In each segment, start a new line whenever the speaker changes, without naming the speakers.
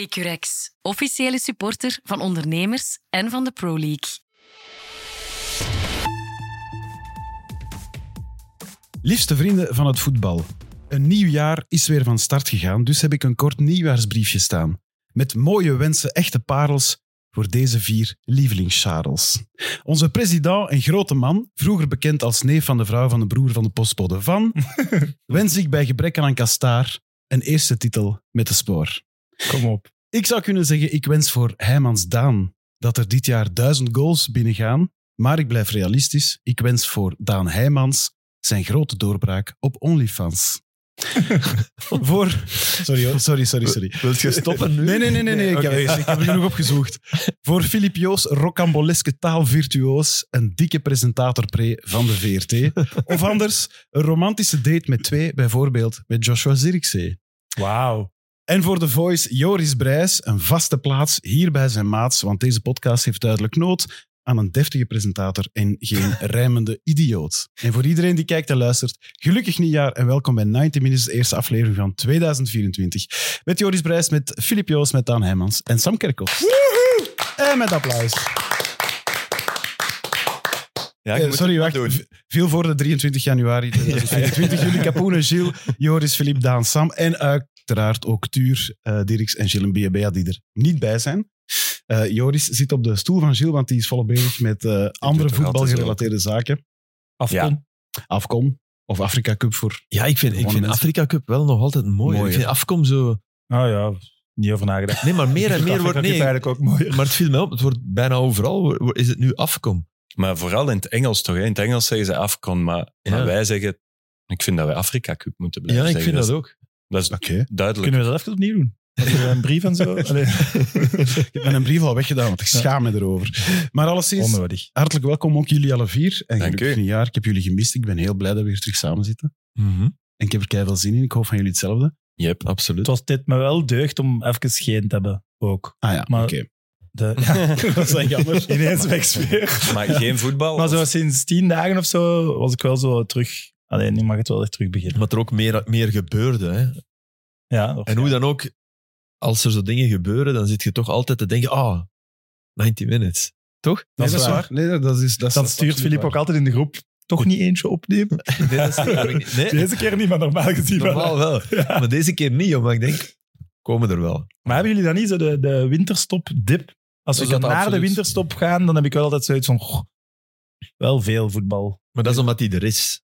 Securex, officiële supporter van ondernemers en van de Pro League.
Liefste vrienden van het voetbal, een nieuw jaar is weer van start gegaan, dus heb ik een kort nieuwjaarsbriefje staan. Met mooie wensen, echte parels voor deze vier lievelingscharels. Onze president en grote man, vroeger bekend als neef van de vrouw van de broer van de postbode van, wens ik bij gebrek aan een kastaar een eerste titel met de spoor.
Kom op.
Ik zou kunnen zeggen, ik wens voor Heijmans Daan dat er dit jaar duizend goals binnengaan. Maar ik blijf realistisch. Ik wens voor Daan Heijmans zijn grote doorbraak op OnlyFans. voor... Sorry, hoor. sorry, sorry, sorry.
Wil je stoppen nu?
Nee, nee, nee, nee. nee. Ik,
Oké.
heb, ik heb er genoeg opgezocht. Voor Filip Joos, rocamboleske taalvirtuoos, een dikke presentatorpre van de VRT. Of anders, een romantische date met twee, bijvoorbeeld met Joshua Zirkzee.
Wauw. Oh
En voor The Voice, Joris Brijs, een vaste plaats hier bij zijn maats, want deze podcast heeft duidelijk nood aan een deftige presentator en geen rijmende idioot. En voor iedereen die kijkt en luistert, gelukkig nieuwjaar en welkom bij 90 Minutes, de eerste aflevering van 2024. Met Joris Brijs, met Filip Joos, met Daan Heijmans en Sam Kerkhoff. En met applaus.
Ja,
Eh, sorry, wacht.
Doen.
V- Veel voor de 23 januari dus 2024. Jullie Capone, Gilles, Joris, Filip, Daan, Sam en uiteraard ook Tuur, eh Dirks en Gilles en Biabea die er niet bij zijn. Eh, Joris zit op de stoel van Gilles, want die is volop bezig met eh, andere
toch altijd
voetbalgerelateerde zaken.
Afkom.
Afcon of Afrika Cup voor...
Ja, ik vind, ik
Gewone
vind
mensen.
Afrika Cup wel nog altijd mooi.
Mooi,
ik vind Afkom zo...
Ah ja, niet over nagedacht.
Nee, maar
Ik
meer en
vind
meer
dat
wordt...
eigenlijk
Nee,
eigenlijk ook mooi.
maar het viel mij op. Het wordt bijna overal... wo- wo- Is het nu Afkom?
Maar vooral in het Engels toch? hè? In het Engels zeggen ze Afcon, maar,
Ja.
maar wij zeggen... Ik vind dat wij Afrika Cup moeten
Ja,
blijven
ik
zeggen.
vind dat ook.
dat is, dat
Oké.
is duidelijk.
Kunnen we dat even opnieuw doen? Hebben we een brief en zo? Allee,
Ik heb mijn brief al weggedaan, want ik schaam me erover. Maar alleszins,
onnodig.
hartelijk welkom ook jullie alle vier. En
Dank
gelukkig
u.
nieuwjaar. Ik heb jullie gemist. Ik ben heel blij dat we weer terug samen zitten.
Mhm.
En ik heb er keihard zin in. Ik hoop van jullie hetzelfde.
Yep.
Absoluut.
Het was dit me wel deugd om even geen te hebben. Ook.
Ah ja, oké.
Maar- De, ja,
Dat zijn jammer.
ineens wegsfeer.
Maar geen voetbal?
Maar zo
of-
sinds tien dagen of zo was ik wel zo terug. Alleen nu mag het wel echt terug beginnen.
Maar er ook meer, meer gebeurde. Hè.
Ja, of-
En hoe dan ook, als er zo dingen gebeuren, dan zit je toch altijd te denken, ah, 90 minutes. Toch?
Nee, dat is waar. Nee, dat is, dat is,
dan stuurt Filip ook altijd in de groep toch niet eentje opnemen.
Nee, dat is niet- nee,
Deze keer niet, maar normaal gezien wel.
normaal wel.
Ja.
Maar deze keer niet, omdat ik denk, komen er wel.
Maar hebben jullie dan niet zo de, de winterstop-dip? Als we
Ik
zo
had
naar de
absoluut.
winterstop gaan, dan heb ik wel altijd zoiets van... goh, wel veel voetbal.
Maar dat is omdat die er is.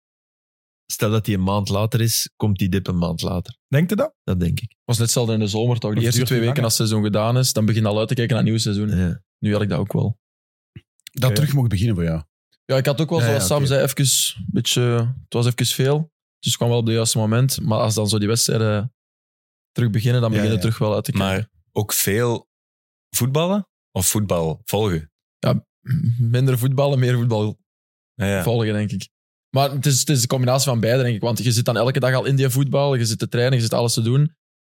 Stel dat die een maand later is, komt die dip een maand later.
Denkt u dat?
Dat denk ik.
was net hetzelfde in de zomer, toch? De
Het
eerste
duurt
twee
niet
weken
langer.
als het seizoen gedaan is, dan begin je al uit te kijken naar een nieuw seizoen.
Ja.
Nu had ik dat ook wel.
Dat terug mocht beginnen voor jou.
Ja, ik had ook wel,
Ja,
zoals
ja,
Sam
oké.
zei, even een beetje... Het was even veel, dus het kwam wel op het juiste moment. Maar als dan zo die wedstrijden terug beginnen, dan
Ja,
beginnen
ja.
terug wel uit te kijken.
Maar ook veel voetballen? Of voetbal volgen?
Minder voetballen, meer voetbal
Ja, ja.
volgen, denk ik. Maar het is, het is een combinatie van beide, denk ik. Want je zit dan elke dag al in die voetbal, je zit te trainen, je zit alles te doen.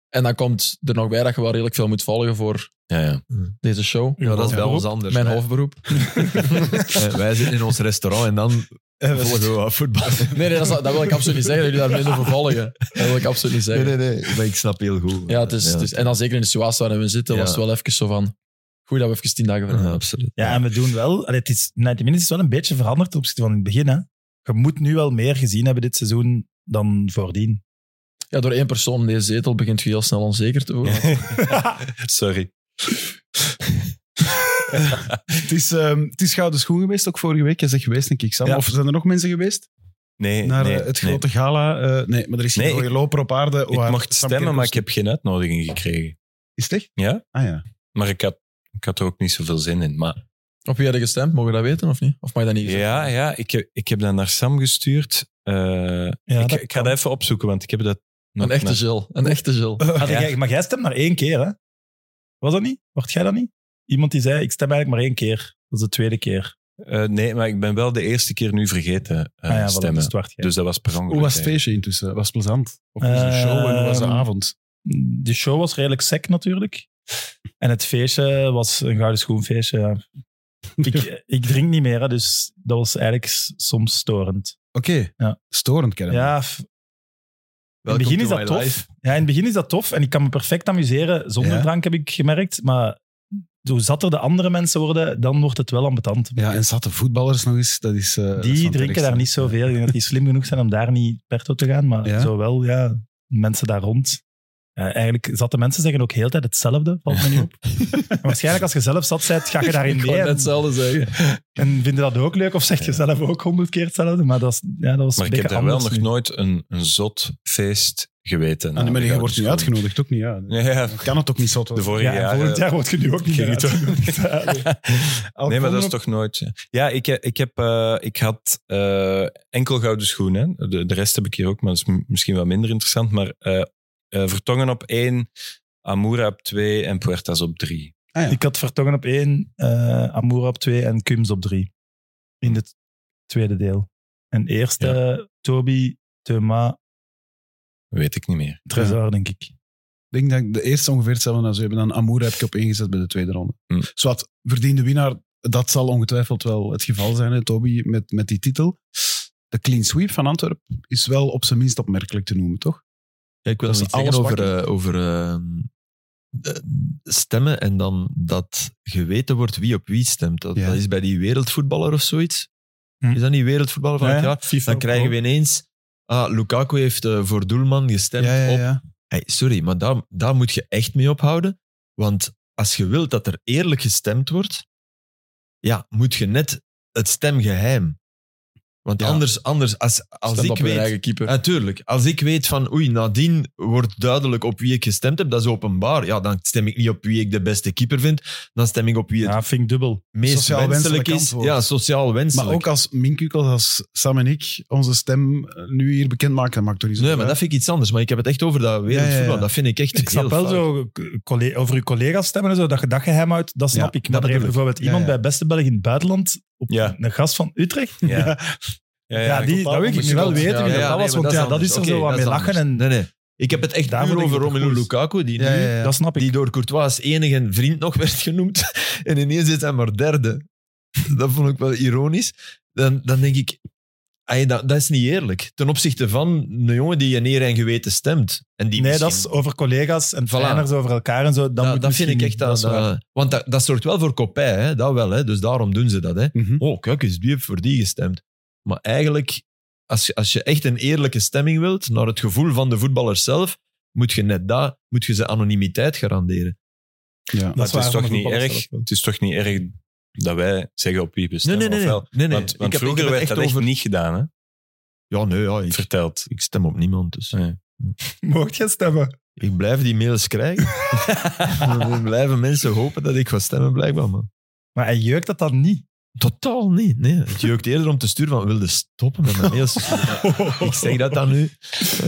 En dan komt er nog bij dat je wel redelijk veel moet volgen voor
Ja, ja.
deze show.
Ja, dat is
Ja.
bij ons anders.
Mijn
Wij-
hoofdberoep.
eh, Wij zitten in ons restaurant en dan volgen we wat voetbal.
Nee, nee dat, is- dat wil ik absoluut niet zeggen. Dat jullie daar minder voor volgen. Dat wil ik absoluut niet zeggen.
nee. Maar ik snap heel goed.
Ja, het is, het is- en dan zeker in de situatie waarin we zitten, was het wel even zo van... Goed dat we even tien dagen verder
Ja,
hebben.
absoluut.
Ja, en we doen wel... Allee, het is, 90 Minutes is wel een beetje veranderd ten opzichte van in het begin. Hè. Je moet nu wel meer gezien hebben dit seizoen dan voordien.
Ja, door één persoon in deze zetel begint je heel snel onzeker te worden.
Sorry.
Het is, ehm, het is gouden schoen geweest, ook vorige week. Jij zegt geweest, denk ik, Sam.
Ja.
Of zijn er nog mensen geweest?
Nee,
Naar eh,
nee,
het
nee.
grote gala. eh, nee, maar er is geen
Nee,
rode loper op aarde. waar
Ik mocht
Sam
stemmen, maar ik
Kerkhoff-
heb geen uitnodiging gekregen.
Is het echt?
Ja?
Ah ja.
Maar ik had, ik had er ook niet zoveel zin in. Maar
Op wie had je gestemd? Mogen we dat weten of niet? Of mag je dat niet zeggen?
ja, ja ik, heb, ik heb dat naar Sam gestuurd. Eh,
Ja,
ik,
dat
ik ga dat even opzoeken, want ik heb dat...
Een echte Jill. Een echte Jill.
Had
Ja.
jij- maar jij stemt maar één keer, hè? Was dat niet? Wordt jij dat niet? Iemand die zei, ik stem eigenlijk maar één keer. Dat is de tweede keer.
Eh, nee, maar ik ben wel de eerste keer nu vergeten eh
Ah ja, voilà,
stemmen.
dus het wordt jij.
Dus dat was per ongeluk.
Hoe was het
eigenlijk.
feestje intussen? Was het plezant? Of was de show en hoe was de
Ehm,
avond?
de show was redelijk sec natuurlijk. En het feestje was een gouden schoenfeestje. ja. Ik, ik drink niet meer, hè, dus dat was eigenlijk s- soms storend.
Oké.
Ja.
Storend, kennen.
Ja, f- In het
Welcome
begin is
to
dat
my
tof.
life.
Ja, in het begin is dat tof en ik kan me perfect amuseren. Zonder
Ja.
drank heb ik gemerkt. Maar hoe zatter de andere mensen worden, dan wordt het wel ambetant.
Ja, en zatte voetballers nog eens, dat is... eh, dat is
die
van
drinken
terecht.
daar niet zoveel. Ik denk dat die slim genoeg zijn om daar niet perto te gaan. Maar
Ja.
zowel ja, mensen daar rond. Eh, eigenlijk zatte mensen zeggen ook heel de tijd hetzelfde, valt me niet op. En waarschijnlijk als je zelf zat bent, ga je daarin
Ik wou
mee.
net
En,
hetzelfde zeggen.
en vinden dat ook leuk, of zeg je zelf ook honderd keer hetzelfde. Maar dat, is, ja, dat was
Maar
een
ik heb
beetje
daar wel
anders
nog
nu.
nooit een, een zot feest geweten.
En
Nou,
Ah, maar
de
je
Gouden
wordt niet
Schoen.
uitgenodigd, ook niet. Ja.
Ja, ja,
Kan het ook niet zot
de
worden.
vorige
Ja, en
jaren.
volgend jaar word je nu ook niet
ging
meer
het ook.
uitgenodigd. Ja, nee.
Nee, maar dat is
Alcohol-
toch nooit. Ja, ik, ik, heb, eh, ik had eh, enkel gouden schoenen. De, de rest heb ik hier ook, maar dat is m- misschien wel minder interessant. Maar eh, eh, Vertongen op één, Amura op twee en Puertas op drie.
Ja.
Ik had Vertongen op één, eh Amoura op twee en Kums op drie. In het tweede deel. En eerste, Toby, Thema,
Weet ik niet meer.
Trezor, denk ik.
Ik denk dat ik de eerste ongeveer hetzelfde als we hebben. Dan Amour heb ik op ingezet bij de tweede ronde.
Hm.
Zowat, verdiende winnaar, dat zal ongetwijfeld wel het geval zijn, hè, Toby, met, met die titel. De clean sweep van Antwerp is wel op zijn minst opmerkelijk te noemen, toch?
Ja, ik wil
Dat
nog
ze
iets zeggen
alles
over, eh, over ehm, eh, stemmen en dan dat geweten wordt wie op wie stemt. Dat,
Ja.
dat is bij die wereldvoetballer of zoiets.
Hm.
Is dat niet wereldvoetballer van
Ja,
het
ja,
jaar?
FIFA
Dan krijgen we
ook.
ineens... Ah, Lukaku heeft eh, voor doelman gestemd op... Hey, sorry, maar daar, daar moet je echt mee ophouden. Want als je wilt dat er eerlijk gestemd wordt, ja, moet je net het stemgeheim. Want
Ja.
anders, anders als, als
Stemt
ik
op hun
weet...
eigen keeper.
Natuurlijk. Als ik weet van, oei, nadien wordt duidelijk op wie ik gestemd heb, dat is openbaar. Ja, dan stem ik niet op wie ik de beste keeper vind. Dan stem ik op wie het
Ja, vind ik dubbel.
meest
Sociaal
wenselijk
wenselijk
is.
antwoord.
Ja, sociaal wenselijk.
Maar ook als Minkukels, als Sam en ik onze stem eh, nu hier bekendmaken, dat maakt toch niet zo
Nee, maar dat vind ik iets anders. Maar ik heb het echt over dat wereldvoetbal.
Ja, ja, ja.
Dat vind ik echt
Ik snap
heel
wel
fout.
zo eh, colle- over je collega's stemmen en zo, dat je dat geheim uit, dat snap
Ja,
ik. Maar
dat
er heeft
bedoel ik.
bijvoorbeeld
Ja,
iemand
ja.
bij Beste Belg in het buitenland, op
Ja.
een gast van Utrecht, ja,
Ja,
die, dat wil ik nu wel
onbeschuld.
weten
Ja,
wie dat
nee,
was,
maar
want ja, dat
anders.
is er
Oké,
zo wat
dat
mee
is
lachen.
anders.
En,
Nee, nee. Ik heb het echt
Daarvoor
puur
denk ik
over
dat het
Romelu
goed is.
Lukaku, die
Ja,
nu,
ja, ja.
Dat snap ik.
die door Courtois als enige vriend nog werd genoemd. En ineens is hij maar derde. Dat vond ik wel ironisch. Dan, dan denk ik, ay, dat, dat is niet eerlijk. Ten opzichte van een jongen die je neer en geweten stemt. En die
nee,
misschien-
dat is over collega's en
Voilà.
trainers over elkaar en zo. Dat,
dat,
moet
dat vind ik
misschien
echt...
niet.
Dat,
is waar.
dat- want dat, dat zorgt wel voor kopij, hè? dat wel. Hè? Dus daarom doen ze dat. Hè?
Mhm.
oh, kijk eens, die heeft voor die gestemd. Maar eigenlijk, als je, als je echt een eerlijke stemming wilt, naar het gevoel van de voetballers zelf, moet je net daar, moet je ze anonimiteit garanderen.
Ja.
Maar
Dat is
het
waar,
is toch
van de
niet
voetballers
erg.
zelf wel.
Het is toch niet erg dat wij zeggen op wie we stemmen, of wel?
nee, nee.
Want,
Ik
want
heb- ik
vroeger
heb het
werd dat echt
over-
niet gedaan, hè?
Ja, nee, ja, ik,
Verteld.
ik stem op niemand. Dus.
Nee.
Mocht je stemmen?
Ik blijf die mails krijgen. er blijven mensen hopen dat ik ga stemmen, blijkbaar. Man.
Maar hij jeukt dat dan niet.
Totaal niet. Nee. Het jeukt eerder om te sturen van, wilde stoppen met mijn mails. ik zeg dat dan nu.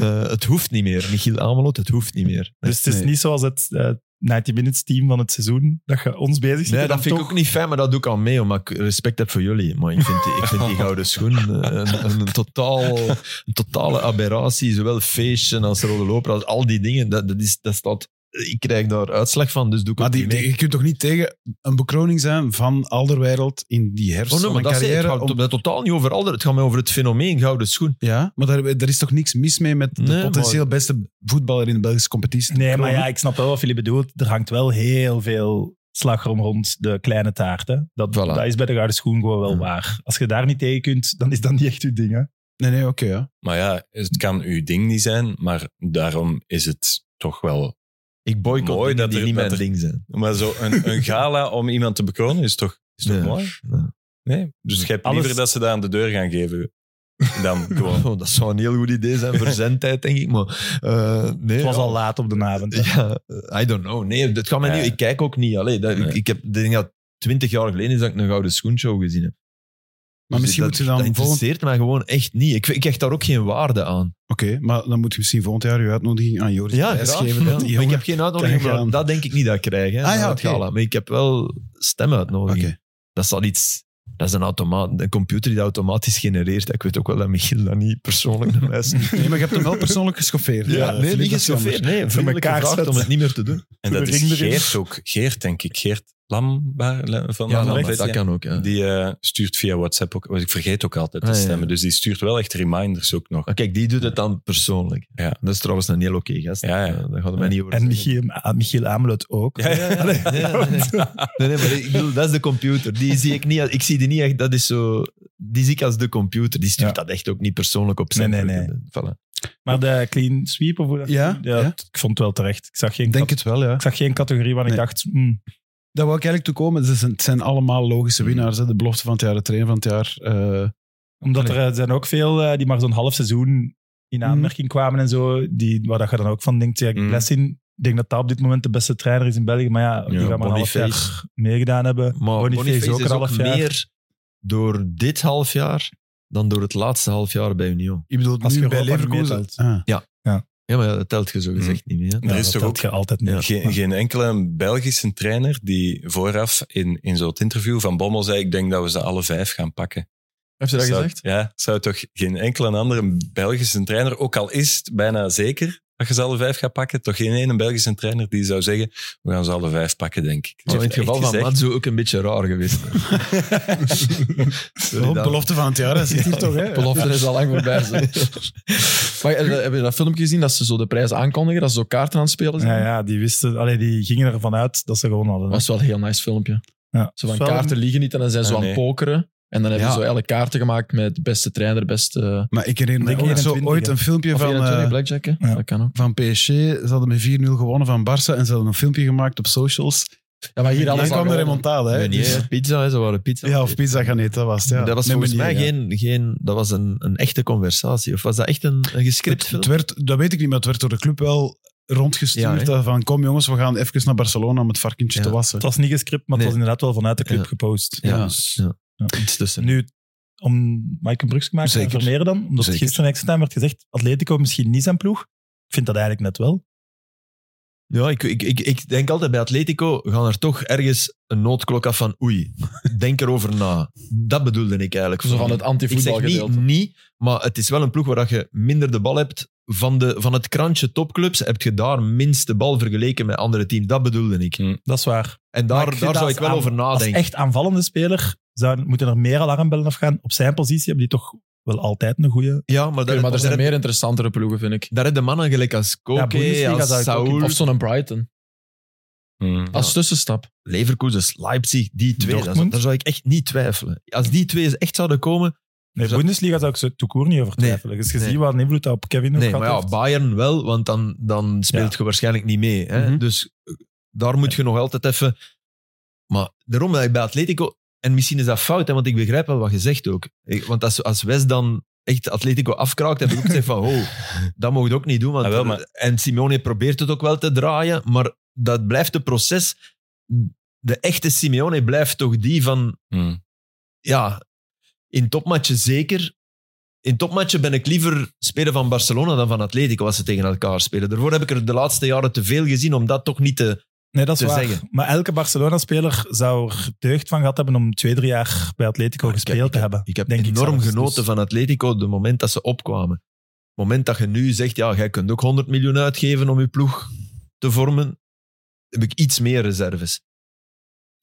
Eh, het hoeft niet meer. Michiel Amelot, het hoeft niet meer.
Dus het is
Nee.
niet zoals het eh 90 Minutes team van het seizoen, dat je ons bezig ziet.
Nee,
en
dat
dan
vind ik
toch-
ook niet fijn, maar dat doe ik al mee, omdat ik respect heb voor jullie. Maar ik vind die, ik vind die gouden schoen eh, een, een, een totaal, een totale aberratie. Zowel feestje als rode loper, als al die dingen. Dat, dat, is, dat staat, ik krijg daar uitslag van, dus doe ik
Maar
ook
die,
niet
die-
mee.
je kunt toch niet tegen een bekroning zijn van Alderwereld in die herfst
Oh, nee, maar
van
dat
een
zei ik. het
carrière?
gaat
om-
to- totaal niet over alder. Het gaat mij over het fenomeen gouden schoen.
ja, maar daar, daar is toch niks mis mee met de
Nee, maar-
potentieel beste voetballer in de Belgische competitie?
Nee, maar ja, ik snap wel wat jullie bedoelt. Er hangt wel heel veel slagroom rond de kleine taarten. Dat,
Voilà.
dat is bij de gouden schoen gewoon wel
Ja.
waar. Als je daar niet tegen kunt, dan is dat niet echt uw ding. Hè?
Nee, nee, oké, ja.
Maar ja, het kan uw ding niet zijn, maar daarom is het toch wel...
Ik boycott
Mooi
dingen
dat
die
er-
niet
dat
mijn
er-
ding zijn.
Maar zo een, een gala om iemand te bekronen is toch, is toch
Nee.
mooi? Nee? Dus jij hebt
Alles-
liever dat ze dat aan de deur gaan geven dan gewoon...
Oh, dat zou een heel goed idee zijn voor zijn tijd, denk ik. Maar, eh, nee,
Het was
ja.
al laat op de avond. hè.
Ja, eh, I don't know. Nee, dat gaat mij
Ja.
niet. Ik kijk ook niet. Allee, dat, ik,
Nee.
ik heb, ik denk dat twintig jaar geleden is dat ik een gouden schoenshow gezien heb.
Maar
Dus
misschien
dat,
moet je dan
Dat
volgend-
interesseert mij gewoon echt niet. Ik, ik hecht daar ook geen waarde aan.
Oké, maar dan moet je misschien volgend jaar je uitnodiging aan Joris
Ja,
Thijs
graag.
geven.
Ja.
Dat die
Maar ik
jongen-
heb geen uitnodiging,
Kijk
maar
aan.
dat denk ik niet dat ik krijg. Hè,
Ah, ja,
na het
oké.
gala. Maar ik heb wel stemuitnodiging.
Oké.
Dat is al iets... Dat is een, automaat, een computer die dat automatisch genereert. Ik weet ook wel dat Michiel dat niet persoonlijk naar mij stuurt.
Nee, maar je hebt hem wel persoonlijk geschoffeerd. Eh,
Ja, nee,
Filip, dat
niet
is jammer.
geschoffeerd. Nee, vriendelijk
elkaar
gevraagd
zetten.
om het niet meer te doen.
En dat is
Ring erin.
Geert ook. Geert, denk ik. Geert
Lambaar Le- van
Ja,
van
maar
Lambert,
dat
ja.
kan ook. Ja.
Die eh, stuurt via WhatsApp ook. want Ik vergeet ook altijd te
Ah, ja.
stemmen. Dus die stuurt wel echt reminders ook nog.
Maar kijk, die doet het dan persoonlijk.
Ja.
Dat is trouwens een heel oké gast.
Ja, ja.
Eh, Daar gaat het mij niet over
En
zeggen.
Michiel, ah, Michiel Amelot ook.
Ja, ja, ja.
Allee,
Ja, nee, nee. Nee, nee, maar ik bedoel, dat is de computer. Die zie ik niet. als- Ik zie die niet echt. Dat is zo. Die zie ik als de computer. Die stuurt dat echt ook niet persoonlijk op zijn.
Nee, nee, nee.
vrienden. Voilà.
Maar de clean sweep, of hoe dat-
Ja, ja.
t- ik vond het wel terecht. Ik zag geen,
Ik denk
cat-
het wel, ja.
ik zag geen categorie waar ik
Nee.
dacht, hmm,
Daar wou ik eigenlijk toe komen. Ze zijn- Het zijn allemaal logische winnaars. hè. De belofte van het jaar, de trainer van het jaar. eh,
omdat er eh, zijn ook veel eh, die maar zo'n half seizoen in aanmerking kwamen en zo, die, waar dat je dan ook van denkt, ja, ik
Mm.
Blessin, ik denk dat dat op dit moment de beste trainer is in België, maar ja, die
Ja,
gaan maar een half
Boniface.
jaar meegedaan hebben.
Maar
Boniface
Boniface,
ook
is
een
ook
half jaar.
meer door dit half jaar dan door het laatste half jaar bij Union.
je bedoelt
Als
nu
je
bij
Europa niet
Leverkusen.
meetelt.
Ah.
Ja, maar ja, dat telt je zogezegd niet meer.
Er
Ja, dat
is toch
telt
ook-
je altijd
Ja.
mee.
Geen, geen enkele Belgische trainer die vooraf in, in zo'n interview van Bommel zei: Ik denk dat we ze alle vijf gaan pakken.
Heeft ze dat
Zou-
gezegd?
Ja, zou toch geen enkele andere Belgische trainer, ook al is het bijna zeker dat je ze alle vijf gaat pakken, toch geen ene Belgische trainer die zou zeggen: We gaan ze alle vijf pakken, denk ik. Dus
Maar in het geval van Matzo ook een beetje raar geweest. Sorry,
Ah. Oh,
Daan.
belofte van het jaar, dat zit hier toch, hè?
Belofte is al lang voorbij. zo. maar eh, heb je dat filmpje gezien dat ze zo de prijs aankondigen? Dat ze zo kaarten aan het spelen zijn?
Ja, ja, die wisten, allee, die gingen ervan uit dat ze gewoon hadden.
Dat was wel een heel nice filmpje.
Ja.
Zo van
Wel-
kaarten liegen niet en dan zijn ze
Ah,
aan
nee.
het pokeren. En dan hebben ze
Ja.
zo elke kaarten gemaakt met beste trainer, beste... eh,
Maar ik herinner me
Ik denk
ook zo
21,
ooit
hè.
een filmpje
Of
van...
21
eh,
blackjack, hè?
ja.
Dat kan ook.
van PSG. Ze hadden met 4-0 gewonnen van Barça en ze hadden een filmpje gemaakt op socials.
Ja, maar hier
Dan
alles
kwam de remontade, hè? Dus-
Meunier, pizza, hè, ze waren pizza.
ja, of pizza gaan eten, dat was het. Ja.
dat was
Met
volgens mij
Meunier, ja.
geen, geen... Dat was een, een echte conversatie. Of was dat echt een, een gescript
Het,
film?
het werd, dat weet ik niet, maar het werd door de club wel
Ja,
rondgestuurd.
hè?
dat van, kom jongens, we gaan even naar Barcelona om het varkentje
Ja.
te wassen.
het was niet gescript, maar het
Nee.
was inderdaad wel vanuit de club
Ja.
gepost.
Ja,
Ja.
dus, ja.
Ja.
iets tussen.
Nu, om Mike Brugge te maken en
Zeker.
Vermeer dan, omdat het
Zeker.
gisteren extra time werd gezegd, Atletico misschien niet zijn ploeg. Ik vind dat eigenlijk net wel.
Ja, ik, ik, ik, ik denk altijd bij Atletico gaan er toch ergens een noodklok af van oei, denk erover na. Dat bedoelde ik eigenlijk.
Zo
ik
van het
zeg niet,
anti-voetbalgedeelte.
niet, maar het is wel een ploeg waar dat je minder de bal hebt. Van, de, van het krantje topclubs heb je daar minst de bal vergeleken met andere teams. Dat bedoelde ik.
Dat is waar.
En
Hmm. Maar
daar,
ik vind dat
daar zou
als
Ah, ik wel
aan-
over
Als
nadenken.
echt aanvallende speler zou, moeten er meer alarmbellen afgaan. Op zijn positie hebben die toch wel altijd een goede...
ja, maar, daar,
Oké, maar er
daar,
zijn
heb-
meer interessantere ploegen, vind ik.
daar heb de mannen gelijk als Koke,
Bundesliga zou
als
ik ook Hmm, in-
Saul,
Of zo'n Brighton. Als tussenstap.
Leverkusen, Leipzig, die twee. dat-
Dortmund.
daar zou ik echt niet twijfelen. Als die twee echt zouden komen...
Nee,
Zo-
Bundesliga zou ik ze toekoor niet over
Nee.
twijfelen. Dus je
Nee.
ziet wat een invloed dat op Kevin ook
Nee,
gehad
maar ja,
heeft.
Bayern wel, want dan, dan speelt je waarschijnlijk niet mee. Hè?
Mhm.
Dus eh, daar moet je nog altijd even... Maar daarom dat ik bij Atletico... En misschien is dat fout, hè, want ik begrijp wel wat je zegt ook. Ik- want als, als West dan echt Atletico afkraakt, heb ik ook gezegd van, oh, dat mogen we ook niet doen. Want,
Ah, wel, maar-
En Simeone probeert het ook wel te draaien, maar dat blijft een proces. De echte Simeone blijft toch die van
Hmm.
ja, in topmatchen zeker. In topmatchen ben ik liever speler van Barcelona dan van Atletico als ze tegen elkaar spelen. Daarvoor heb ik er de laatste jaren te veel gezien om dat toch niet te...
Nee, dat is
te
waar.
zeggen.
Maar elke Barcelona-speler zou er deugd van gehad hebben om twee, drie jaar bij Atletico
Maar ik
gespeeld
heb-
te hebben.
Ik heb
denk
enorm
zelfs.
genoten
Dus-
van Atletico op het moment dat ze opkwamen. Het moment dat je nu zegt, ja, jij kunt ook 100 miljoen uitgeven om je ploeg te vormen, heb ik iets meer reserves.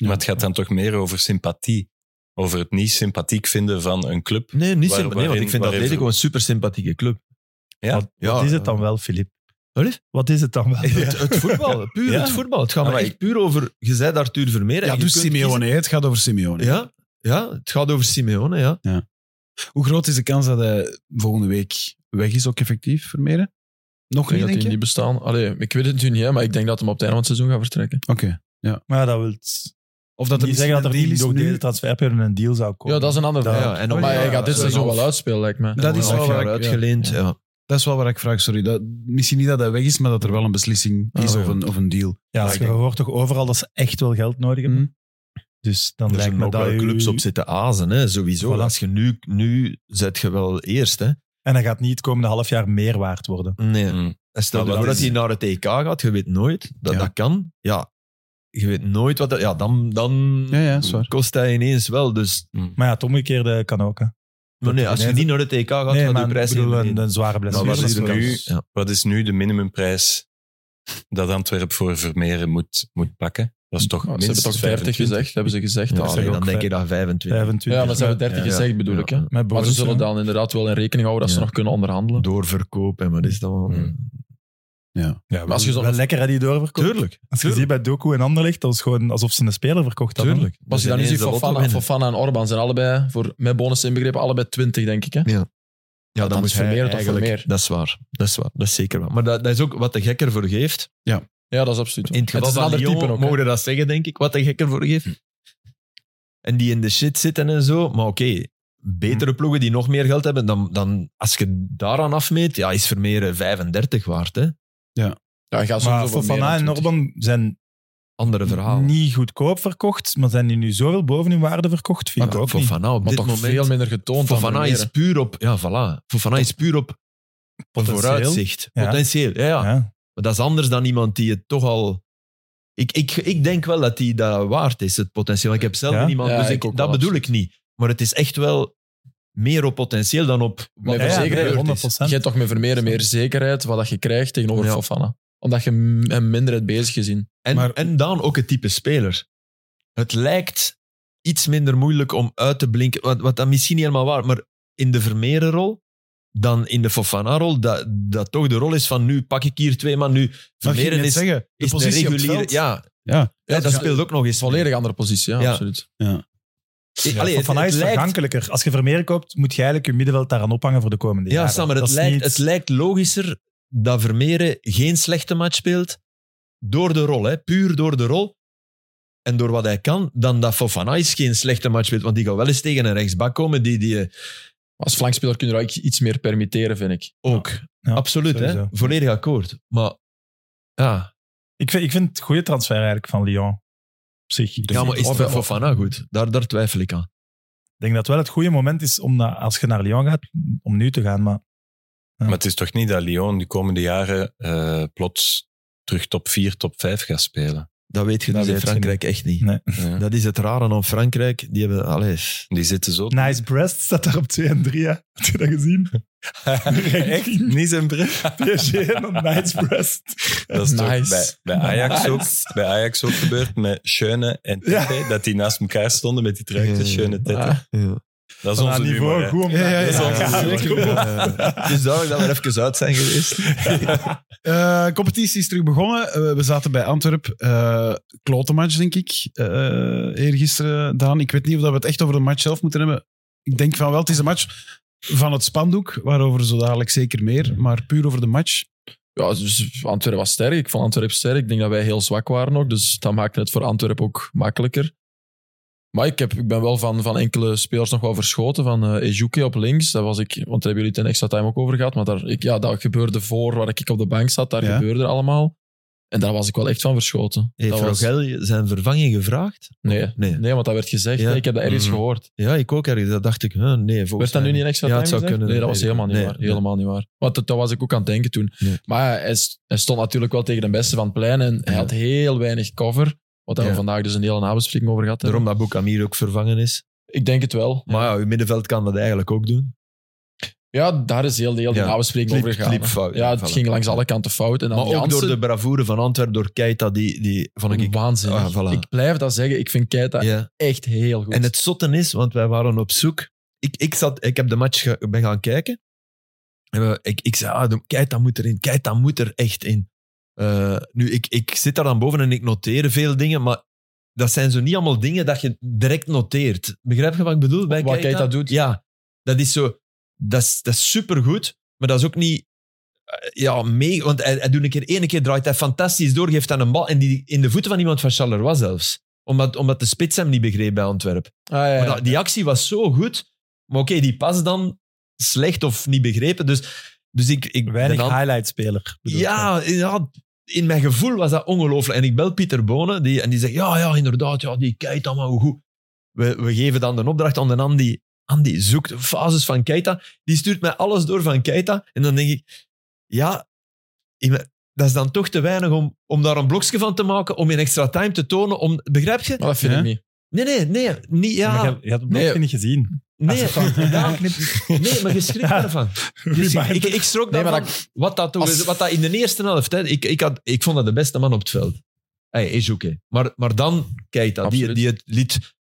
Maar het gaat dan toch meer over sympathie. Over het niet sympathiek vinden van een club.
Nee, niet sympa-
Waar-
nee, want
waarin-
ik vind
waarin-
Atletico een super sympathieke club.
Ja.
Wat,
Ja,
wat is het
eh,
dan wel, Filip?
Allee?
Wat is het dan wel?
Het, het voetbal, puur
Ja.
het voetbal. Het gaat
Ah,
me
maar
echt puur over... Je zei Arthur Vermeer. en
Ja,
je
dus
kunt
Simeone, hè. het gaat over Simeone.
Ja, ja, het gaat over Simeone, ja.
Hoe groot is de kans dat hij volgende week weg is, ook effectief, Vermeeren? Nog
Ik denk
niet,
dat
denk
die
je?
niet bestaan. Allee, ik weet het nu niet, hè, maar ik denk dat hem op het einde van het seizoen gaat vertrekken.
Oké.
Maar dat wil het-
Of dat er
niet zeggen dat er
misschien
niet
een deal
door
is nu?
deze transferperiode een deal zou komen.
Ja, dat is een ander
Ja,
verhaal.
ja, en om-
maar hij
ja,
gaat dit
ja,
seizoen
ja.
wel uitspelen, lijkt me.
Dat is
Een half
wel waar
jaar
ik-
uitgeleend. Ja.
Dat is wel waar ik vraag, sorry. Dat, misschien niet dat hij weg is, maar dat er wel een beslissing
Ah,
is
ja.
of, een, of een deal.
Ja, dus
Ja,
je
ik denk-
hoort toch overal dat ze echt wel geld nodig hebben. Dus dan
Hm. Er
lijkt
zijn
me
ook
dat
wel
u...
clubs op zitten azen, hè, sowieso.
Voilà.
Als je nu, nu zet je wel eerst. Hè.
En dat gaat niet het komende half jaar meer waard worden.
Nee.
Mm.
En stel
Ah,
je
dat
voor dat
is-
hij naar het EK gaat, je weet nooit dat
Ja.
dat kan. Ja, je weet nooit wat dat... Ja, dan, dan
Ja, ja, is waar.
kost hij ineens wel. Dus,
Maar ja, het omgekeerde kan ook. Hè.
maar nee, als je
ineens-
niet naar het EK gaat,
nee,
gaat
maar
je prijs
ik bedoel,
niet
een,
beneden.
een zware blessure.
wat
Maar
is
dat
er
wel-
nu?
Ja.
Wat is nu de minimumprijs dat Antwerpen voor Vermeeren moet, moet pakken? Dat is toch
Nou,
Maar Ze hebben
minstens
toch 30
25.
gezegd, hebben ze gezegd.
Ja,
al.
nee,
ook
dan denk
vijf-
je dat 25.
25.
Ja, maar ze hebben
Met-
30
Ja,
gezegd, bedoel
ja.
ik. Hè?
Met
Maar ze
Boris.
zullen
ja.
dan inderdaad wel in rekening houden dat ze
Ja.
nog kunnen onderhandelen.
Doorverkoop en wat is dat allemaal?
Hmm.
Ja, maar
als je zo-
wel lekker hè, die doorverkoop.
Tuurlijk.
Als je ziet bij Doku en Anderlecht, dat is gewoon alsof ze een speler verkocht hadden.
Tuurlijk.
Als je
Dat
dan nu
is
ziet,
ineens de lotto
Fofana,
winnen.
Fofana en Orban zijn allebei, voor, met bonus inbegrepen, allebei 20, denk ik. Hè?
Ja, Ja,
dan
dan moet
is Vermeer
hij
het of
eigenlijk...
Vermeer.
Dat is waar. Dat is waar. Dat is zeker waar. Maar dat, dat is ook wat de gekker voor geeft.
Ja, dat is absoluut. waar.
In het geval
is een
van
ander type
Lyon
ook. hè. Hm.
mogen we dat zeggen, denk ik, wat de gekker voor geeft. En die in de shit zitten en zo. Maar oké,
Hm.
betere ploegen die nog meer geld hebben, dan, dan als je daaraan afmeet, ja, is Vermeer eh, 35 waard. Hè?
Ja, gaat sowieso
Maar
voor meer dan
Fofana en
20.
Orban zijn
Andere verhaal.
niet goedkoop verkocht, maar zijn die nu zoveel boven hun waarde verkocht? Vind ik ook niet.
Fofana op
Maar
dit
toch
moment...
veel minder getoond
Fofana
dan Vermeer,
is
hè.
puur op... Ja, voilà. Fofana is puur op
Potentieel.
vooruitzicht.
Ja.
Potentieel, ja, ja.
Ja.
Maar dat is anders dan iemand die het toch al... Ik, ik, ik denk wel dat die dat waard is, het potentieel. Ik heb zelf
Ja?
niemand,
Ja,
dus
ik
ik,
ook
dat
wel,
bedoel ik niet. Maar het is echt wel meer op potentieel dan op... wat
Met
er
Ja,
verzekering,
gebeurd is.
100
Je hebt toch met Vermeer meer zekerheid wat dat je krijgt tegenover
Ja.
Fofana. Omdat je m- hem minder hebt bezig gezien.
En,
Maar-
en dan ook het type speler. Het lijkt iets minder moeilijk om uit te blinken, wat, wat dan misschien niet helemaal waar, maar in de Vermeerenrol dan in de Fofana-rol, dat, dat toch de rol is van nu pak ik hier twee man, nu
Mag je
Vermeeren
net
is, is
zeggen? De
een
positie op het
reguliere...
veld?
Ja,
Ja. dus
ja, dat
ja.
speelt ook nog eens.
Volledig andere positie, ja,
Ja.
absoluut.
Ik-
Ja,
allee, het-
Fofana
het
is
lijkt-
vergankelijker. Als je Vermeer koopt, moet je eigenlijk je middenveld daaraan ophangen voor de komende
Ja,
jaren.
Sam, maar het
Dat is
lijkt,
niet-
het lijkt logischer dat Vermeeren geen slechte match speelt door de rol, hè, puur door de rol en door wat hij kan, dan dat Fofana is geen slechte match speelt, want die gaat wel eens tegen een rechtsbak komen die, die eh,
Als flankspeler kun je daar ook iets meer permitteren, vind ik.
ook...
Ja,
Absoluut, hè?
sowieso.
volledig akkoord. Maar ja,
Ik vind, ik vind het goede transfer eigenlijk van Lyon. Op zich. Dus Ik
ja maar is het
Of-
voor Fofana goed? Daar, daar twijfel ik aan.
denk dat het wel het goede moment is om na- als je naar Lyon gaat, om nu te gaan. Maar
Maar het is toch niet dat Lyon de komende jaren eh, plots terug top 4, top 5 gaat spelen.
Dat weet je
Dat
dus in
weet je
Frankrijk echt niet.
Nee.
Ja.
Dat is het rare aan Frankrijk. Die hebben, allee,
Die zitten zo...
Nice Breast staat daar op 2 en 3. Heb je dat gezien?
Echt? Niet zijn brug.
PSG en Nice Breast.
Dat is toch
Nice.
bij, bij, Ajax
Nice.
ook, bij Ajax ook gebeurd met Schöne en Tete. Dat die naast elkaar stonden met die truitjes,
Ja, ja,
Schöne Tete.
Ah.
ja.
Dat is
Van
onze
haar niveau
humor. hè.
goed om
Ja, ja,
dat is
ja,
onze
ja,
humor.
zeker.
Goed.
Het is duidelijk Dus dat we even uit zijn geweest.
Eh, competitie is terug begonnen. Eh, we zaten bij Antwerp. eh klote match, denk ik. eh eergisteren, Daan. Ik weet niet of dat we het echt over de match zelf moeten hebben. Ik denk van wel, het is een match van het spandoek, waarover zo dadelijk zeker meer. Maar puur over de match.
Ja, dus Antwerpen was sterk. Ik vond Antwerpen sterk. Ik denk dat wij heel zwak waren ook. Dus dat maakte het voor Antwerpen ook makkelijker. Maar ik, heb, ik ben wel van, van enkele spelers nog wel verschoten. Van eh Ejuke op links. Dat was ik, want daar hebben jullie het in extra time ook over gehad. Maar daar, ik, ja, dat gebeurde voor waar ik op de bank zat. Daar
Ja.
gebeurde er allemaal. En daar was ik wel echt van verschoten.
Heeft
dat was,
Rogel zijn vervanging gevraagd?
nee,
Nee.
nee, want dat werd gezegd.
Ja.
Nee, ik heb dat ergens
Mhm.
gehoord.
Ja, ik ook ergens. Dat dacht ik, huh, nee. Volgens
Werd dat nu
mij
niet in extra
Ja,
time
het zou
gezegd?
kunnen.
Nee, dat was
Nee,
helemaal niet
nee,
waar.
nee.
Helemaal niet waar. Want dat, dat was ik ook aan het denken toen.
Nee.
Maar ja, hij, s- hij stond natuurlijk wel tegen de beste van het plein en hij had heel weinig cover. Wat daar we
Ja.
vandaag dus een hele nabespreking over gehad hebben.
Daarom dat Boukamir ook vervangen is.
Ik denk het wel.
Maar ja, uw middenveld kan dat eigenlijk ook doen.
Ja, daar is heel, heel die
Ja.
nabespreking
Kliep-
over gegaan.
kliep
hè.
fout.
Ja, het
Voilà.
ging langs alle kanten fout. En dan
Maar ook
Nou, Jansen,
door de bravoure van Antwerpen, door Keita, die, die vond ik...
waanzinnig.
Ah, voilà.
Ik blijf dat zeggen. Ik vind Keita
Ja.
echt heel goed.
En het zotten is, want wij waren op zoek. Ik, ik, zat, ik heb de match ge- ben gaan kijken. En we- ik, ik zei, ah, de- kijk, dat moet erin. Kijk, dat moet er echt in. Eh, nu, ik, ik zit daar dan boven en ik noteer veel dingen, maar dat zijn zo niet allemaal dingen dat je direct noteert. Begrijp je wat ik bedoel? Bij
Wat
Keita?
Keita doet?
Ja, dat is zo... Dat is, dat is supergoed, maar dat is ook niet... eh, Ja, mee, want hij, hij doet een keer, ene keer draait hij fantastisch door, geeft aan een bal en die in de voeten van iemand van Charleroi zelfs. Omdat, omdat de spits hem niet begreep bij Antwerpen.
Ah, ja, ja.
Maar dat- die actie was zo goed. Maar oké, die pas dan slecht of niet begrepen. Dus, dus ik, ik
Weinig
de hand-
highlight-speler. bedoel ik.
ja, ja, in mijn gevoel was dat ongelooflijk. En ik bel Pieter Bonen die, en die zegt: Ja, ja, inderdaad, ja, die Keita, maar hoe goed. We, we geven dan de opdracht aan de Andy. Andy zoekt fases van Keita. Die stuurt mij alles door van Keita. En dan denk ik: Ja, in mijn- dat is dan toch te weinig om, om daar een blokje van te maken, om in extra time te tonen. Om, begrijp je?
Maar dat vind
Ja.
ik niet.
Nee, nee, nee. Niet, ja.
Maar je, je had het blokje
Nee.
niet gezien.
Nee,
Als het dan-
ja, nee, maar je schrikt daarvan. Je schrikt- ik, ik schrok
Nee, maar
daarvan. wat, dat toch
Als-
is- wat dat in de eerste helft... Hè, ik, ik, had, ik vond dat de beste man op het veld. Hey, is oké. Maar, maar dan, kijk dat, die,
Absoluut.
die het liet...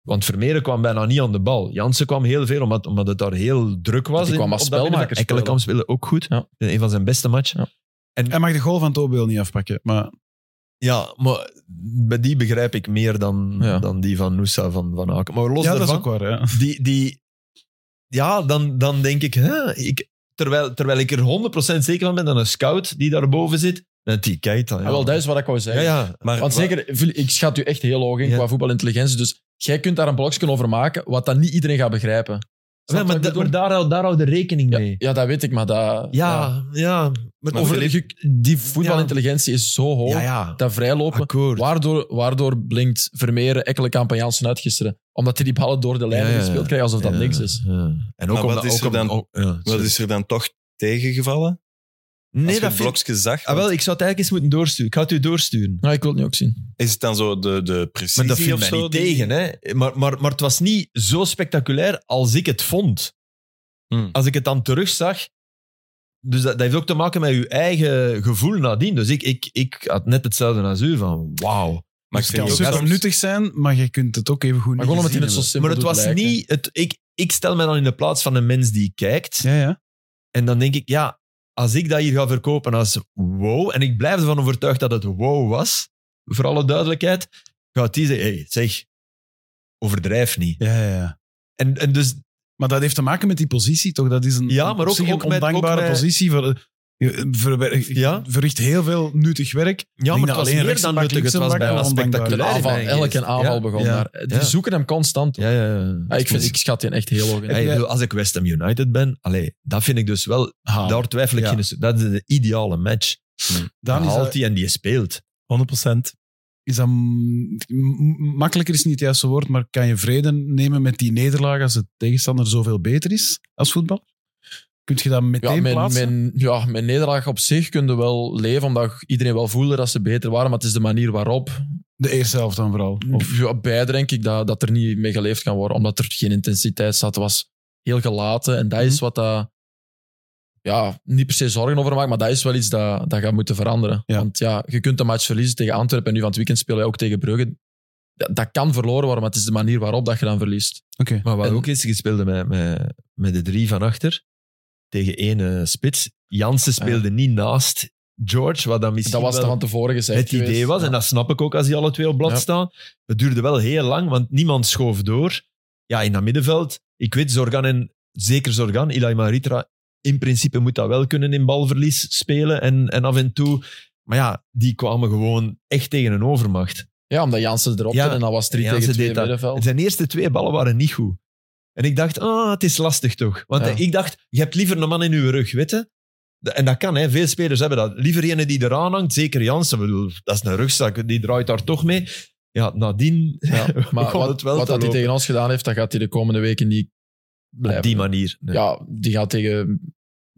Want Vermeeren kwam bijna niet aan de bal. Jansen kwam heel veel, omdat, omdat het daar heel druk was.
Die
in-
kwam als
op dat middenveld.
spelmaker
Enkele
spelen.
kwam spelen ook goed.
Ja.
Een van zijn beste matchen.
Hij mag de goal van Tobeel niet afpakken, maar
Ja, maar bij die begrijp ik meer dan,
Ja.
dan die van Noosa van Van Aken. Maar los
ja, dat is
daarvan,
ook waar. Ja.
die, die, ja, dan, dan denk ik, hè, ik terwijl, terwijl ik er 100% zeker van ben dat een scout die daarboven zit, dat die kijkt dan. Ja,
Ah, wel, dat is wat ik wou
ja,
zeggen.
ja.
Maar,
Want zeker, Phil, ik schat u echt heel hoog in
Ja.
qua voetbalintelligentie. Dus jij kunt daar een blokje over maken wat dan niet iedereen gaat begrijpen. Snap
Ja,
wat
maar,
ik
da-
bedoel?
maar daar, hou- daar hou de rekening
ja,
mee.
ja, dat weet ik, maar dat...
Ja, ja. Maar
Over, die voetbalintelligentie is zo hoog,
Ja, ja.
dat vrijlopen...
Akkoord.
Waardoor, waardoor blinkt Vermeeren, Ekkelenkamp en Jansen uit gisteren. Omdat hij die ballen door de
Ja,
lijnen
ja, ja.
gespeeld krijgt, alsof dat
Ja.
niks is.
Ja. En ook
Maar wat
omdat-
is
ook
er
omdat-
dan-
ook- ja,
wat is er dan toch tegengevallen? Als
Nee,
je
dat
het
vind ik...
blokje zag,
Ah, wel, ik zou het eigenlijk eens moeten doorsturen. Ik ga het u doorsturen.
Nou, ik wil het nu ook zien.
is het dan zo de, de precisie
Maar dat viel
of
mij
zo
niet
die-
tegen. Hè? Maar, maar, maar het was niet zo spectaculair als ik het vond.
Hmm.
Als ik het dan terugzag... Dus dat, dat heeft ook te maken met je eigen gevoel nadien. Dus ik, ik, ik had net hetzelfde als u, van wauw. Dus
Maar
Dus het
ik vind
kan
ook
super
soms-
nuttig zijn, maar je kunt het ook even goed
Maar
niet
gewoon omdat hij het zo
gezien
simpel
Maar het
doet
was
lijken.
niet... Het, ik, ik stel me dan in de plaats van een mens die kijkt.
hebben. Ja, ja.
En dan denk ik, ja, als ik dat hier ga verkopen als wow, en ik blijf ervan overtuigd dat het wow was, voor alle duidelijkheid, gaat die zeggen, hey, zeg, overdrijf niet.
Ja, ja, ja.
En, en dus
Maar dat heeft te maken met die positie, toch? Dat is een,
Ja, maar
op
ook-
zich een
ook met- ook
ondankbare
met-
positie. Voor, je verwer- je
Ja.
verricht heel veel nuttig werk.
Ja,
Ik
maar
denk
het
dat
was
alleen
meer dan
rechtsback,
nuttig. Het was
linksback
bijna
wel ondankbaar.
Een
spectaculair.
aanval,
in mijn geest.
elke aanval
Ja.
begon
ja,
daar. Die
ja.
zoeken hem constant. op.
Ja, ja, ja.
Ah, ik, vind, ik schat die echt heel hoog in.
Hey, ik bedoel, als ik West Ham United ben, allee, dat vind ik dus wel...
Haal.
Ah.
Daar twijfel ik
Ja.
geen... Dat is de ideale match.
Hmm.
Dan is
haalt
dat,
die en die speelt.
100%.
is dat m- m- makkelijker is niet het juiste woord, maar kan je vrede nemen met die nederlaag als de tegenstander zoveel beter is als voetbal? Kun je dat meteen
ja, mijn,
plaatsen?
mijn, ja, mijn nederlaag op zich kunde wel leven, omdat iedereen wel voelde dat ze beter waren, maar het is de manier waarop.
De eerste helft dan vooral. Of,
Of, ja, beide denk ik dat, dat er niet mee geleefd kan worden, omdat er geen intensiteit zat. Het was heel gelaten en dat is
Mhm.
wat dat... Ja, niet per se zorgen over maakt, maar dat is wel iets dat, dat gaat moeten veranderen.
Ja.
Want ja, je kunt de match verliezen tegen Antwerpen en nu van het weekend spelen wij ook tegen Brugge. Dat, dat kan verloren worden, maar het is de manier waarop dat je dan verliest.
Oké.
Maar wat
En-
ook is, je speelde met, met, met de drie van achter tegen één eh, spits. Jansen speelde niet naast George, wat dan misschien
Ah, Dat was
wel
dan van tevoren gezegd
het idee
geweest.
was.
Ja.
En dat snap ik ook als die alle twee op blad
Ja.
staan. Het duurde wel heel lang, want niemand schoof door. Ja, in dat middenveld, ik weet, Zorgan en zeker Zorgan, Ilai Maritra, in principe moet dat wel kunnen in balverlies spelen en, en af en toe. Maar ja, die kwamen gewoon echt tegen een overmacht.
Ja, omdat Jansen erop
Ja,
zat en dan was 3 tegen
Jansen
2
deed dat.
middenveld.
Zijn eerste twee ballen waren niet goed. En ik dacht, ah, het is lastig toch. Want eh,
Ja.
ik dacht, je hebt liever een man in je rug, weet je? De- En dat kan, hè. veel spelers hebben dat. Liever ene die eraan hangt, zeker Jansen. Ik bedoel, Dat is een rugzak, die draait daar toch mee. Ja, nadien
Ja, maar
begon
wat,
het wel
wat
te
dat hij
lopen.
tegen ons gedaan heeft, dat gaat hij de komende weken niet blijven.
op die manier. Nee.
Ja, die gaat tegen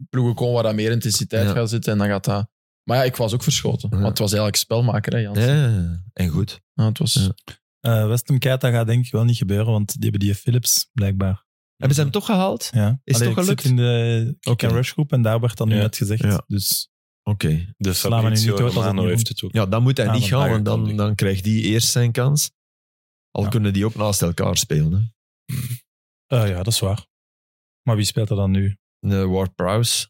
ploegen komen waar dat meer intensiteit
Ja.
gaat zitten en dan gaat dat... Maar ja, ik was ook verschoten.
Ja.
Want het was eigenlijk spelmaker, hè, Jans.
Ja, en goed.
Ja, het was...
Ja.
Eh Westem Keita gaat denk ik wel niet gebeuren, want die hebben die Philips blijkbaar.
Hebben ze hem toch gehaald?
Ja.
Is
Allee,
toch
ik
gelukt?
zit in de Kick
Oké.
and Rush groep en daar werd dan nu
Ja.
net gezegd.
Ja.
Dus
Oké.
De
Sla me nu
Fabrizio
niet dood als het
Romano
niet
heeft
komt.
het ook.
Ja, dan moet hij
Ja,
niet
dan
gaan,
ga
want
ik
dan,
dan-
dan krijgt die eerst zijn kans. Al
Ja.
kunnen die ook naast elkaar spelen. Hè.
eh, ja, dat is waar. Maar wie speelt er dan nu?
een Ward Prowse.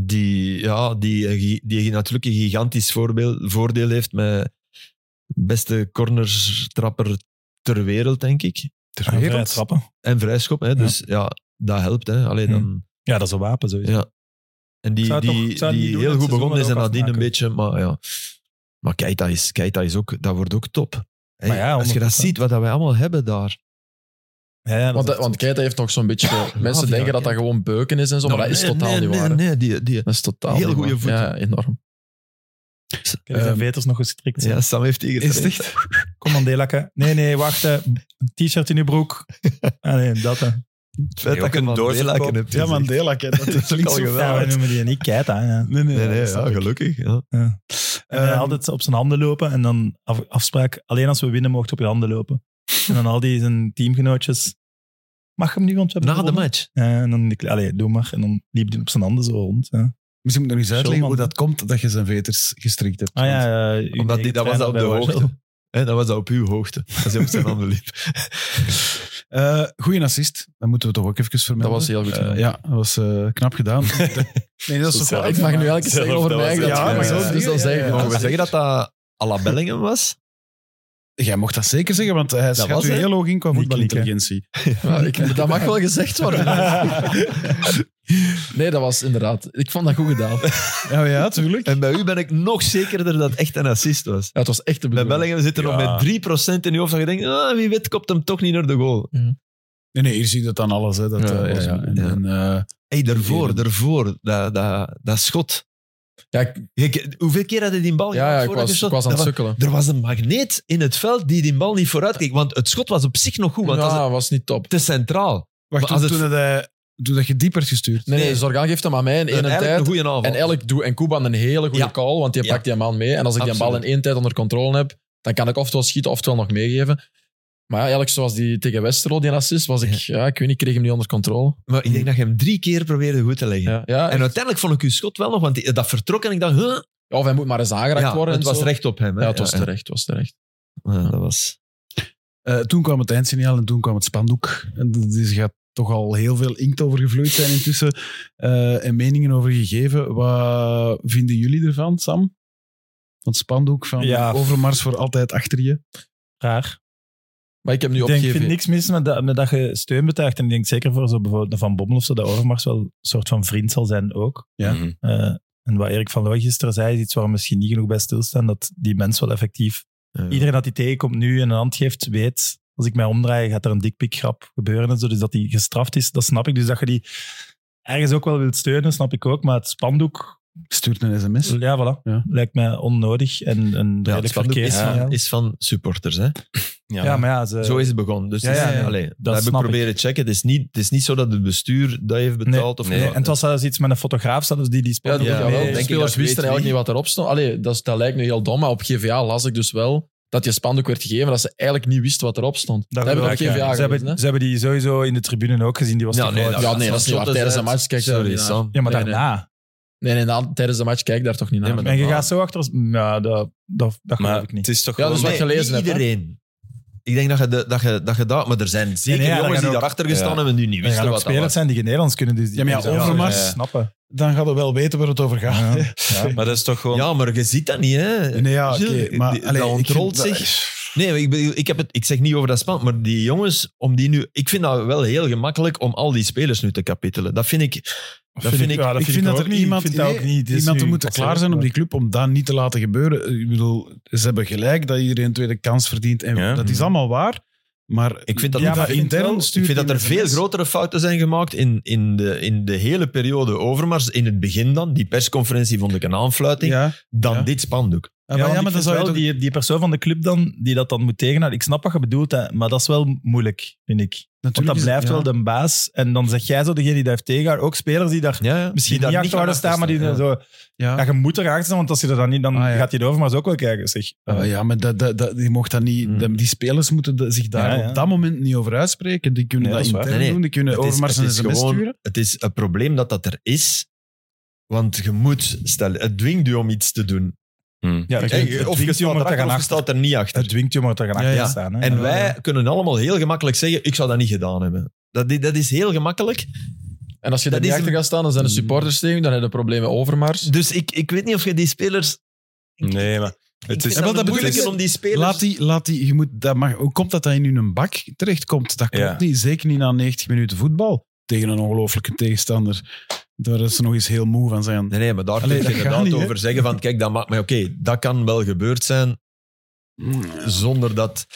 Die, ja, die, die natuurlijk een gigantisch voorbeeld, voordeel heeft met beste cornerstrapper ter wereld, denk ik.
ter
Aan vrije
wereld.
trappen.
En vrijschop, hè, dus ja, dat helpt. Hè. Allee, dan,
Ja, dat is een wapen sowieso.
ja. En die,
Ik zou het
die,
toch- ik zou het
die
niet doen,
heel
het
goed
seizoen
begonnen is en
maar ook
nadien een
afmaken.
beetje, maar ja. Maar Keita, is, Keita is ook, dat wordt ook top. Hey,
Maar ja,
als je dat
100%.
ziet, wat dat wij allemaal hebben daar.
Ja, ja, dat
Want,
is
dat-
echt
want
zo.
Keita heeft nog zo'n beetje... mensen
ja,
denken dat
Keita.
dat gewoon beuken is en zo, maar dat is
Nee,
totaal
nee,
niet
nee,
waar. hè.
Nee, die, die,
Dat is totaal
Heel
niet
goede
waar.
voeten.
Ja, enorm.
Ik heb zijn
Ehm,
veters nog gestrikt.
ja, Sam heeft die
Is het
getraind.
echt?
Kom aan, D-lakken. Nee, nee, wacht. hè. T-shirt in je broek. Ah, nee, dat. hè.
Het feit
Nee,
dat
ook
je
een
een doorlakken
doorverkoop.
hebt.
Ja,
is echt-
Mandela, kijk, dat klinkt
al
zo
geweldig.
Ja, we
fout.
noemen die niet Keita. Ja.
Nee, nee,
Nee,
dat
nee,
snap
ja,
ik.
gelukkig. Ja.
En hij
Ehm,
altijd op zijn handen lopen en dan af- afspraak, alleen als we winnen mocht op je handen lopen. En dan al die zijn teamgenootjes, mag hem nu, want we hebben
Na de
gewonnen.
match.
Ja, en dan, die- allee, doe maar. En dan liep hij op zijn handen zo rond. Ja.
Misschien moet ik nog eens uitleggen
Schulman.
hoe dat komt dat je zijn veters gestrikt hebt.
Ah ja,
Want
eh, uw
Omdat die,
eigen
dat was dat op de
trainer bij
hoogte.
Warschau.
Hè, dat was dat op uw hoogte. Als hij op zijn handen liep.
Eh, goeie assist. Dat moeten we toch ook even vermelden.
Dat was heel goed
Eh,
gedaan.
ja, dat was eh, knap gedaan. nee, dat is toch wel-
ik mag nu elke keer
Zelf,
zeggen over
dat
mij
was
eigen dat
het. Ja,
ik-
maar zo
dus
zie je,
dan zeg ik
ja,
het.
ja.
Mogen we zeggen dat dat à la Bellingham was?
Jij mocht dat zeker zeggen, want hij schat
was,
u
hè?
heel hoog in qua
Niet
voetbalintelligentie.
Ja, ik- dat mag wel gezegd worden. Nee, dat was inderdaad. Ik vond dat goed gedaan. Ja,
Ja, Oh ja, tuurlijk.
Eh,
En bij u ben ik nog zekerder dat het echt een assist was.
het was echt de
Bij
bedoeling.
Bellingham zitten
Ja.
nog met 3% in je hoofd. Dat je denkt, ah, wie weet kopt hem toch niet naar de goal.
Nee, nee, hier zie je dat dan alles. Hè, dat,
Ja,
eh,
dat
ja,
was
ja.
goed.
En, en, eh,
hey, daarvoor, daarvoor. Dat, dat, dat schot.
Ja, ik,
Je- hoeveel keer had hij die bal
ja, ja,
gehad
ik,
Oh, voordat
was,
je shot?
ik was aan
Dat
het
was-
sukkelen.
Er was een magneet in het veld die die bal niet vooruit keek. Want het schot was op zich nog goed. Want dat
ja,
was
was, niet top.
te centraal.
wacht,
Maar als
Dus toen,
het-
dat hij, toen dat je diep werd gestuurd.
Nee, nee,
Nee.
Zorgan geeft hem aan mij in één
Eigenlijk
tijd.
een goede aanval.
En elk doe en Koeban een hele goede
Ja.
call, want die
Ja.
pakt die man mee. En als ik die bal
Absoluut.
in één tijd onder controle heb, dan kan ik oftewel schieten, oftewel nog meegeven. Maar ja, eigenlijk zoals die tegen Westerlo, die assist, was ik, ja, ik weet niet, ik kreeg hem niet onder controle.
Maar ik denk dat je hem drie keer probeerde goed te leggen.
Ja, ja,
En uiteindelijk vond ik uw schot wel nog, want die- dat vertrok en ik dacht, huh?
ja, of hij moet maar eens aangeraakt
ja,
worden.
het
en
was
zo.
recht op hem. hè.
Ja, het was
Ja,
terecht, het was terecht.
ja. Ja, dat was...
Eh, toen kwam het eindsignaal en toen kwam het spandoek. En d- dus er gaat toch al heel veel inkt over gevloeid zijn intussen. eh, en meningen over gegeven. Wat vinden jullie ervan, Sam? Van het spandoek van
Ja.
Overmars voor altijd achter je.
Raar.
Maar ik heb nu
Ik denk, ik
opgegeven.
vind niks mis met dat, met dat je steun betuigt. En ik denk zeker voor zo bijvoorbeeld een Van Bommel of zo, dat Overmars wel een soort van vriend zal zijn ook.
Ja.
Mhm.
Eh, en wat Erik van Looy gisteren zei, is iets waar we misschien niet genoeg bij stilstaan, dat die mens wel effectief...
Ja.
Iedereen dat die tegenkomt nu en een hand geeft, weet, als ik mij omdraai, gaat er een dikpikgrap gebeuren en zo. Dus dat die gestraft is, dat snap ik. Dus dat je die ergens ook wel wilt steunen, snap ik ook. Maar het spandoek,
Stuurt een sms.
ja, voilà,
Ja.
lijkt mij onnodig en een
Ja,
redelijk
het spandoek is
verkeerssignaal.
van, is van supporters. Hè?
Ja,
ja, maar ja, ze,
Zo is het begonnen. Dus
Eh, Ja,
het is-
ja, ja.
allee, dat heb ik
snap ik.
proberen te checken. Het is, niet, het is niet zo dat het bestuur dat heeft betaald. of
nee.
Nee,
wat.
en het was zelfs iets met een fotograaf zelfs die die
Ja,
spandoek...
die-
Ja,
jawel,
nee,
de
denk ik dat
spelers
ik
wisten
weet
eigenlijk
wie.
niet wat erop stond. Allee, dat, is- dat lijkt nu heel dom, maar op GVA las ik dus wel dat je spandoek werd gegeven, dat ze eigenlijk niet wisten wat erop stond. Dat, hebben we op
gebruik-
GVA
ja, ze,
gelezen,
hebben,
dus, hè?
ze hebben die sowieso in de tribune ook gezien. Die was
Ja,
toch
nee,
wel-
dat-
Ja, nee,
Sam
dat is niet waar.
Schotten
Tijdens de
zei
match kijk je
Sorry,
niet naar.
Sam.
ja, maar
nee, nee.
daarna...
Nee, nee, na- tijdens de match kijk ik daar toch niet naar.
Nee, maar
En je
dat-
gaat zo achter... ons- Nou, dat, dat, dat geloof
maar
ik niet.
het is toch
Ja,
wel-
dus wat
Nee,
gelezen
niet
hebt, hè?
iedereen. Ik denk dat je, de, dat je, dat je dat... Maar er zijn zeker
Nee, nee, ja,
jongens
dat
die
gaan ook-
daarachter gestaan
ja.
hebben en die niet
Er gaan
wisten
ook
wat dat
spelers
was.
zijn die geen Nederlands kunnen. Dus die-
Ja, maar ja,
die zullen
Overmars-
wel snappen.
Dan gaat we wel weten waar het over gaat.
Ja.
hè.
Ja.
maar dat is toch gewoon...
Ja, maar je ziet dat niet, hè.
Nee, ja, oké.
Gilles,
maar
die-
allee,
dat
ik
ontrolt
vind-
zich. Nee, maar ik, bedoel, ik, heb het, ik zeg niet over dat span, maar die jongens, om die nu... Ik vind dat wel heel gemakkelijk om al die spelers nu te kapitelen. Dat vind ik... Dat vind ik...
ja,
ik vind dat
ook
er
niet.
iemand,
Ik vind dat
nee,
ook niet. Het is
iemand
nu
er moet
passeer,
klaar zijn om
maar-
die club om dat niet te laten gebeuren. Eh, Ik bedoel, ze hebben gelijk dat iedereen een tweede kans verdient. En
Ja.
Mhm.
dat is allemaal waar. Maar
Ik vind dat,
Ja,
dat
maar ik vind wel-
intern
ik
stuurt
Ik vind dat er
iemand
veel
een
grotere fouten zijn gemaakt in, in, de, in de hele periode Overmars. In het begin dan, die persconferentie vond ik een
mes.
aanfluiting,
Ja,
dan
Ja.
dit spandoek.
Ah,
Ja,
maar, ja,
want
maar
ik
dan
vind
zou je
wel
toch...
die, die persoon van de club dan, die dat dan moet tegenhouden. Ik snap wat je bedoelt, hè, maar dat is wel moeilijk, vind ik. Want
Natuurlijk
dat
is-
blijft
ja.
wel de baas. En dan zeg jij zo degene die daar heeft tegenhouden. Ook spelers die daar
Ja,
misschien niet achter zouden staan, maar die dan zo...
Ja.
Ja, je moet erachter staan, want als je dat dan niet, dan
Ah, ja.
gaat je over, maar ook wel kijken. Zeg.
Ah, ja, maar dat, dat, dat, je mocht dat niet,
Hmm.
dat- die spelers moeten dat- zich daar
Mhm. Ja, ja.
op dat moment niet over uitspreken. Die kunnen
Nee,
dat
dat is waar.
intern
Nee, nee.
doen, die kunnen
Het is,
overmars
het
een
is
sms
gewoon,
sturen.
het is een probleem dat dat er is, want je moet stellen, het dwingt je om iets te doen.
Hm.
Ja, dat
Hey,
het
of je
dwingt je om
staat
er te
erachter
gaan
of je
achter.
staat er niet achter.
Het dwingt je om er te gaan achter
Ja,
te
ja.
staan. Hè.
En
Ja.
wij kunnen allemaal heel gemakkelijk zeggen, ik zou dat niet gedaan hebben. Dat, dat is heel gemakkelijk.
En als je daar
Dat
niet
is
achter gaat staan, dan zijn de supporters tegen, je, dan heb je problemen overmars.
Dus ik, ik weet niet of je die spelers...
Nee, maar
ik
het
vind
is...
Ja, wel,
dat
dat bedoel
moeilijk
ik.
om die spelers...
Laat die, laat die, je moet, dat mag, hoe komt dat dat in hun bak terechtkomt? Dat klopt
Ja.
niet. Zeker niet na 90 minuten voetbal. Tegen een ongelooflijke tegenstander. Daar ze nog eens heel moe van zijn.
Nee, nee, maar daar
Allee,
kun je
dat gaat
inderdaad
niet, hè?
over zeggen van, kijk, dat maakt mij oké. dat kan wel gebeurd zijn, zonder dat...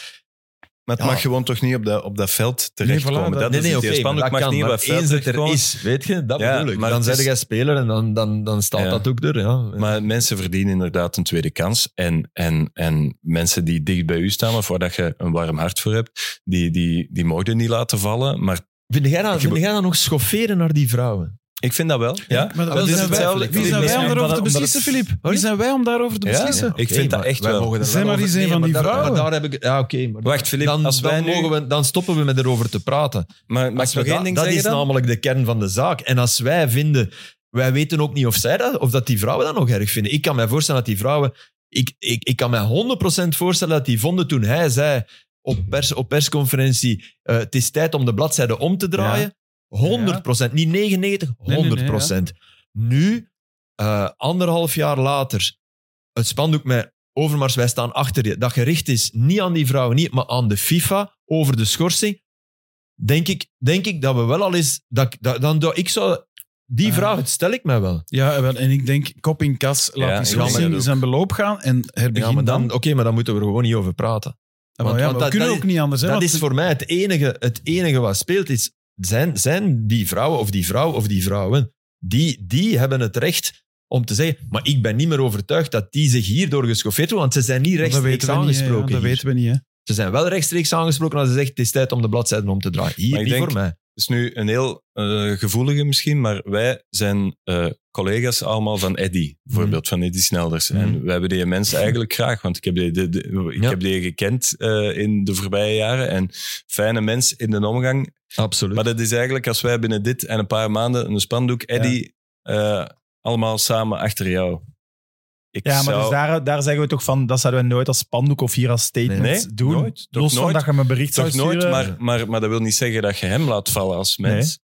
Maar het
Ja.
mag gewoon toch niet op dat, op dat veld
Nee,
terechtkomen.
voilà, dat-
dat,
nee,
is
nee,
het
oké,
eerste.
maar
Spandoek
dat
mag
kan.
niet op
maar
dat veld
eens het er
terechtkomen.
is, weet je, dat
Ja,
bedoel ik.
maar
Dan
het
zijn
is-
jij speler en dan, dan, dan staat
Ja.
dat ook er. Ja.
Maar mensen verdienen inderdaad een tweede kans. En, en, en mensen die dicht bij u staan, of waar dat je een warm hart voor hebt, die, die, die mogen je niet laten vallen. Maar
vind jij, dat,
Ik
vind
heb-
jij dat nog schofferen naar die vrouwen?
ik vind dat wel. Ja,
Maar
dat is hetzelfde.
Wie zijn wij om daarover
Omdat-
te
omdat
beslissen,
het-
Filip? Wie zijn wij om daarover te
Ja,
beslissen?
Ik vind dat echt wel.
Zijn maar eens een van die vrouwen.
Maar daar heb ik... Ja, oké. maar
Wacht, Filip,
dan,
als
dan,
wij nu...
mogen we, dan stoppen we met erover te praten.
Maar mag
Als
ik
we
nog
dat-
één ding
dat
zeggen
is nou-
dan?
namelijk de kern van de zaak. En als wij vinden, Wij weten ook niet of, zij dat, of dat die vrouwen dat nog erg vinden. Ik kan mij voorstellen dat die vrouwen... Ik, ik, ik kan mij 100% voorstellen dat die vonden toen hij zei op, pers, op persconferentie eh, het is tijd om de bladzijde om te draaien. 100%. Niet 99, 100%.
nee, nee,
Nu, eh, anderhalf jaar later, het spandoek met Overmars, wij staan achter je. Dat gericht is niet aan die vrouwen, niet, maar aan de FIFA over de schorsing. Denk ik, denk ik dat we wel al eens. Dat, ik- dat, dan, doe ik zou, die
Ah.
vraag stel ik mij wel.
Ja, wel, en ik denk, kop in kas, laat die
Ja, ik ga
schorsing
maar-
zijn beloop gaan en herbegin
Ja, maar dan,
dan.
oké, maar dan moeten we er gewoon niet over praten.
Ah, maar
want-
ja,
want
maar we
dat-
kunnen
dat
ook niet anders. hè,
dat
want-
is voor mij het enige, het enige wat speelt. Is, zijn, zijn die vrouwen of die vrouwen of die vrouwen, die, die hebben het recht om te zeggen, maar ik ben niet meer overtuigd dat die zich hierdoor geschoffeerd worden, want ze zijn niet
dat
rechtstreeks
weten we niet. hè, ja,
aangesproken.
dat
hier.
weten we niet, hè.
Ze zijn wel rechtstreeks aangesproken als ze zegt, het is tijd om de bladzijden om te draaien. Hier,
Maar ik
niet
denk-
voor mij.
Het is nu een heel eh, gevoelige misschien, maar wij zijn eh, collega's allemaal van Eddy, bijvoorbeeld
Mhm.
van Eddy Snelders. En wij hebben die mensen eigenlijk graag, want ik heb die, de- de- ik
Ja.
heb die gekend eh, in de voorbije jaren. En fijne mens in de omgang.
Absoluut.
Maar dat is eigenlijk als wij binnen dit en een paar maanden een spandoek, Eddy, eh, allemaal samen achter jou. Ik
Ja, maar
zou-
dus daar, daar zeggen we toch van, dat zouden we nooit als spandoek of hier als statement
Nee,
doen.
nooit. Toch
Los van
nooit.
dat je me een bericht zou
Toch nooit,
sturen.
maar, maar, maar dat wil niet zeggen dat je hem laat vallen als mens.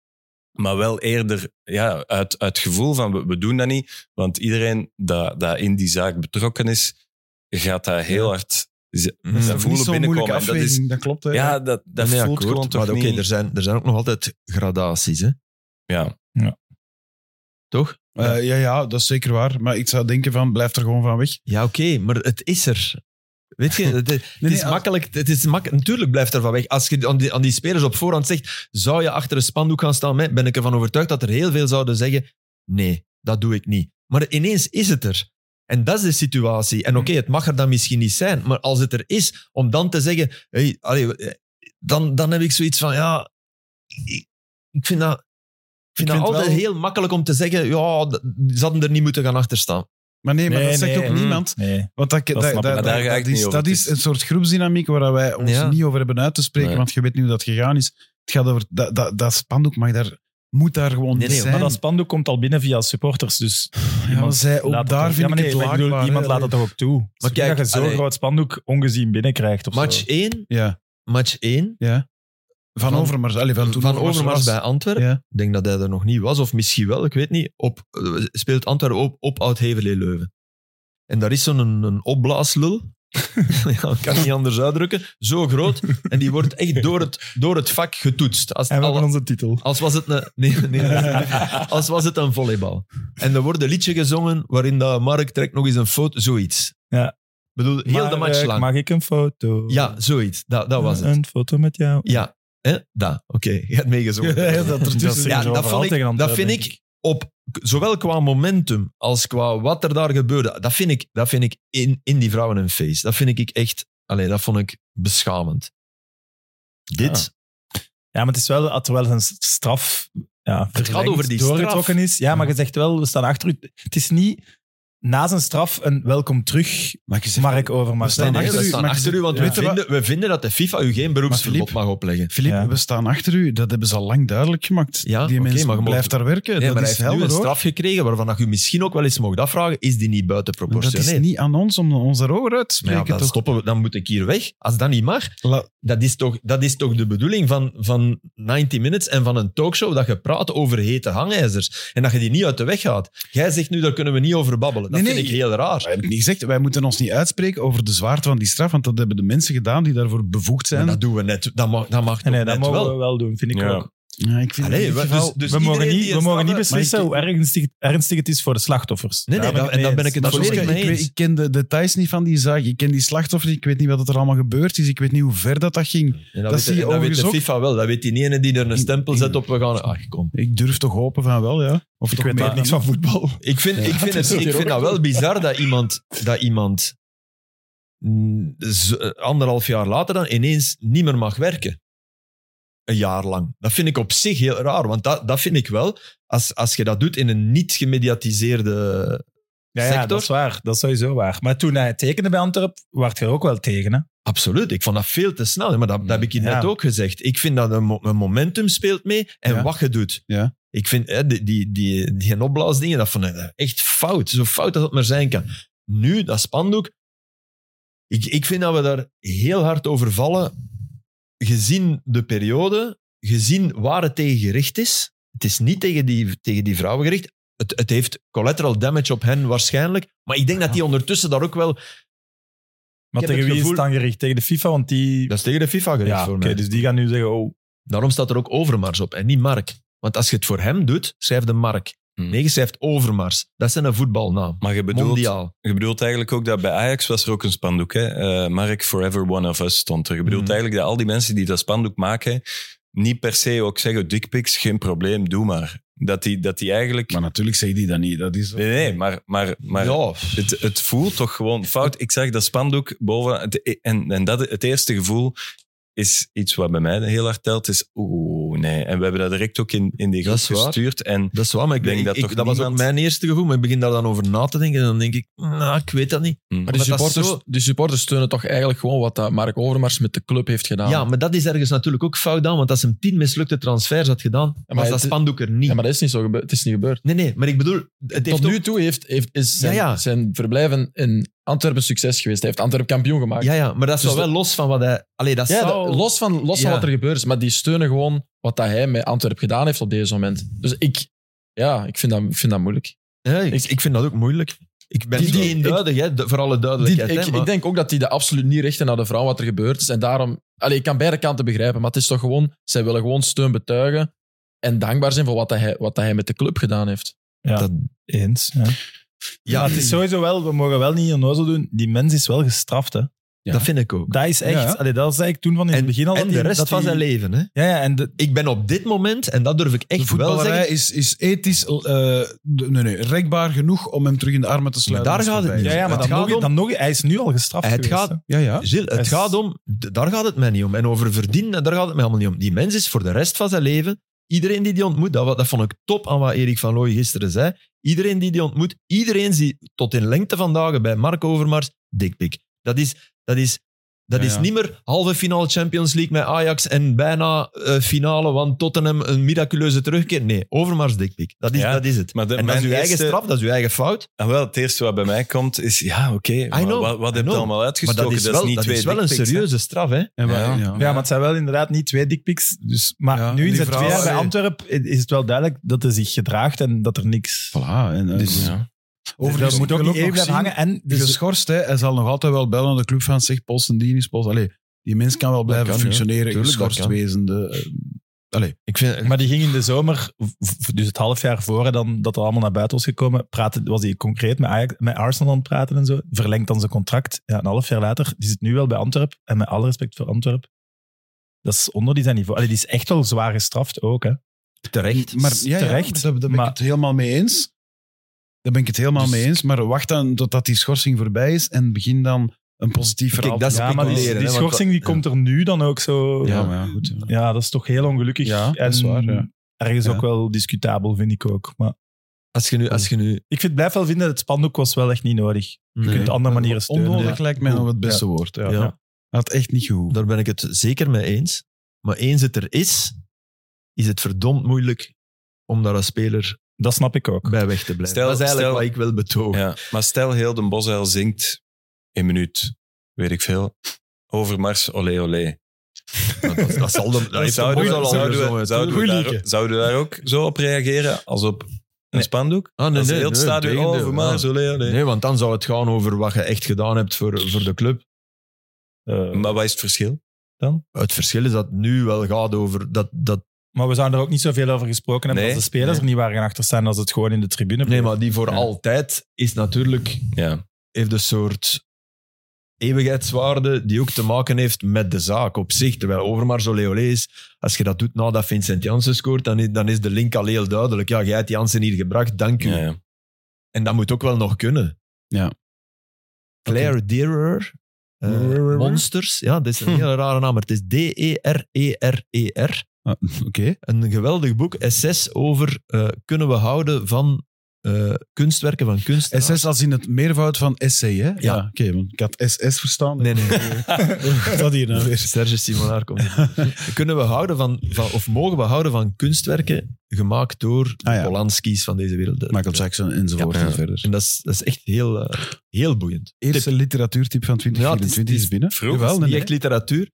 Maar wel eerder ja, uit, uit gevoel van we, we doen dat niet. Want iedereen dat, dat in die zaak betrokken is, gaat dat heel hard z-
Dat is
dat
Niet
voelen
zo'n moeilijke
binnenkomen. En Dat, is,
afweging, dat klopt. Hè.
ja, dat, dat
Nee,
voelt
akkoord,
gewoon toch
maar oké,
niet.
er, zijn, er zijn ook nog altijd gradaties, hè?
Ja.
toch?
Eh, ja, ja, dat is zeker waar. Maar ik zou denken van, blijf er gewoon van weg.
Ja, oké, maar het is er. Weet je, het, het
nee,
is
als-
makkelijk. Het is mak Natuurlijk blijft er van weg. Als je aan die, aan die spelers op voorhand zegt, zou je achter een spandoek gaan staan? Mij- Ben ik ervan overtuigd dat er heel veel zouden zeggen, nee, dat doe ik niet. Maar ineens is het er. En dat is de situatie. En oké, het mag er dan misschien niet zijn, maar als het er is, om dan te zeggen, hey, allee, eh, dan, dan heb ik zoiets van, ja, ik, ik vind dat... Ik
Ik
vind dat
vind
altijd
wel-
heel makkelijk om te zeggen, ja, dat- ze hadden er niet moeten gaan achterstaan.
Maar nee, maar
Nee,
dat zegt
nee,
ook
mm.
niemand.
Nee.
Want dat, dat,
Dat
dat,
snap ik.
dat-
Maar daar ga
dat
ik
is,
niet over.
dat is een soort groepsdynamiek waar wij ons
Ja.
niet over hebben uit te spreken,
Nee.
want je weet niet hoe dat gegaan is. Het gaat over dat, dat, dat spandoek, mag daar, moet daar gewoon
Nee, nee,
zijn.
Dus- Maar dat spandoek komt al binnen via supporters, dus
ja, maar zij, ook
laat
daar
dat-
vind
Ja, maar
ik
nee,
het
maar ik bedoel,
laakbaar, hè.
Iemand laat het toch ook toe. Maar dat
kijk,
je zo'n
allee.
groot spandoek ongezien binnenkrijgt of
Match
zo.
1,
Ja,
match 1
ja. Van,
Van-
Overmars. Allee, van, toen
van Overmars
was.
bij Antwerpen.
Ja.
Ik denk dat hij er nog niet was, of misschien wel, ik weet niet. Op, eh, speelt Antwerpen op, op Oud-Heverlee-Leuven. En daar is zo'n een, een opblaaslul. ja, ik kan niet anders uitdrukken. Zo groot. En die wordt echt door het, door het vak getoetst. Als,
En we hebben
alle-
onze titel.
als was het een... Nee, nee, als was het een volleybal. En er wordt een liedje gezongen waarin dat Mark trekt nog eens een foto, zoiets.
Ja.
Ik bedoel, heel de match
Mark,
lang.
eh, Mag ik een foto?
Ja, zoiets. Dat, dat was het.
Een foto met jou.
Ja, hè? dat. Oké, je hebt meegezongen.
Ja, dat ertussen.
Ja,
zeggen ze
dat,
overal
vond
tegen
ik, dat
Antwerpen,
vind
denk
ik op, zowel qua momentum als qua wat er daar gebeurde, dat vind ik, dat vind ik in, in die vrouwen een feest. Dat vind ik echt, alleen dat vond ik beschamend. Dit,
Ja, maar het is wel, terwijl een straf ja, verlengd,
over die
doorgetrokken
straf.
is. Ja, maar je zegt wel, we staan achter u. Het is niet na zijn straf een welkom terug,
Maar je zegt-
Mark Overmars.
We staan
nee, nee,
achter
we
u,
staan
maar
achter u, want
ja.
we, vinden, we vinden dat de FIFA u geen beroepsverbod
Philippe-
mag opleggen.
Filip,
Ja.
we staan achter u. Dat hebben ze al lang duidelijk gemaakt.
Ja,
Die
oké,
mensen
maar je mag-
blijft daar werken.
Nee,
dat
maar hij
is
heeft nu
helder,
een
hoor.
straf gekregen waarvan dat u misschien ook wel eens mocht afvragen, is die niet
Maar Dat is
buitenproportioneel?
niet aan ons om ons daarover uit te
Maar ja,
spreken.
dan
toch?
stoppen we, dan moet ik hier weg. Als dat niet mag,
La-
dat is toch, dat is toch de bedoeling van, van 90 Minutes en van een talkshow, dat je praat over hete hangijzers en dat je die niet uit de weg gaat. Jij zegt nu, daar kunnen we niet over babbelen. Dat
Nee, nee,
vind ik heel
Maar
raar.
heb ik niet gezegd, wij moeten ons niet uitspreken over de zwaarte van die straf, want dat hebben de mensen gedaan die daarvoor bevoegd
Maar
zijn.
dat doen we net. Dat mag, dat
Nee,
mag toch
nee, dat
net
mogen we
wel.
wel doen, vind ik
Ja.
ook.
ja, ik vind
Allee,
in dit
we-
geval-
dus- dus
we mogen
iedereen
niet,
die
we
een
mogen niet
straf-
beslissen
maar ik-
hoe ernstig, ernstig het is voor de slachtoffers.
Nee, nee,
Daar
dat- en dan ben ik het
Maar
daar
zoals
volledig
ik,
mee
ik, weet-
eens.
ik ken de details niet van die zaak. Ik ken die slachtoffers. niet. Ik weet niet wat er allemaal gebeurd is. Ik weet niet hoe ver dat, dat ging.
En
Dat
dat, weet,
zie je
en dat weet
overigens
de
ook.
FIFA wel. Dat weet die ene die er een stempel zet op, we gaan... Ach, kom.
Ik durf toch hopen van wel, ja. Of
Ik
toch
weet
meer
daar niks van voetbal.
Ik vind, ik vind, het, ik vind dat wel bizar dat iemand, dat iemand mm, z- eh, anderhalf jaar later dan ineens niet meer mag werken. Een jaar lang. Dat vind ik op zich heel raar, want dat, dat vind ik wel, als, als je dat doet in een niet gemediatiseerde
Ja, ja,
sector.
dat is waar. Dat is sowieso waar. Maar toen hij tekende bij Antwerp, werd je er ook wel tegen. Hè?
Absoluut, ik vond dat veel te snel. Maar dat, dat heb ik je
Ja.
net ook gezegd. Ik vind dat een, mo- een momentum speelt mee en
Ja.
wat je doet.
Ja.
Ik vind hè, die, die, die, die opblaasdingen, dat vond ik echt fout. Zo fout als het maar zijn kan. Nu, dat spandoek, ik, ik vind dat we daar heel hard over vallen. Gezien de periode, gezien waar het tegen gericht is. Het is niet tegen die, tegen die vrouwen gericht. Het, het heeft collateral damage op hen waarschijnlijk. Maar ik denk dat die ondertussen daar ook wel...
Maar
Ik heb
tegen
het
wie is
gevoel-
het dan gericht? Tegen de FIFA, want die...
Dat is tegen de FIFA gericht
ja,
voor
oké,
mij.
dus die gaan nu zeggen, oh,
Daarom staat er ook Overmars op en niet Mark. Want als je het voor hem doet, schrijf de Mark.
Hmm.
Nee, je schrijft Overmars. Dat is een voetbalnaam.
Maar je bedoelt,
Mondiaal.
je bedoelt eigenlijk ook dat bij Ajax was er ook een spandoek. Hè? Eh, Mark Forever One of Us stond er. Je bedoelt
Mhm.
eigenlijk dat al die mensen die dat spandoek maken, niet per se ook zeggen, dickpics, geen probleem, doe maar. Dat die, dat die eigenlijk...
Maar natuurlijk zeg die dat niet. Dat is
nee, nee, maar, maar, maar
ja,
het, het voelt toch gewoon fout. Ik zag dat spandoek boven. Het, en en dat, het eerste gevoel is iets wat bij mij heel hard telt. Is oeh, nee. En we hebben dat direct ook in, in die groep
Dat is waar.
gestuurd. En
dat is waar, maar ik,
Ik denk
ik-
dat
ik-
toch
dat was ook
niemand-
mijn eerste gevoel. Maar ik begin daar dan over na te denken en dan denk ik, nou, ik weet dat niet.
Maar die
Omdat dat
supporters,
zo-
die supporters steunen toch eigenlijk gewoon wat dat Mark Overmars met de club heeft gedaan.
Ja, maar dat is ergens natuurlijk ook fout aan, want als hem tien mislukte transfers had gedaan,
maar
was dat
het-
spandoek er niet.
Ja, maar dat is niet zo gebeurd. Het is niet gebeurd.
Nee, nee, maar ik bedoel, het heeft
Tot nu
ook-
toe heeft, heeft, is zijn,
Ja, ja.
zijn verblijven in Antwerpen succes geweest. Hij heeft Antwerpen kampioen gemaakt.
Ja, ja, maar dat is
Dus
wel,
dat-
wel los van wat hij... Allee, dat
Ja,
zou...
dat- los van, los van
Ja.
wat er gebeurd is. Maar die steunen gewoon wat dat hij met Antwerpen gedaan heeft op deze moment. Dus ik, ja, ik vind dat, ik vind dat moeilijk.
Ja, ik,
ik-
ik vind dat ook moeilijk. Ik ben
Die-
niet
die-
eenduidig, hè, de- voor alle
Die,
duidelijkheid.
ik,
hè, maar-
ik denk ook dat die dat absoluut niet richten naar de vrouw wat er gebeurd is. En daarom, allee, ik kan beide kanten begrijpen, maar het is toch gewoon, zij willen gewoon steun betuigen en dankbaar zijn voor wat, dat hij, wat dat hij met de club gedaan heeft.
ja.
Dat-
eens. Ja.
ja,
Maar het is sowieso wel, we mogen wel niet onnozel doen. Die mens is wel gestraft, hè.
dat vind ik ook.
Dat is echt,
Ja.
allee, dat zei ik toen van in het
En,
begin al.
en
dat
de
die-
rest
dat
van
die-
zijn leven, hè.
Ja, ja, en de,
Ik ben op dit moment, en dat durf ik
De
echt wel
voetballerij
zeggen.
is, is ethisch eh, de- nee, nee, rekbaar genoeg om hem terug in de armen te sluiten.
Maar daar
als
gaat het
voorbij
niet.
ja,
is.
ja, maar
Het
dan
gaat
nog,
om-
dan nog, hij is nu al gestraft
Het
geweest,
gaat-
hè.
Ja, ja.
Gilles, het
Yes.
gaat om, d- daar gaat het mij niet om. En over verdienen, daar gaat het mij helemaal niet om. Die mens is voor de rest van zijn leven, iedereen die die ontmoet, dat, wa- dat vond ik top aan wat Erik van Looy gisteren zei. Iedereen die die ontmoet, iedereen die tot in lengte van dagen bij Mark Overmars, dikpik. Dat is, dat is, dat
Ja,
is
ja.
niet meer halve finale Champions League met Ajax en bijna eh, finale, want Tottenham een miraculeuze terugkeer. Nee, Overmars dikpik. Dat is,
Ja.
dat is het.
maar de,
en dat is
mijn
uw eigen
eerste-
straf, dat is uw eigen fout.
Ah, wel, het eerste wat bij mij komt is, ja, oké, maar
know,
wat, wat
I
heb je
know.
allemaal
Maar
uitgestoken?
dat is wel,
niet
dat
twee
is wel een
dickpics, hè.
serieuze straf, hè?
En waar-
Ja.
ja.
Ja, maar het zijn wel inderdaad niet twee dickpics. Dus, maar
Ja,
nu
en
in
die
zijn twee
vrouw-
jaar bij Antwerpen is het wel duidelijk dat hij zich gedraagt en dat er niks...
Voilà, en, eh,
Dus,
overigens
dat moet
wil
ook
ik nog
niet even blijven
zien-
hangen. En
Die
dus,
geschorst, hè. hij zal nog altijd wel bellen aan de club van zich, Polsen, die is Polsen. Allee, die mens kan wel blijven
kan, ja.
functioneren,
Tuurlijk, dat
geschorst
kan.
wezende. eh, Allee,
Ik vind,
maar die ging in de zomer, v- v- dus het half jaar voor dan dat het allemaal naar buiten was gekomen, praatte, was hij concreet met, Ajax, met Arsenal aan het praten en zo. Verlengt dan zijn contract. Ja, een half jaar later, die zit nu wel bij Antwerpen. En met alle respect voor Antwerpen, dat is onder die zijn niveau. Allee, die is echt wel zwaar gestraft ook, hè.
terecht.
maar ja, ja,
Terecht,
daar- daar ben
maar-
ik het helemaal mee eens. Daar ben ik het helemaal
Dus-
mee eens. Maar wacht dan totdat die schorsing voorbij is en begin dan een positief
Kijk,
verhaal.
dat
te
is
Ja, maar die,
speculeren,
die
hè, want-
schorsing die
ja.
komt er nu dan ook zo...
maken. ja, maar ja, goed. ja.
Ja, dat is toch heel ongelukkig.
Ja, dat
en
is waar, ja.
ergens
Ja.
ook wel discutabel, vind ik ook. Maar
Als je nu... Als je nu
ik vind, blijf wel vinden, het spandoek was wel echt niet nodig. Je
Nee.
kunt andere manieren steunen.
Onnodig lijkt mij nog het beste woord. Ja.
Ja.
Had echt niet gehoeven.
Daar ben ik het zeker mee eens. Maar eens het er is, is het verdomd moeilijk om daar als speler
Dat snap ik ook.
bij weg te blijven.
Stel-
dat is eigenlijk
stel-
wat ik wil betogen.
Ja, maar stel heel de Bosuil zingt in minuut, weet ik veel, over Mars, olé olé.
Maar Dat, dat zal de, dat heeft
zouden,
de
we,
Bosuil al
zouden, we-
gezongen.
zouden, we
Tuurlijk.
daar, zouden we daar ook zo op reageren als op een spandoek?
Ah, nee,
Als
nee,
heel het
nee,
stadion
tegendeel.
over Mars,
Ja.
olé olé.
Nee, want dan zou het gaan over wat je echt gedaan hebt voor, voor de club.
Eh, maar,
Maar wat is het verschil?
Het verschil is dat het nu wel gaat over dat... dat
we zouden er ook niet zoveel over gesproken hebben
Nee,
als de spelers
nee.
er niet waren gaan achterstaan als het gewoon in de tribune
nee,
bleef.
maar die voor
Ja.
altijd is natuurlijk
Ja,
heeft een soort eeuwigheidswaarde die ook te maken heeft met de zaak op zich. Terwijl Overmars olé olé is, als je dat doet nadat Vincent Janssen scoort, dan is, dan is de link al heel duidelijk. Ja, jij hebt Janssen hier gebracht, dank u.
ja, ja.
En dat moet ook wel nog kunnen.
Ja.
Claire Derer. eh, Monsters, ja, dat is een hele rare naam, maar het is E D-E-R-E-R-E-R.
Ah, Oké.
Een geweldig boek, SS over eh, kunnen we houden van eh, kunstwerken van kunst.
SS als in het meervoud van SC, hè? Ja. Oké, want ik had SS verstaan.
Ah, Nee, nee.
Dat hier nou weer.
Serge Simonaar komt. hier. Kunnen we houden van, van, of mogen we houden van kunstwerken gemaakt door de
Ah, ja.
Polanski's van deze wereld?
Michael Jackson enzovoort
Ja.
en verder.
En dat is, dat is echt heel, eh, heel boeiend.
Eerste literatuurtip van 2024
Ja, het is-
is binnen.
vroeg.
Jawel,
Het is
nee,
niet
nee.
echt literatuur,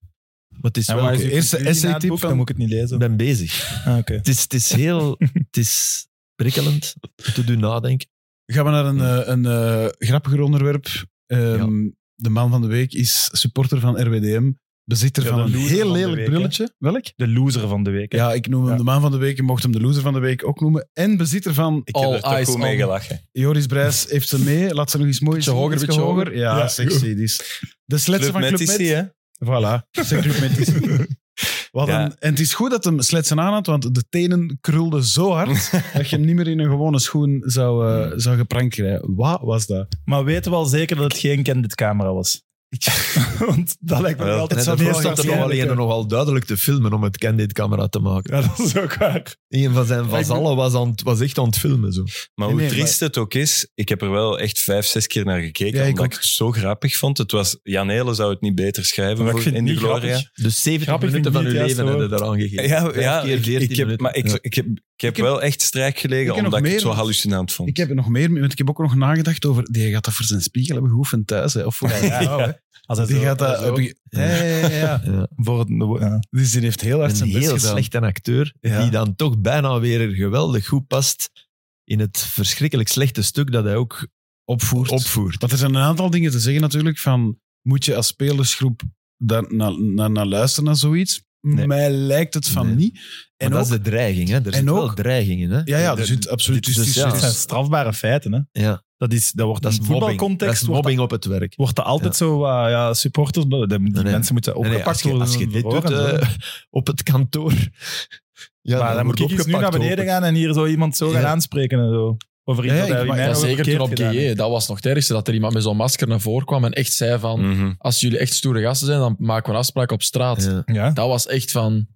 maar het is
Ja,
wel...
maar
oké.
als je
Eerste
eerste essay
essay-tip
typ
van-
dan moet ik het niet lezen.
Ik ben bezig.
Ah, Oké.
Het is, het is heel... het is prikkelend. Het doet nadenken.
Gaan we naar een, eh, een eh, grappiger onderwerp. Ehm, De man van de week is supporter van RWDM. Bezitter
Ja,
van
de
een
loser
heel
van de
lelijk
week, hè.
brilletje. Welk?
De loser van de week. hè.
Ja, ik noem hem
Ja.
de man van de week. Je mocht hem de loser van de week ook noemen. En bezitter van
Ik heb
All
er toch
eyes
goed mee
on-
gelachen.
Joris Brijs heeft ze mee. Laat ze nog eens mooi
Beetje
zien.
hoger,
Ietsje
beetje
hoger. Ja,
Ja.
sexy. Die is de sletsen
Club
van Club
Met is
Met.
die, hè?
Voilà, zijn Club Met is Wat
Ja.
een- en het is goed dat hem sletsen aan had, want de tenen krulden zo hard dat je hem niet meer in een gewone schoen zou, eh, zou geprankt krijgen. Wat was dat?
Maar weten we al zeker dat het geen Candid camera was? Want dat lijkt me
Wel,
wel altijd zo
dat
meest
stond er nog wel
waarschijnlijke.
een nogal duidelijk te filmen om het Candid-camera te maken.
Ja, dat is ook waar.
Een van zijn vazallen was, aan, het- was echt aan het filmen. Zo.
Maar
Nee,
hoe
nee,
triest het ook is, ik heb er wel echt vijf, zes keer naar gekeken,
Ja, ik
omdat
ook.
ik het zo grappig vond. Het was, Jan Hele zou het niet beter schrijven
Maar ik
voor-
vind
in
het
de
niet
Gloria.
grappig.
Dus 70
Grappig
minuten van
vind
uw
ik niet,
leven
juist,
hebben eraan gegeven.
Ja,
Vijf
ja
keer
ik,
14
ik heb,
minuten.
maar ik,
Ja.
ik heb, ik heb
heb-
wel echt strijk
ik
gelegen,
heb nog
omdat ik het
meer,
zo
want
hallucinant vond.
Ik heb er nog meer, want ik heb ook nog nagedacht over. Die gaat dat voor zijn spiegel hebben geoefend thuis, hè, of voor zijn vrouw. hè.
Als hij
Die
zo-
gaat dat.
zo
op een ge- Ja, ja, ja, ja.
voor het, ja.
Dus die heeft heel hard
een
zijn best
heel
gedaan.
slechte acteur,
Ja.
die dan toch bijna weer geweldig goed past in het verschrikkelijk slechte stuk dat hij ook opvoert. opvoert.
Want er zijn een aantal dingen te zeggen natuurlijk van moet je als spelersgroep daar naar na, na luisteren naar zoiets?
Nee.
Mij lijkt het van
Nee.
niet.
En
En
dat
ook,
is de dreiging, hè? Er
en
zit
ook-
wel dreiging in, hè?
ja, ja,
De-
er zit absoluut
dus-
dus,
dus
dus,
ja.
Dat zijn strafbare feiten. Hè.
ja,
Dat, is, dat wordt
dat is
in
mobbing. Dat
voetbalcontext
is
wordt,
mobbing op het werk.
wordt dat altijd zo, eh, ja, supporters, die
nee.
mensen moeten
Nee,
opgepakt
nee, als, je,
worden.
als je
en
dit doet
verhoor en zo.
eh, op het kantoor... Ja,
maar dan moet ik eens nu naar beneden gaan en hier zo iemand zo gaan
Ja.
aanspreken en zo. Over iets
Ja,
dat
ik-
hij
maar-
mij
ja,
Ja,
nog
zeker toen
verkeerd
op
gedaan heeft.
GE. Dat was nog het ergste, dat er iemand met zo'n masker naar voren kwam en echt zei van...
Mhm.
Als jullie echt stoere gasten zijn, dan maken we een afspraak op straat.
Ja.
Ja.
Dat was echt van...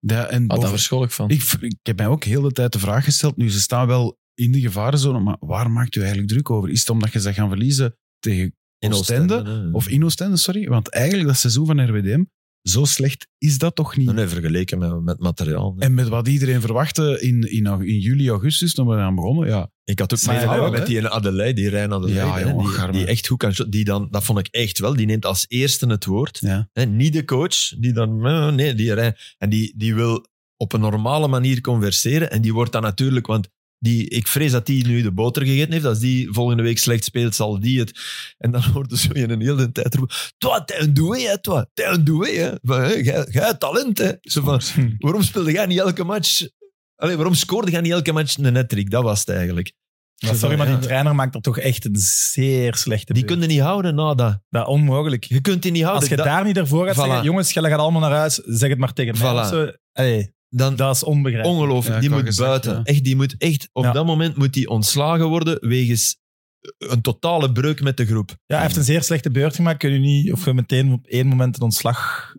ja, en
Ah, daar
boven-
verschool ik van.
ik, v- ik heb mij ook heel de tijd de vraag gesteld, nu ze staan wel in de gevarenzone, maar waar maakt u eigenlijk druk over? Is het omdat je ze gaan verliezen tegen
In
Oostende?
Oostende,
Of in Oostende, sorry? Want eigenlijk dat seizoen van RWDM, zo slecht is dat toch niet?
Nee, nee, vergeleken met, met materiaal. nee.
En met wat iedereen verwachtte in, in, au- in juli, augustus, toen we aan begonnen, ja,
Ik had ook
Maar
mijn
ja,
vrouw
wel,
met
hè?
die ene Adelaide, die Rijn Adelaide,
Ja,
hè,
jongen,
die,
garme.
die echt goed kan shotten. Die dan, dat vond ik echt wel. Die neemt als eerste het woord.
Ja.
Hè, niet de coach, die dan... eh, Nee, die Rijn. En die, die wil op een normale manier converseren. En die wordt dan natuurlijk... Want die, ik vrees dat die nu de boter gegeten heeft. Als die volgende week slecht speelt, zal die het... En dan hoort er zo in een hele tijd roepen... Toi, t'es un doué, hè, toi. T'es un doué, hè. Van, hè, Jij jij hebt talent, hè. Zo van, waarom speelde jij niet elke match... Allee, waarom scoorde jij niet elke match een hat Dat was het eigenlijk.
Maar sorry, maar
Ja.
die trainer maakt er toch echt een zeer slechte
Die
beurt.
kunnen niet houden na dat.
Dat onmogelijk.
Je kunt die niet houden.
Als je
Dat-
daar niet ervoor gaat
Voilà.
zeggen, jongens, jullie gaan allemaal naar huis, zeg het maar tegen mij.
Voilà.
of zo. Allee,
dan,
dat is onbegrijpelijk.
ongelooflijk.
Ja,
die
ik
moet
wou gezegd,
buiten.
ja.
Echt, die moet echt, op
Ja.
dat moment moet die ontslagen worden wegens een totale breuk met de groep.
Ja, hij heeft een zeer slechte beurt gemaakt. Kun je niet, of je meteen op één moment een ontslag...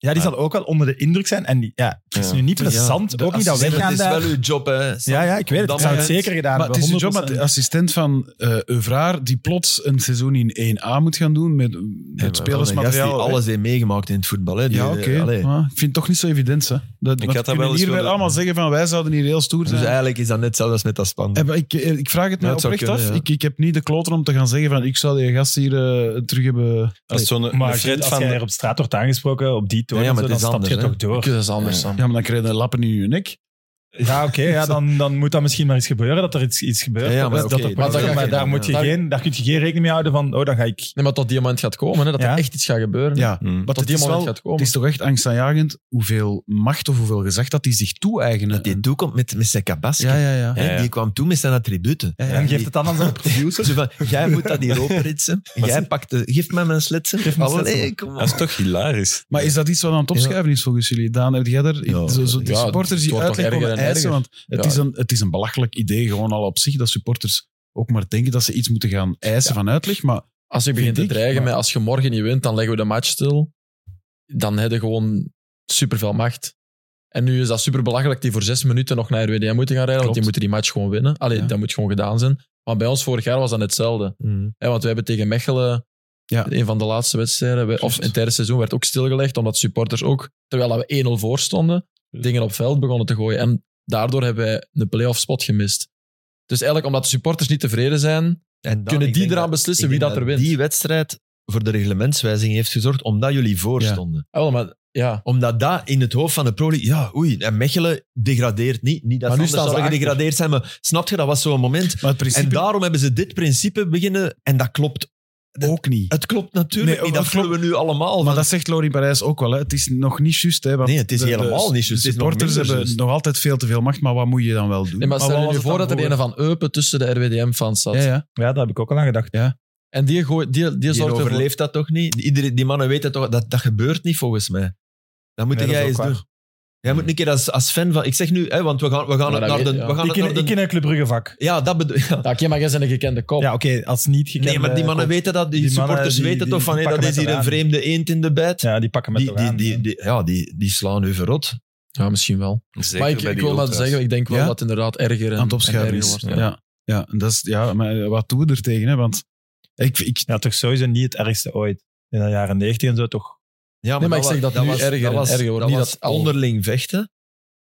Ja, die zal ook wel onder de indruk zijn. En die, ja, het is
Ja.
nu niet plezant,
Ja, de
ook niet dat
assistent,
weggaan
Het is
daar.
wel uw job, hè. Sam.
Ja, ja, ik weet het.
Dat
Ik zou het
moment-
zeker gedaan
Maar het is de job dat
100%.
de assistent van eh Evraar, die plots een seizoen in 1A moet gaan doen met,
Ja,
met
maar wel een gast
spelersmateriaal.
die
hè.
alles heeft meegemaakt in het voetbal. Hè. Die- eh,
ja, oké.
allee.
Maar ik vind het toch niet zo evident. Hè. Dat,
Ik
want we
had dat wel
kunnen
eens
hier wel
willen-
allemaal zeggen van wij zouden hier heel stoer
Dus
zijn.
eigenlijk is dat net hetzelfde als met dat span.
Eh, maar ik, eh, ik vraag het mij
Ja, het zou
oprecht af.
kunnen, ja.
Ik, ik heb niet de kloten om te gaan zeggen van ik zou die gast hier eh, terug hebben...
Als zo'n een
Maar als, je-
Fred
als
van...
jij er op straat wordt aangesproken, op die toon,
Ja, ja,
en
maar
zo, dan
het is
stap je
anders,
toch
hè.
door.
Dat is anders, Sam.
Ja, maar dan krijg je lappen in je nek.
Ja, oké, ja, dan, dan moet dat misschien maar eens gebeuren, dat er iets, iets gebeurt.
Ja, ja, maar
dat, dat
oké,
er problemen-
dat ga je
maar
geen-
daar, moet je
ja.
geen, daar kun je geen rekening mee houden van, oh, dan ga ik...
Nee, maar tot die moment gaat komen, hè, dat
Ja.
er echt iets gaat gebeuren.
Ja.
Hmm.
Hm.
Want
Tot
het
die
is,
moment
wel,
gaat
het
komen.
is toch echt angstaanjagend hoeveel macht of hoeveel gezag dat die zich toe-eigenen.
Dat die toekomt met, met zijn kabasje.
Ja, ja, ja.
Ja, ja.
Die kwam toen met zijn attributen.
En geeft het dan aan zijn producer.
Zo van, jij moet dat hier opritsen. Jij pakt de, geef mij mijn slitsen.
Geef me een slitsen.
Allee, kom
Dat is toch hilarisch.
Maar is dat iets wat aan het opschuiven is volgens jullie? Daan, heb jij er
Ja,
zo, zo, die
ja,
supporters
het
die
wordt toch
uitleg
erger
komen
en
eisen?
erger.
Want het,
Ja.
is een, het is een belachelijk idee gewoon al op zich dat supporters ook maar denken dat ze iets moeten gaan eisen van uitleg. Maar
Als je begint te
Vind ik,
dreigen
maar-
met als je morgen niet wint, dan leggen we de match stil. Dan heb je gewoon superveel macht. En nu is dat super belachelijk die voor zes minuten nog naar RWDM moeten gaan rijden, want
Klopt.
die moeten die match gewoon winnen. Allee,
Ja.
dat moet gewoon gedaan zijn. Maar bij ons vorig jaar was dat hetzelfde. Hè, want we hebben tegen Mechelen,
Mm. Ja.
een van de laatste wedstrijden, we- of in het derde seizoen, werd ook stilgelegd, omdat supporters ook, terwijl we 1-0 voor stonden, dingen op veld begonnen te gooien. En daardoor hebben wij een playoff spot gemist. Dus eigenlijk, omdat de supporters niet tevreden zijn,
En dan,
kunnen
ik
die
denk
eraan
dat-
beslissen
ik
wie
denk
dat er wint.
Die wedstrijd voor de reglementswijziging heeft gezorgd omdat jullie voorstonden.
Ah, wel, maar, ja.
Omdat dat in het hoofd van de pro League- Ja, oei. En Mechelen degradeert niet. Niet dat
Maar
ze anders
nu staan ze
zouden
achter.
gedegradeerd zijn, maar snap je, dat was zo'n moment.
Maar het principe
En daarom hebben ze dit principe beginnen. En dat klopt.
ook niet.
Het klopt natuurlijk
Nee,
niet.
dat
Dat voelen we nu allemaal.
Maar
want-
dat zegt Lorin Parijs ook wel. Hè. Het is nog niet juist. Hè, want
Nee, het is
de- de
helemaal niet juist. Het is nog
supporters
minder
hebben
juist.
nog altijd veel te veel macht, maar wat moet je dan wel doen?
Nee, maar stel
wat
je nu
was het
voor dat
dan
er een van Eupen tussen de RWDM-fans zat.
Ja, ja.
Ja, daar heb ik ook al aan gedacht.
En die, gooi, die, die,
Die
zorgt ervoor-
overleeft dat toch niet? Iedereen, die mannen weten toch, dat dat gebeurt niet volgens mij. Dat moet
Nee, dat
jij
is
eens
ook
doen.
waar.
Jij moet een keer als, als fan van... Ik zeg nu, hè, want we gaan, we gaan
Hmm. Maar
het
dat
naar de...
weet-
We
ja.
gaan
Ik
het
ken,
naar de-
ik ken een Club Brugge vak.
ja, dat bedoel ja.
Ja, oké, maar jij bent een gekende kop.
Ja, oké, als niet gekende...
Nee, maar die mannen weten dat. Die,
eh, die mannen,
supporters
die-
weten
die-
toch van,
die
hé, dat
pakken
is
met
hier een
elkaar aan.
vreemde eend in de bijt.
Ja, die pakken met
die,
elkaar
die,
aan,
die,
hè.
die- ja, die, die slaan u verrot.
Ja, misschien wel.
Zeker
maar ik,
bij
ik
die
wil maar
ultras.
zeggen, ik denk wel
Ja?
dat het inderdaad erger en,
Aan het
en
opschuiven
erger
is. Ja.
wordt. ja.
Ja. en dat is, ja, maar wat doen we er tegen? Hè? Want ik, ik,
Ja, toch sowieso niet het ergste ooit. In de jaren 90 en zo toch.
Ja,
Nee, maar ik
wa-
zeg dat nu erger en
was,
erger wordt.
Dat
Niet
was
dat al-
onderling vechten,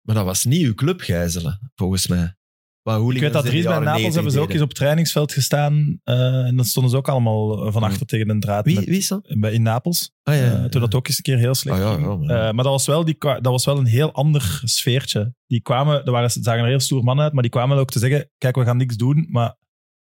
maar dat was niet uw club gijzelen, volgens mij. Maar
Ik weet dat Dries bij Napels hebben ze ook eens op het trainingsveld gestaan. eh, en dan stonden ze ook allemaal eh, van achter tegen een draad.
Hm. Wie,
met-
wie is dat?
bij- In Napels.
Ah, ja, ja,
Eh,
ja.
toen dat ook eens een keer heel slecht
Ah, ja,
ging.
ja, maar-
Eh, maar dat was, wel die, kwa- dat was wel een heel ander sfeertje. Die kwamen, er waren, zagen er heel stoer mannen uit, maar die kwamen ook te zeggen, kijk, we gaan niks doen, maar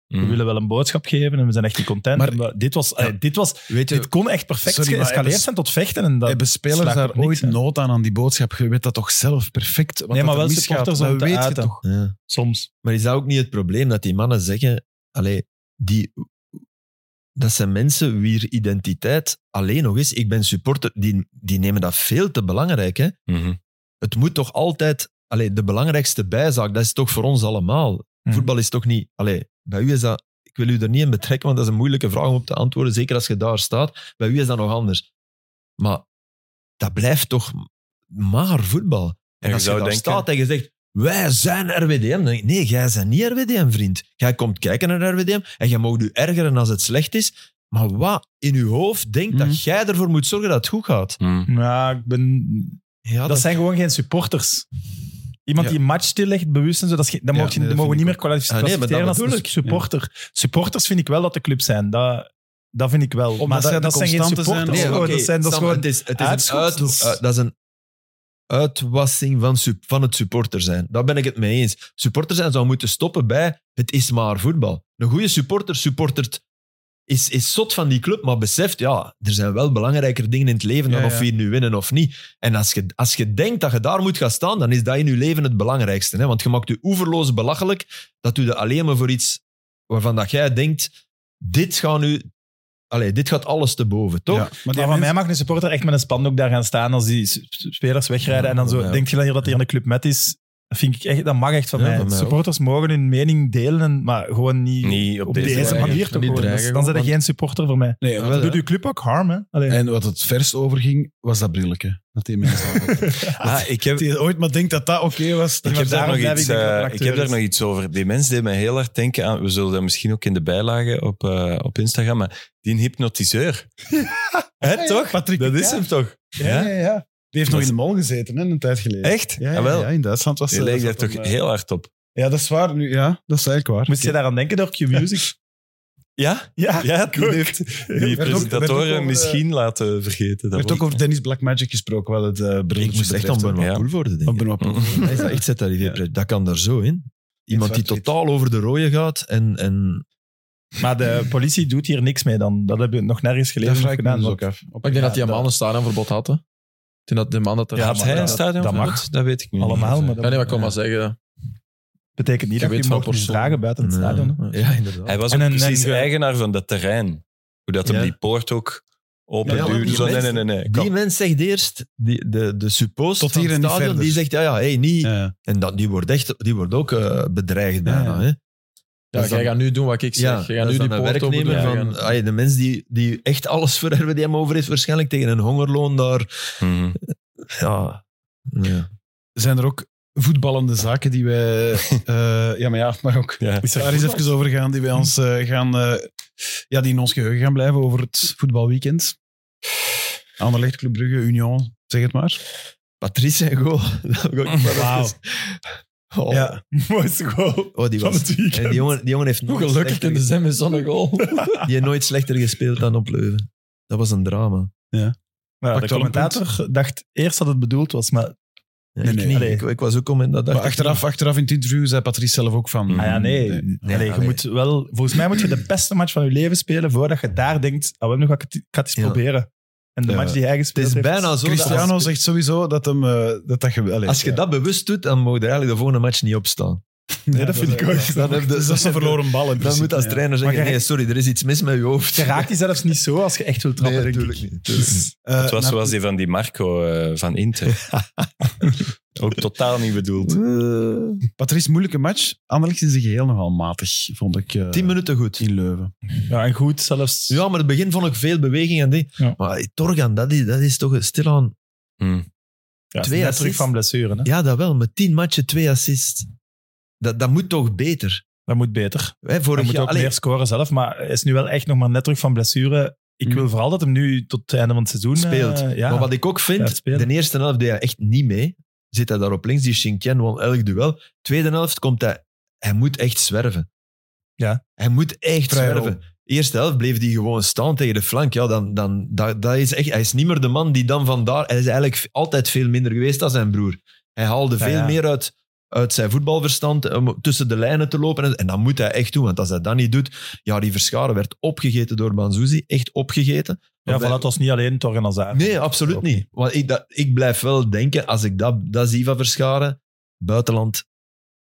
we
Mm.
willen wel een boodschap geven en we zijn echt niet content.
Maar-
En we- dit, was, eh, dit, was,
Weet je,
dit kon echt perfect
Sorry, maar
geëscaleerd
hebben
zijn tot vechten. En dat,
hebben spelers
slaat
daar
op niks,
ooit
hè.
nood aan, aan die boodschap? Je weet dat toch zelf perfect? Wat
nee,
dat
maar
er
wel
misgaat,
supporters
dat
om te
weet je
uiten.
toch?
ja.
Soms.
Maar is dat ook niet het probleem dat die mannen zeggen: allee, die, dat zijn mensen wier identiteit alleen nog is. Ik ben supporter, die, die nemen dat veel te belangrijk. Hè?
Mhm.
Het moet toch altijd, allee, de belangrijkste bijzaak, dat is toch voor ons allemaal.
Mhm.
Voetbal is toch niet, allee, bij u is dat, ik wil u er niet in betrekken, want dat is een moeilijke vraag om op te antwoorden, zeker als je daar staat. Bij u is dat nog anders. Maar dat blijft toch maar voetbal. En,
je
als je
zou
daar
denken-
staat en je zegt, wij zijn RWDM, dan denk ik, nee, jij bent niet RWDM, vriend. Jij komt kijken naar RWDM en jij mag u ergeren als het slecht is. Maar wat in uw hoofd denkt
Mhm.
dat jij ervoor moet zorgen dat het goed gaat?
Mm.
Ja, ik ben,
Ja,
dat, zijn gewoon geen supporters. Iemand
Ja.
die een match stillegt, bewust en zo, dat, is, ge- dat,
Ja,
mogen-
nee, dat
dat mogen we
vind ik
niet meer kwalific-
Ah, nee, maar dat
kwalificeren als een
bedoel
supporter. Supporters vind ik wel dat de club zijn. Dat, dat vind ik wel. maar
zij
dat,
de
dat zijn geen
constante zijn,
supporters.
nee,
hoor.
oké,
dat zijn, dat is
Sam,
gewoon
het is, het is een
uitschotsels.
uit- eh, dat is een uitwassing van, sup- van het supporter zijn. Daar ben ik het mee eens. Supporter zijn zou moeten stoppen bij het is maar voetbal. Een goede supporter supportert is, is zot van die club, maar beseft, ja, er zijn wel belangrijker dingen in het leven dan
Ja,
of
ja.
we hier nu winnen of niet. En als je, als je denkt dat je daar moet gaan staan, dan is dat in je leven het belangrijkste. Hè? Want je maakt je oeverloos belachelijk dat u er alleen maar voor iets waarvan dat jij denkt, dit gaat nu... Allee, dit gaat alles te boven, toch?
Ja, maar die
Maar van mij
mensen-
mag een supporter echt met een spandoek daar gaan staan als die s- spelers wegrijden.
Ja,
en dan
van
zo,
mij
denk je dan hier dat hier een club met is? Dat, vind ik echt, dat mag echt van
Ja,
mij.
van mij ook.
supporters mogen hun mening delen, en- maar gewoon niet
Niet op,
op
deze,
deze,
manier.
manier toch
Niet
gewoon.
dreigen
Dat- Dan zijn er
gewoon,
geen supporter voor mij.
Nee, wel,
Dat
hè.
doet uw club ook harm, hè? Allee.
En wat het verst overging, was dat brilletje. Dat die mensen hadden.
Ah, ik heb,
Dat je ooit maar denkt dat dat oké was.
Ik heb, daar nog
blijf ik
iets,
denken dat
eh,
het een
ik
acteur
heb daar
is.
nog iets over. Die mens deed mij heel hard denken aan... We zullen dat misschien ook in de bijlagen op, eh, op Instagram. Maar die hypnotiseur. Hè, toch?
Patrick
dat is
Picard.
hem toch?
Ja, ja, ja. Die heeft nog in de mol gezeten, hè, een tijd geleden.
Echt?
Ja, ja,
Jawel.
ja, in Duitsland was
Die
dat-
leek daar
dat
toch
dan, eh,
heel hard op.
Ja, dat is waar. Nu, ja, dat is eigenlijk waar.
Moest je daaraan denken door Q-Music?
Ja?
ja,
Ja, die heeft die
ook- werd ook over
presentatoren
de-
misschien laten
Er
vergeten. Dat
werd ook over Dennis Blackmagic gesproken, wel het eh brilletje
Ik moest echt aan
betreft, hè.
Benoit
Ja.
Poel worden, denk
Van
ik.
Benoit Poel.
Hij is dat echt zet daar die
Ja.
Dat kan daar zo in. Iemand die
zwart-wit.
totaal over de rode gaat en... en
Maar de politie doet hier niks mee dan. Dat hebben we nog nergens
Dat
gelezen of
vraag ik me
gedaan.
dus
want-
ook af. Op-
Maar ik denk
Ja,
dat die
dat-
man een stadionverbod had. hè. Ik denk dat de man dat er...
Ja,
had hij een
dat-
stadion?
dat mag.
Dat weet ik niet.
Allemaal, maar
Of, eh,
dat
Ja, nee, maar ik wil
ja.
maar zeggen.
betekent niet
Je
dat
weet
je
van
mag niet
persoon.
vragen buiten het stadion. hè.
eh, Ja, inderdaad.
Hij was
En
ook
een-
precies
een-
eigenaar van dat terrein. Hoe dat hem
Ja.
die poort ook open
Ja, ja,
duwde.
die
Zo, nee, nee,
mensen-
nee. nee.
Die
Kom.
mens zegt eerst, die, de, de suppost
Tot
van
hier
het
en niet
stadion,
verder.
die zegt, ja, ja, hey, niet...
Ja, ja.
En dat, die, wordt echt, die wordt ook eh, bedreigd bijna.
Ja, ja.
Hè?
Ja,
Dus
jij
dan-
gaat nu doen wat ik zeg. jij gaat
dat
nu
is
die
dan
poort
een
open doen.
werknemer
Jij
van...
gaat-
ah, de mens die, die echt alles voor RWDM over heeft, waarschijnlijk tegen een hongerloon daar...
Mhm.
Ja... ja.
zijn er ook voetballende zaken die wij... eh, ja, maar ja, maar ook
Ja.
daar is even over gaan, die wij ons eh, gaan... eh, ja, die in ons geheugen gaan blijven over het voetbalweekend. Anderlecht, Club Brugge, Union, zeg het maar.
Patrice en goal. Dat heb ik ook nog wel
Wauw.
eens- Oh,
Ja,
Mooiste goal
oh, die
van
was...
het weekend.
En die jongen, die jongen heeft
Hoe
nooit
gelukkig
slechter,
kunnen zijn met zo'n goal?
die heeft nooit slechter gespeeld dan op Leuven. Dat was een drama.
Maar ja, de
Pakt wel een
commentator dacht eerst dat het bedoeld was, maar
Ja,
Nee,
ik,
nee.
niet.
Allee.
Ik, ik was ook comment dat dacht
maar
ik niet.
achteraf, achteraf in het interview zei Patrice zelf ook van...
Ah ja, nee.
Mm, Nee.
Allee, je
allee.
moet wel, volgens mij moet je de beste match van je leven spelen voordat je daar denkt, ah, wel, nu ga ik het, ik ga het eens
Ja.
proberen. En de
Ja.
match die hij
Het
gespeeld
is
heeft...
bijna zo dat
Cristiano
als,
zegt sowieso dat hem... eh, dat dat ge- allee,
als je
ja.
dat bewust doet, dan mogen er eigenlijk de volgende match niet opstaan.
Nee, dat vind ik ook.
Dan heb je-
Dus dat is een verloren bal in
Dan
principe,
moet als
ja.
trainer zeggen,
Maar jij-
nee, sorry, er is iets mis met je hoofd.
Je raakt die zelfs niet zo als je echt wilt trappen,
Nee,
denk
tuurlijk
ik.
niet, tuurlijk niet.
Eh,
Het was
naar-
zoals die van die Marco eh, van Inter. Ook totaal niet bedoeld.
Eh, Patrice, moeilijke match. Anderlecht is de geheel nogal matig, vond ik. eh,
Tien minuten goed.
in Leuven.
Ja, en goed zelfs.
Ja, maar in het begin vond ik veel beweging en die.
Ja.
Maar Torgan, dat is, dat is toch stilaan...
Hm.
Ja,
twee
net
assists.
terug van blessure. Hè?
Ja, dat wel. Met tien matchen, twee assists. Dat, dat moet toch beter?
Dat moet beter.
Hè,
Hij
vorig
moet
jaar...
ook
allee,
meer scoren zelf, maar hij is nu wel echt nog maar net terug van blessure. Ik wil vooral dat hem nu tot het einde van het seizoen eh,
Mm. Speelt.
ja.
Maar wat ik ook
Blijft
vind,
spelen.
de eerste helft deed hij echt niet mee. Zit hij daar op links, die Shinkien won elk duel. Tweede helft komt hij... Hij moet echt zwerven.
Ja.
Hij moet echt
Vrij rol.
zwerven. Eerste helft bleef hij gewoon staan tegen de flank. Ja, dan, dan, dat, dat is echt, hij is niet meer de man die dan vandaar... Hij is eigenlijk altijd veel minder geweest dan zijn broer. Hij haalde
Ja,
veel
ja.
meer uit, uit zijn voetbalverstand om tussen de lijnen te lopen. En, en dat moet hij echt doen, want als hij dat niet doet... Ja, die Verscharen werd opgegeten door Banzuzi. Echt opgegeten.
Ja,
Want
voilà,
hij-
het was niet alleen het organisatie.
Nee, absoluut
Ook
niet. Want ik, dat, ik blijf wel denken, als ik dat, dat zie van Verscharen, buitenland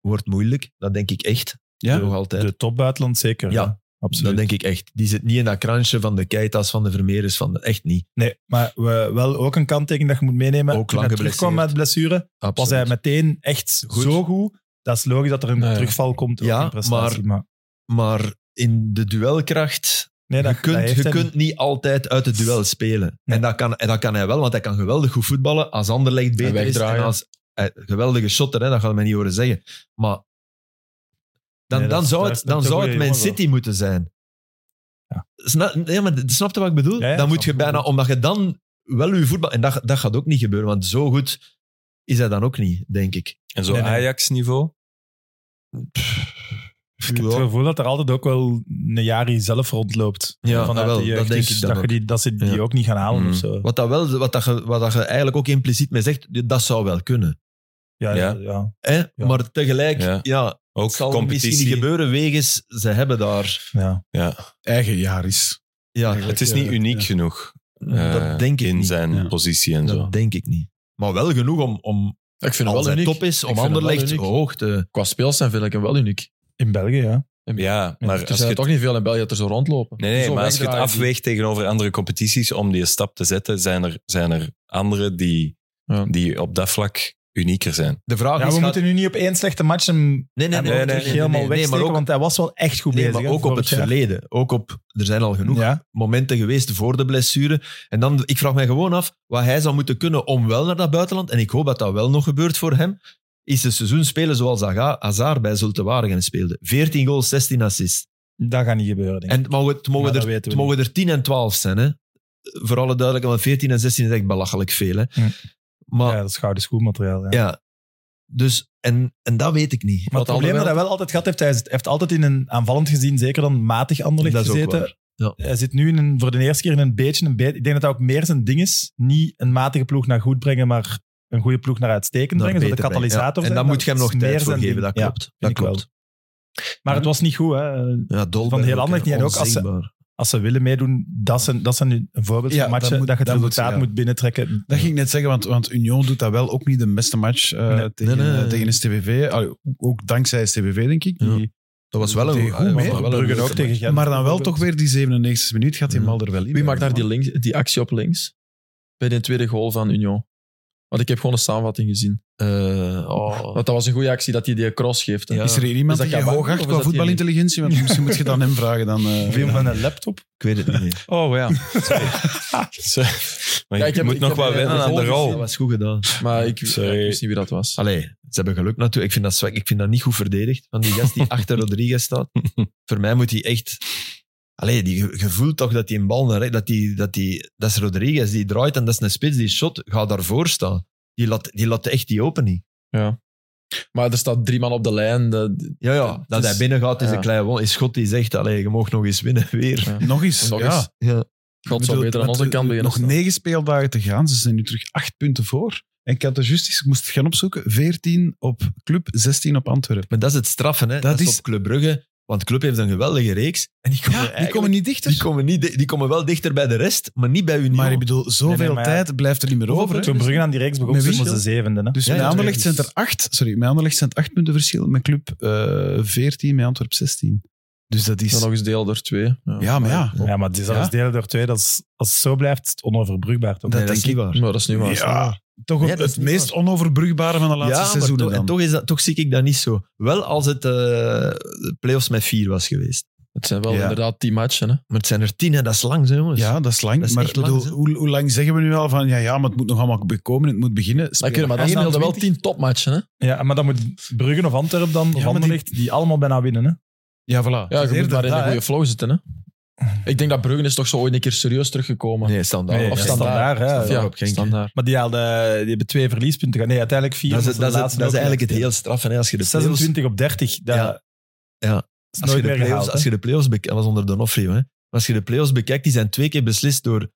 wordt moeilijk. Dat denk ik echt.
Ja?
Nog altijd.
De top buitenland zeker.
Ja,
hè? absoluut.
dat denk ik echt. Die zit niet in dat kransje van de Keitas, van de Vermeeres, van de, echt niet.
Nee, maar we, wel ook een kanttekening dat je moet meenemen.
Ook
Toen
lang
hij terugkwam met blessure, was
Absoluut.
hij meteen echt
Goed.
zo goed. Dat is logisch dat er een
Nee.
terugval komt ook
Ja,
in prestatie. Maar,
Maar in de duelkracht,
nee, dat,
je kunt,
heeft
je
hij
kunt niet altijd uit het duel spelen.
Nee.
En, dat kan, en dat kan hij wel, want hij kan geweldig goed voetballen als Anderlecht beter is. En
wegdraaien.
als, eh, geweldige shotter, hè, dat gaat men niet horen zeggen. Maar
Nee,
dan,
dat
dan
is-
zou
daar
het,
is net
dan
een
zou
goede
het Man
jongen voor.
City moeten zijn.
Ja.
Sna- nee, maar d- snap je wat ik bedoel?
Ja, ja,
dan moet
snap
je
ik
bijna,
goed.
omdat je dan wel je voetbal... En dat, dat gaat ook niet gebeuren, want zo goed is hij dan ook niet, denk ik.
En zo
Nee, nee.
Ajax-niveau.
Dus Ik heb het
Ja.
gevoel dat er altijd ook wel een Jari zelf rondloopt.
Ja, ah,
Vanuit
wel,
die jeugd.
dat denk
Dus
ik dan
dat, je
ook.
die, dat ze die
Ja. Mhm.
ook niet gaan halen
Mm.
of zo.
Wat, dat wel, wat, dat je, wat dat je eigenlijk ook impliciet mee zegt, dat zou wel kunnen.
Ja, ja.
Ja.
ja.
Hè? Maar tegelijk,
Ja.
ja
Ook
Het zal
competitie.
misschien niet gebeuren wegens ze hebben daar.
ja.
ja.
Eigen jaar is.
Ja,
Het is niet uniek genoeg eh,
dat denk ik
in
niet.
zijn
Ja.
positie en zo.
Dat denk ik niet. Maar wel genoeg om, om
Ik vind
als
het wel
hij
uniek.
top is,
Ik
om
vind het wel
Anderlecht
uniek.
hoog te...
Qua speelstijl vind ik hem wel uniek. Dus
In België, ja.
Ja,
Ja,
maar
Er
als je
zijn
het,
toch niet veel in België dat er zo rondlopen.
nee, nee,
Zo
maar als je het
wegdraaien die-
afweegt tegenover andere competities om die stap te zetten, zijn er, zijn er anderen die,
Ja.
die op dat vlak unieker zijn.
De vraag
ja
is...
we
gaat-
moeten nu niet op één slechte match hem
Nee, nee,
hem
nee.
ook
nee,
terug
nee, nee,
helemaal
nee, nee,
wegsteken,
maar ook,
want hij was wel echt goed
nee,
bezig.
maar
hè,
ook op
vorig
het
jaar.
verleden. Ook op, er zijn al genoeg
Ja.
momenten geweest voor de blessure. En dan, ik vraag mij gewoon af wat hij zou moeten kunnen om wel naar dat buitenland, en ik hoop dat dat wel nog gebeurt voor hem, is het seizoen spelen zoals Aga- Hazard bij Zulte Waregem speelde. 14 goals, 16 assists.
Dat gaat niet gebeuren, denk ik.
En het mogen, het mogen
Maar
er
dat weten we
Het mogen er 10 en 12 zijn, hè? Voor alle duidelijkheid, want 14 en 16 is echt belachelijk veel. Hè?
Hm.
Maar
Ja, dat is gouden schoenmateriaal. Ja.
ja. dus, en, en dat weet ik niet.
Maar het
Wat
probleem dat
Anderlecht-
hij wel altijd gehad heeft, hij is- heeft altijd in een aanvallend gezien, zeker dan matig Anderlecht
Dat is ook
gezeten.
waar, ja.
Hij zit nu in een, voor de eerste keer in een beetje een beet. Ik denk dat dat ook meer zijn ding is. Niet een matige ploeg naar goed brengen, maar een goede ploeg naar uitstekend
Daar
brengen. Zo de
beter bij.
katalysator
Ja, En
zijn.
dan moet je hem
is
nog
meer
tijd voor
zijn
geven,
ding.
dat
Ja.
klopt. dat
ik wel.
klopt.
Maar het was niet goed. Hè.
Ja,
Van heel Anderlecht niet, en ook als ze- Als ze willen meedoen, dat is een, dat is een voorbeeld
Ja,
van matchen
dat
dat,
moet-
je het
dat moet ze,
resultaat moet,
ja.
binnentrekken.
Dat ging ik net zeggen, want, want Union doet dat wel ook niet de beste match eh,
Nee.
tegen,
Nee, nee, nee.
tegen STVV. Allee, ook dankzij STVV, denk ik.
Ja.
Die-
Dat was wel
Tegen
een
goed mee.
was wel een
Brugge
leuke
ook tegen
match.
Gent.
maar dan wel toch weer die 97 e minuut gaat die
Ja.
mal er wel in.
Wie maakt daar die, links, die actie op links? Bij de tweede goal van Union. Want ik heb gewoon een samenvatting gezien.
Eh, oh.
Want dat was een goede actie dat hij die cross geeft. hè.
Ja.
Is er hier iemand
dat
die je
Kabak
hoog
of
acht
is
qua
dat die-
voetbalintelligentie? Want misschien moet je dan hem vragen. Dan, eh,
Film van een laptop?
Ik weet het niet meer.
Oh ja. Sorry. Maar
Ja,
je
ik heb-
moet
ik
nog
heb
wel
een-
wennen
een
aan de
volgende
Oh.
rol.
Dat was goed gedaan.
Maar ik, ik
Sorry.
wist niet wie dat was.
Allee, ze hebben geluk natuurlijk. Ik vind dat, zwak. ik vind dat niet goed verdedigd. Van die gast die achter Rodriguez staat. Voor mij moet hij echt... Allee, die, je voelt toch dat die een bal naar rechts- dat, die, dat, die, dat is Rodriguez die draait en dat is een spits. Die shot gaat daarvoor staan. Die laat, die laat echt die open niet.
Maar er staat drie man op de lijn. de-
Ja,
Het
ja.
is-
Dat hij binnen gaat is
ja.
een klein won. Is schot die zegt, allee, je mag nog eens winnen weer.
nog eens.
Nog
ja.
eens.
Ja.
God zou
Ik bedoel,
beter aan
met,
onze kant
eh,
beginnen.
Nog
staan.
negen speeldagen te gaan. Ze zijn nu terug acht punten voor. En ik had er juist eens, ik moest het gaan opzoeken, 14 op club, 16 op Antwerpen.
Maar dat is het straffen, hè. Dat, is
is-
op Club Brugge. Want Club heeft een geweldige reeks. En die komen,
die
eigenlijk-
komen niet dichter.
die komen, niet, di- die komen wel dichter bij de rest, maar niet bij Union.
Maar ik bedoel, zoveel
Nee, nee, maar ja.
tijd blijft er niet meer over. hè.
Toen Brugge aan die reeks begon,
Met wie?
stonden ze zevende. Hè?
Dus
Ja,
met
ja,
Anderlecht
dus-
zijn er acht. Sorry, met Anderlecht zijn het acht punten verschil. Met club eh 14, met Antwerp 16. Dus dat
Dan
is...
nog eens deel door twee.
Ja, maar ja.
ja, maar die zelfs
Ja?
delen door twee, dat is, als het zo blijft, is het onoverbrugbaar. Toch?
Nee,
dat
dat is
denk
niet waar.
Maar dat is nu waar.
Ja, toch
Nee,
op-
dat is
het
niet
meest onoverbrugbare van de laatste
maar
seizoenen
toch, en
dan.
toch, is dat, toch zie ik dat niet zo. Wel als het eh, de play-offs met vier was geweest.
Het zijn wel
Ja.
inderdaad die matchen. Hè.
Maar het zijn er tien en dat is lang, hè, jongens.
Ja, dat is lang.
Dat is
maar
echt
ik bedoel,
lang, hè?
hoe, hoe lang zeggen we nu al van ja, ja, maar het moet nog allemaal bekomen, het moet beginnen.
Maar,
Spelen
kunnen, maar dat zijn
21.
wel tien topmatchen. Hè.
Ja, maar dan moet Brugge of Antwerpen dan, of
maar die-
Anderlecht, die... allemaal bijna winnen. Hè?
Ja, voilà.
Ja,
Het
je
is
moet
eerder
maar in een
dat, hè.
goede flow zitten. Hè. Ik denk dat Bruggen is toch zo ooit een keer serieus teruggekomen.
Nee, standaard.
Nee,
of
ja,
standaard.
standaard, hè.
ja,
op Genk, hè.
standaard.
Maar die, haalde, die hebben twee verliespunten gehad. Nee, uiteindelijk vier.
Dat is,
omdat
het-
ze
dat
de
is,
laatste
het- dat is
ook
eigenlijk het
laatste
heel straffen. hè. Als je de play-offs,
26 op 30. Dat
Ja. Ja.
is
als je
nooit
de
meer
play-offs,
gehaald.
als
hè.
je de play-offs bekijkt, dat was onder Donofrio, hè. Maar als je de play-offs bekijkt, die zijn twee keer beslist door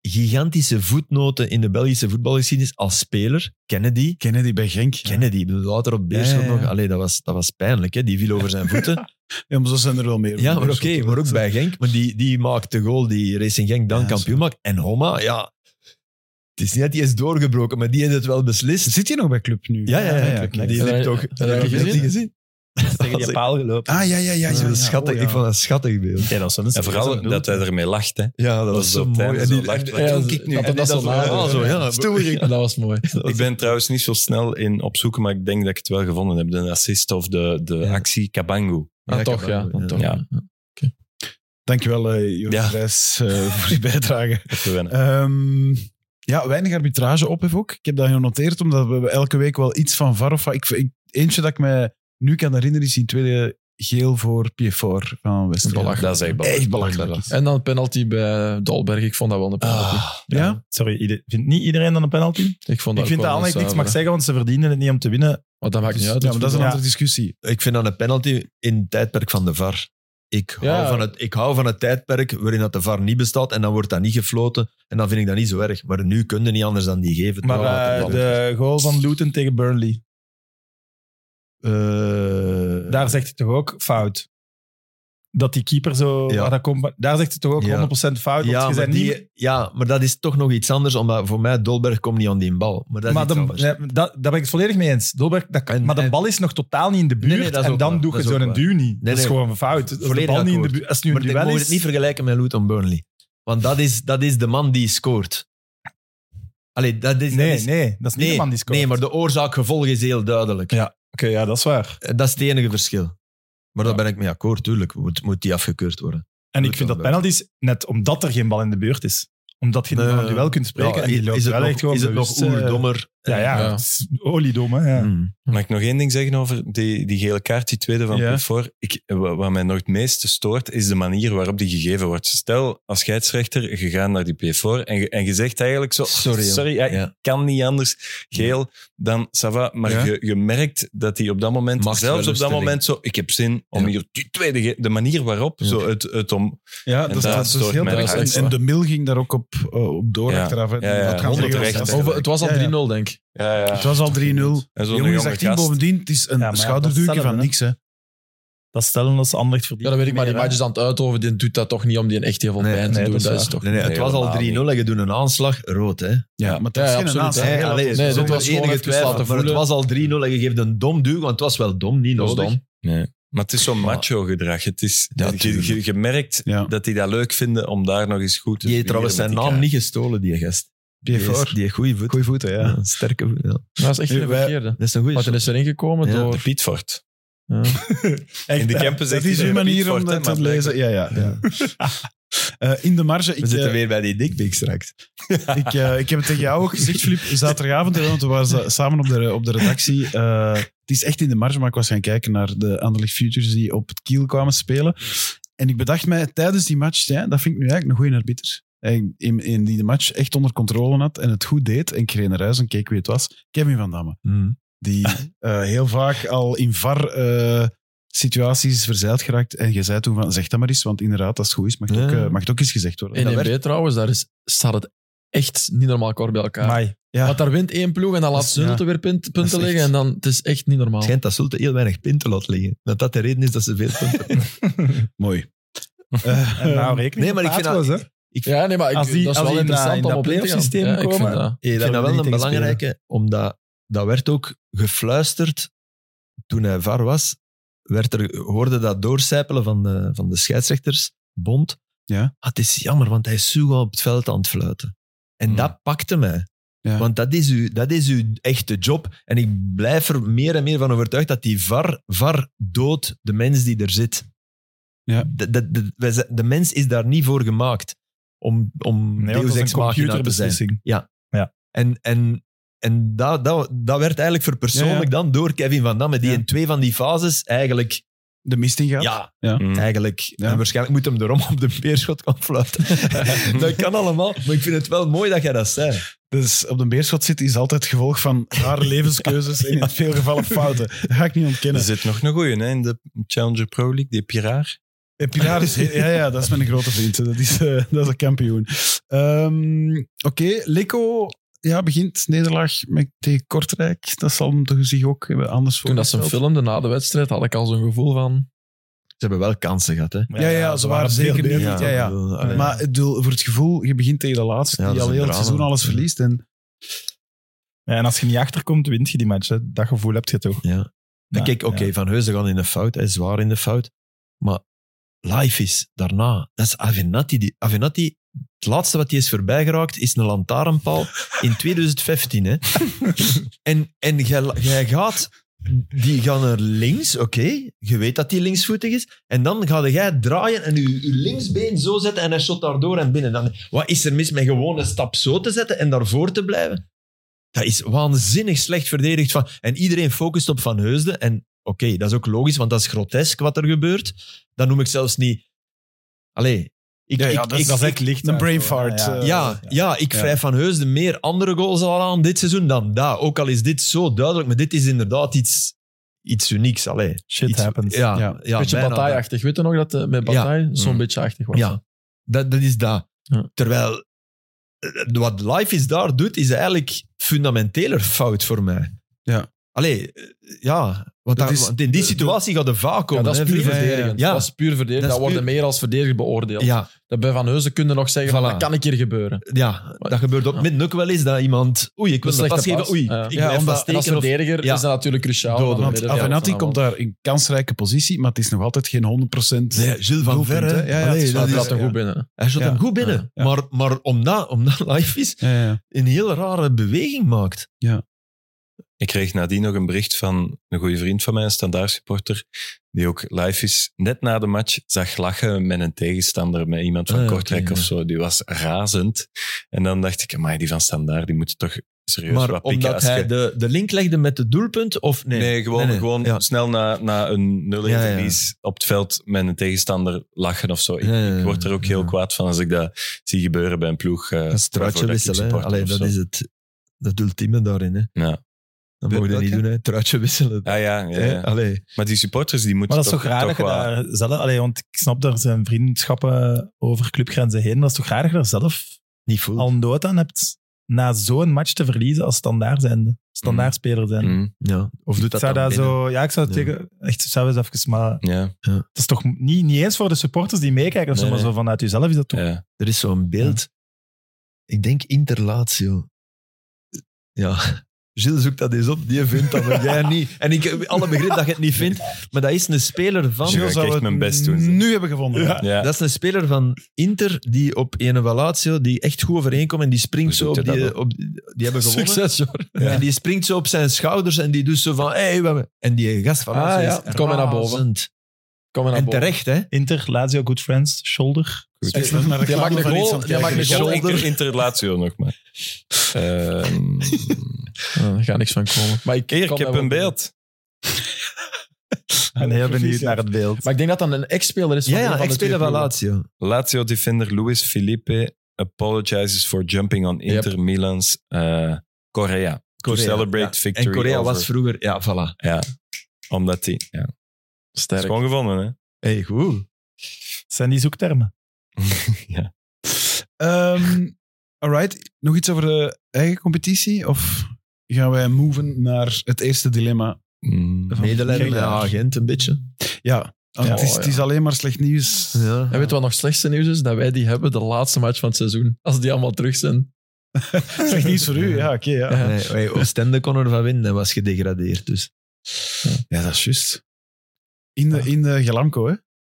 gigantische voetnoten in de Belgische voetbalgeschiedenis als speler. Kennedy.
Kennedy bij Genk.
Kennedy, ik bedoel, later op Beerschot
Ja, ja, ja.
nog. Allee, dat was, dat was pijnlijk, hè. Die viel over zijn voeten.
Ja, maar zo zijn er wel meer.
Ja, maar oké,
Beerschot,
maar
dat
ook
is-
bij Genk. Maar die, die maakt de goal die Racing Genk dan
Ja,
kampioen maakt. En Homa, ja. Het is niet dat die is doorgebroken, maar die heeft het wel beslist.
Zit hij nog bij club nu?
Ja, ja, ja. ja,
kijk.
die
Ja,
heeft
ja,
toch...
ja,
dat
ja,
heb
ja,
ik
ja.
niet gezien.
Tegen
Dat
die
is-
paal gelopen.
Ah, ja, ja, ja.
dat is
ja,
een
ja.
schattig,
Oh,
Ik
ja.
vond dat een schattig beeld.
Ja, dat is een
En vooral dat hij ermee lacht. Hè.
Ja, dat, was
is
zo
op het
mooi.
einde
En
zo
die,
lacht.
en-
Ja,
en-
dat-
kijk nu,
dat-
en
dat
die
is zo
dat
laag.
Ah, zo- ja,
dus,
Ja.
zo, ja.
Ja, dat was mooi.
Ik ben trouwens niet zo snel in opzoeken, maar ik denk dat ik het wel gevonden heb. De assist of de, de
Ja.
actie Kabango.
Dan
Ja,
toch,
kan
ja.
wel,
Dan
ja.
toch, ja.
Dankjewel, eh Joris
Ja.
Reis, eh, voor je bijdrage.
Dat we winnen.
Ehm, ja, weinig arbitrage op heb ook. Ik heb dat genoteerd, omdat we elke week wel iets van VAR of... Ik, ik- eentje dat ik me nu kan herinneren, is die tweede geel voor Piefort van Westerlo.
Belachelijk.
Dat is echt belachelijk.
Echt belachelijk.
En dan een penalty bij Dolberg. Ik vond dat wel een penalty.
Ja?
Sorry, ieder- vindt niet iedereen dan een penalty?
Ik, vond dat
Ik vind dat
ook wel
Anderlecht niks
zuiver,
mag
hè.
zeggen, want ze verdienen het niet om te winnen. Dus-
Maar dat maakt niet
Ja,
uit.
maar dat is een
Ja.
andere discussie.
Ik vind dat een penalty in het tijdperk van de VAR. Ik hou,
Ja.
van het, ik hou van het tijdperk waarin dat de VAR niet bestaat en dan wordt dat niet gefloten. En dan vind ik dat niet zo erg. Maar nu kun je niet anders dan die geven.
Maar
Terwijl dat
eh,
er wel-
de goal van Luton tegen Burnley,
Eh,
daar zegt hij toch ook fout? Dat die keeper zo...
Ja.
waar dat komt, daar zegt hij toch ook
Ja.
100% fout? want
ja,
je
maar
bent
die-
niet,
ja, maar dat is toch nog iets anders. Omdat voor mij, Dolberg komt niet aan die bal. Maar dat is
maar
iets
de,
anders.
nee, dat, daar ben ik het volledig mee eens. Dolberg, dat, kan-
En-
maar de
en-
bal is nog totaal niet in de
Nee,
buurt.
nee, dat is
en
ook
dan
waar.
doe
Dat
je
is ook
zo'n
waar.
duw niet.
Nee,
dat is
nee.
gewoon een fout. Als de
Volledig
bal niet in de
akkoord.
buurt... Als het nu
maar
een
ik
duel
mag
is...
het niet vergelijken met Luton Burnley. Want dat is, dat is de man die scoort. Allee, dat is... dat
nee,
is-
nee, dat is niet de man die scoort.
nee, maar de oorzaak-gevolg is heel duidelijk.
Ja. Oké, ja, dat is waar.
Eh, Dat is het enige verschil. Maar daar ben ik mee akkoord, tuurlijk. Moet, moet die afgekeurd worden.
En ik
Moet
vind dat
wel blijven.
penalties, net omdat er geen bal in de buurt is. Omdat je niet
Nee.
van een duel kunt spreken.
Ja,
en die loopt
is het
wel
nog,
echt gewoon
is het
bewust,
nog
eh,
oerdommer?
Ja, ja.
Ja.
het is Oliedom, hè. Ja.
Mm.
Mag ik nog één ding zeggen over die, die gele kaart, die tweede van
Ja.
ja. Ik, wa- wat mij nog het meeste stoort, is de manier waarop die gegeven wordt. Stel, als scheidsrechter, je gaat naar die P4 en je, en je zegt eigenlijk zo...
Sorry, joh.
sorry ja, ik
Ja.
kan niet anders. Geel, dan ça va. Maar
Ja.
je, je merkt dat hij op dat moment,
Machtswellust,
zelfs op dat
denk ik.
moment, zo... Ik heb zin om
Ja.
hier die tweede... ge- De manier waarop,
Ja.
zo het, het om...
Ja,
dat daar is stoort heel mij duidelijk.
En,
het
en de mil ging daar ook op, eh, op door
Ja.
achteraf. hè.
Ja, ja,
Dat gaan ze
honderd
regels
terecht, hè.
zetten.
Over, het was al
Ja, ja.
3-0, denk ik.
Ja, ja.
Het was al 3-0.
En zo'n
Jongen is
jonge
18
gast.
bovendien. Het is een
Ja, maar ja, dat
schouderduwtje
stellen
van
we, hè.
niks. Hè.
Dat stellen als Anderlecht verdient.
Ja, dat weet ik, maar die
meer, hè.
match is aan het uitoven. Die doet dat toch niet om die een echt heel veel
Nee,
pijn te
nee,
doen.
dat
Dat
is
is,
waar.
toch...
Nee, nee, het
Nee,
was al 3-0
helemaal
en je doet een aanslag, rood. Hè?
Ja, maar dat is
Ja,
geen
absoluut,
aanslag.
hè.
hè.
Ja,
allee,
nee,
zonder
dit was gewoon
enige
even
twijfel,
laten
maar het
voelen.
was al 3-0 en je geeft een dom duw, want het was wel dom, niet
Dat is
nodig.
dom.
Maar het is zo'n macho-gedrag. Het is,
Ja,
je,
tuurlijk.
je, je merkt
Ja.
dat die dat leuk vinden om daar nog eens goed te
dus
Die heeft trouwens
zwieren
zijn naam
met die
niet
kaart.
gestolen, die gast.
Die heeft voor.
Die heeft goede voet.
Goeie voeten, ja.
Ja, sterke voet. Ja.
dat is echt
Nu,
een
wij-
verkeerde.
Dat is een goede
Maar dan is er ingekomen
Ja,
De
door...
Pietfort.
Ja.
In de Kempen
Dat
zegt
is uw
iedereen
manier om
Pietfort,
dat
hè,
te
maar
lezen. Ja, ja. ja. Eh, in de marge, ik,
We zitten
eh,
weer bij die dikpik straks.
ik, eh, ik heb het tegen jou ook gezegd, Filip, zaterdagavond, hè, want we waren za- samen op de, op de redactie. Eh, het is echt in de marge, maar ik was gaan kijken naar de Anderlecht Futures die op het kiel kwamen spelen. En ik bedacht mij tijdens die match, ja, dat vind ik nu eigenlijk een goede arbiter. En in, in die de match echt onder controle had en het goed deed. En ik reed naar huis en keek wie het was. Kevin Van Damme. Die eh, heel vaak al in var eh, situaties verzeild geraakt. En je zei toen van, zeg dat maar eens, want inderdaad, als het goed is, mag het, ook,
Ja.
eh, mag het ook eens gezegd worden.
In
Dat
1B trouwens, daar is, staat het echt niet normaal kort bij elkaar.
Amai.
ja.
Want daar wint één ploeg en dan laat
is-
Zulte weer punt- punten
echt-
liggen. En dan, het is echt niet normaal.
Schijnt dat Zulte heel weinig pinten laat liggen. Dat dat de reden is dat ze veel punten
Mooi.
En nou, rekening
Nee, maar ik vind
gepaard
dat-
was, hè.
Ja, nee, maar ik,
Als die-
dat is
als
wel
die in dat-
interessant
in
om
dat
op in te gaan.
playoff-systeem
Ja, ik vind
komen.
dat.
Ik vind dat wel een belangrijke, omdat dat werd ook gefluisterd toen hij var was. Werd er, hoorde dat doorcijpelen van de, van de scheidsrechtersbond.
Ja.
Ah, het is jammer, want hij is zo goed op het veld aan het fluiten. En
Hmm.
dat pakte mij.
Ja.
Want dat is, uw, dat is uw echte job. En ik blijf er meer en meer van overtuigd dat die var, var doodt de mens die er zit.
Ja.
De, de, de, wij zijn- de mens is daar niet voor gemaakt om, om
Nee, want
deus
dat is
ex
een
machina te zijn.
computerbeslissing.
En, en, en dat, dat, dat werd eigenlijk verpersoonlijk dan door Kevin Van Damme, die
Ja.
in twee van die fases eigenlijk...
De mist ingaat.
Ja,
Mm.
eigenlijk. En waarschijnlijk moet hem erom op de peerschot gaan fluiten. dat kan allemaal, maar ik vind het wel mooi dat jij dat zei.
Dus op de beerschot zitten is altijd het gevolg van haar levenskeuzes en in veel gevallen fouten. Dat ga ik niet
Er
ontkennen.
zit nog een goeie hè, in de Challenger Pro League, die Piraar.
Eh, Pilar is, ja, ja, dat is mijn grote vriend. hè. Dat is, eh, dat is een kampioen. Ehm, Oké, Lico ja, begint nederlaag met, tegen Kortrijk. Dat zal hem toch zich ook hebben anders voor.
Toen dat ze hem filmden na de wedstrijd, had ik al zo'n gevoel van...
Ze hebben wel kansen gehad, hè.
Ja, ja, ze waren
veel
zeker
beter.
niet. Ja, ja.
Allee.
Maar ik bedoel, voor het gevoel, je begint tegen de laatste
Ja,
die al
dat is een
heel het
drama.
seizoen alles verliest. En,
Ja, En als je niet achterkomt, wint je die match. hè. Dat gevoel heb je toch.
Ja.
Ja,
En kijk, oké,
ja.
Van Heusen gaan in de fout, hij is zwaar in de fout. Maar life is daarna. Dat is Avenatti. Die, Avenatti, het laatste wat hij is voorbij geraakt, is een lantaarnpaal in 2015. Hè. en en jij- jij gaat... Die gaan naar links, oké. Je weet dat die linksvoetig is. En dan ga jij draaien en je, je linksbeen zo zetten en hij shot daardoor en binnen. Dan, wat is er mis met gewoon een stap zo te zetten en daarvoor te blijven? Dat is waanzinnig slecht verdedigd. Van, en iedereen focust op Van Heusden. En oké, dat is ook logisch, want dat is grotesk wat er gebeurt. Dat noem ik zelfs niet... Allee, ik,
Ja,
ik,
ja, dat is
ik-
echt
ik-
licht Een brain fart. eh.
ja, ja, ik
Ja.
wrijf van Heusden meer andere goals al aan dit seizoen dan dat. Ook al is dit zo duidelijk, maar dit is inderdaad iets, iets unieks. Allee.
Shit
Iets-
happens.
Ja,
Ja.
ja,
beetje
bijna dat.
bataille-achtig. Weet je nog dat eh, met
Ja.
bataille zo'n
Mm.
beetje achtig was?
Ja, dat, dat is dat.
Ja.
Terwijl eh, wat Life is daar doet, is eigenlijk fundamenteler fout voor mij.
Ja.
Allee, eh, ja. Want,
Dat
daar-
is-
want in die situatie gaat de vaak
Ja,
komen.
dat is
hè,
puur
vriend.
verdedigend.
Ja.
Dat is puur verdedigend.
Dat
Dat,
is
wordt
puur-
meer als verdediger beoordeeld.
Ja,
Dat bij Van Heuzen kunnen nog zeggen, van,
Voilà.
dat kan een keer gebeuren.
ja, dat gebeurt op midden ook wel eens dat iemand... Oei, ik wil
Een
een
slechte
pas geven.
pas.
Oei,
Ja.
ik
Ja,
blijf
omdat-
vast
En als
steken of-
verdediger
ja.
is dat natuurlijk cruciaal.
Doden,
van
want
de
Want
middenveld
Avenatti
en
komt
allemaal.
daar in kansrijke positie, maar het is nog altijd geen 100%.
Nee, Gilles van
Doelpunt, hè?
Verre.
Ja, ja,
Allee,
het is wel
dat
Hij
is-
laat hem
ja.
goed binnen.
Hij shot
Ja.
hem goed binnen.
Ja.
Maar, maar omdat, omdat Life is
Ja, ja, ja.
een heel rare beweging maakt.
Ik kreeg nadien nog een bericht van een goede vriend van mij, een standaard supporter, die ook live is. Net na de match zag lachen met een tegenstander, met iemand van
Ah, oké,
Kortrijk
ja.
of zo. Die was razend. En dan dacht ik, maar die van standaard, die moeten toch serieus
Maar
wat pikken.
omdat
Als
hij
je-
de, de link legde met het doelpunt, of nee?
nee, gewoon,
Nee, nee.
gewoon
Ja.
snel na, na een 0-1
Ja, ja.
verlies op het veld met een tegenstander lachen of zo. Ik,
Ja, ja,
ik word er ook heel
ja.
kwaad van als ik dat zie gebeuren bij een ploeg. eh,
Een
waarvoor
struitje
dat ik
wisselen. hè.
supporter
Allee,
of
dat
zo.
is het, het ultieme daarin. Hè.
Ja.
Dat mogen we
Welke?
niet doen, hè. truitje wisselen.
Ah ja, ja,
Hè?
ja.
Allee.
maar die supporters die moeten
Maar dat is
toch,
toch raar dat je
toch wel-
daar zelf... Allee, want ik snap, daar zijn vriendschappen over clubgrenzen heen. Dat is toch raar dat je daar zelf
Niet voel.
al nood aan hebt na zo'n match te verliezen als standaard zijnde. Standaard speler zijn.
Mm,
Ja. Of doet
Ik
dat
zou
dan
dat
binnen?
zo... Ja, ik zou het
Ja.
tegen... Echt, zou eens even... Maar
ja,
het is toch niet, niet eens voor de supporters die meekijken of zo,
Nee,
maar
nee.
zo vanuit jezelf is dat toch...
ja.
Er is zo'n beeld. Ik denk Interlatio. Ja. Gilles zoekt dat eens op, die vindt dat, maar jij niet. En ik heb alle begrip dat je het niet vindt, maar dat is een speler van...
Gilles- ik
zou
echt
het
mijn best doen, zeg.
Nu hebben gevonden.
Ja.
Ja.
Dat is een speler van Inter die op Enevalatio, die echt goed overeenkomt en die springt zo
Hoe doet
op
hij dat
die,
dan?
op... Die hebben gewonnen.
Succes, hoor.
En die springt zo op zijn schouders en die doet zo van... Hey, we hebben-" en die gast van
Ah,
Lazio
ja.
is
Kom maar naar boven.
razend.
Kom maar naar
En
boven.
terecht, hè.
Inter, Lazio, Good Friends, Shoulder.
Ik zag naar
Die
reclame
maakt een
van
goal,
iets aan het
die
kijken.
maakt een goal.
Inter, interrelatio nog maar. Ehm,
Ah, daar gaat niks van komen. Maar ik,
hier,
kom
ik heb
daar wel
een
binnen.
beeld.
Ik ben heel benieuwd naar het beeld.
Maar ik denk dat dat een ex-speler is van
Ja,
een
ja,
van
ik
de twee
speel van
ploegen.
Lazio.
Lazio defender Luis Felipe apologizes for jumping on Inter Milan's eh Korea. To
Korea,
celebrate
ja.
victory
En Korea
over-
was vroeger... Ja, voilà.
Omdat die... Ja. is
Sterk.
gewoon gevonden, hè?
hey, goed.
Het zijn die zoektermen.
Ehm, alright, nog iets over de eigen competitie? Of gaan wij moven naar het eerste dilemma?
Mm.
Van
Medelijden
vorig
met
jaar?
agent een beetje.
Ja, want
Ja.
het, is,
Oh, ja.
het is alleen maar slecht nieuws.
Ja.
En weet je wat nog slechtste nieuws is? Dat wij die hebben de laatste match van het seizoen. Als die allemaal terug zijn.
Slecht nieuws voor u, ja, oké. ja.
Ja.
Nee, hey, Oostende kon ervan winnen en was gedegradeerd. Dus.
ja, dat is juist. In de, in de Gelamco, hè?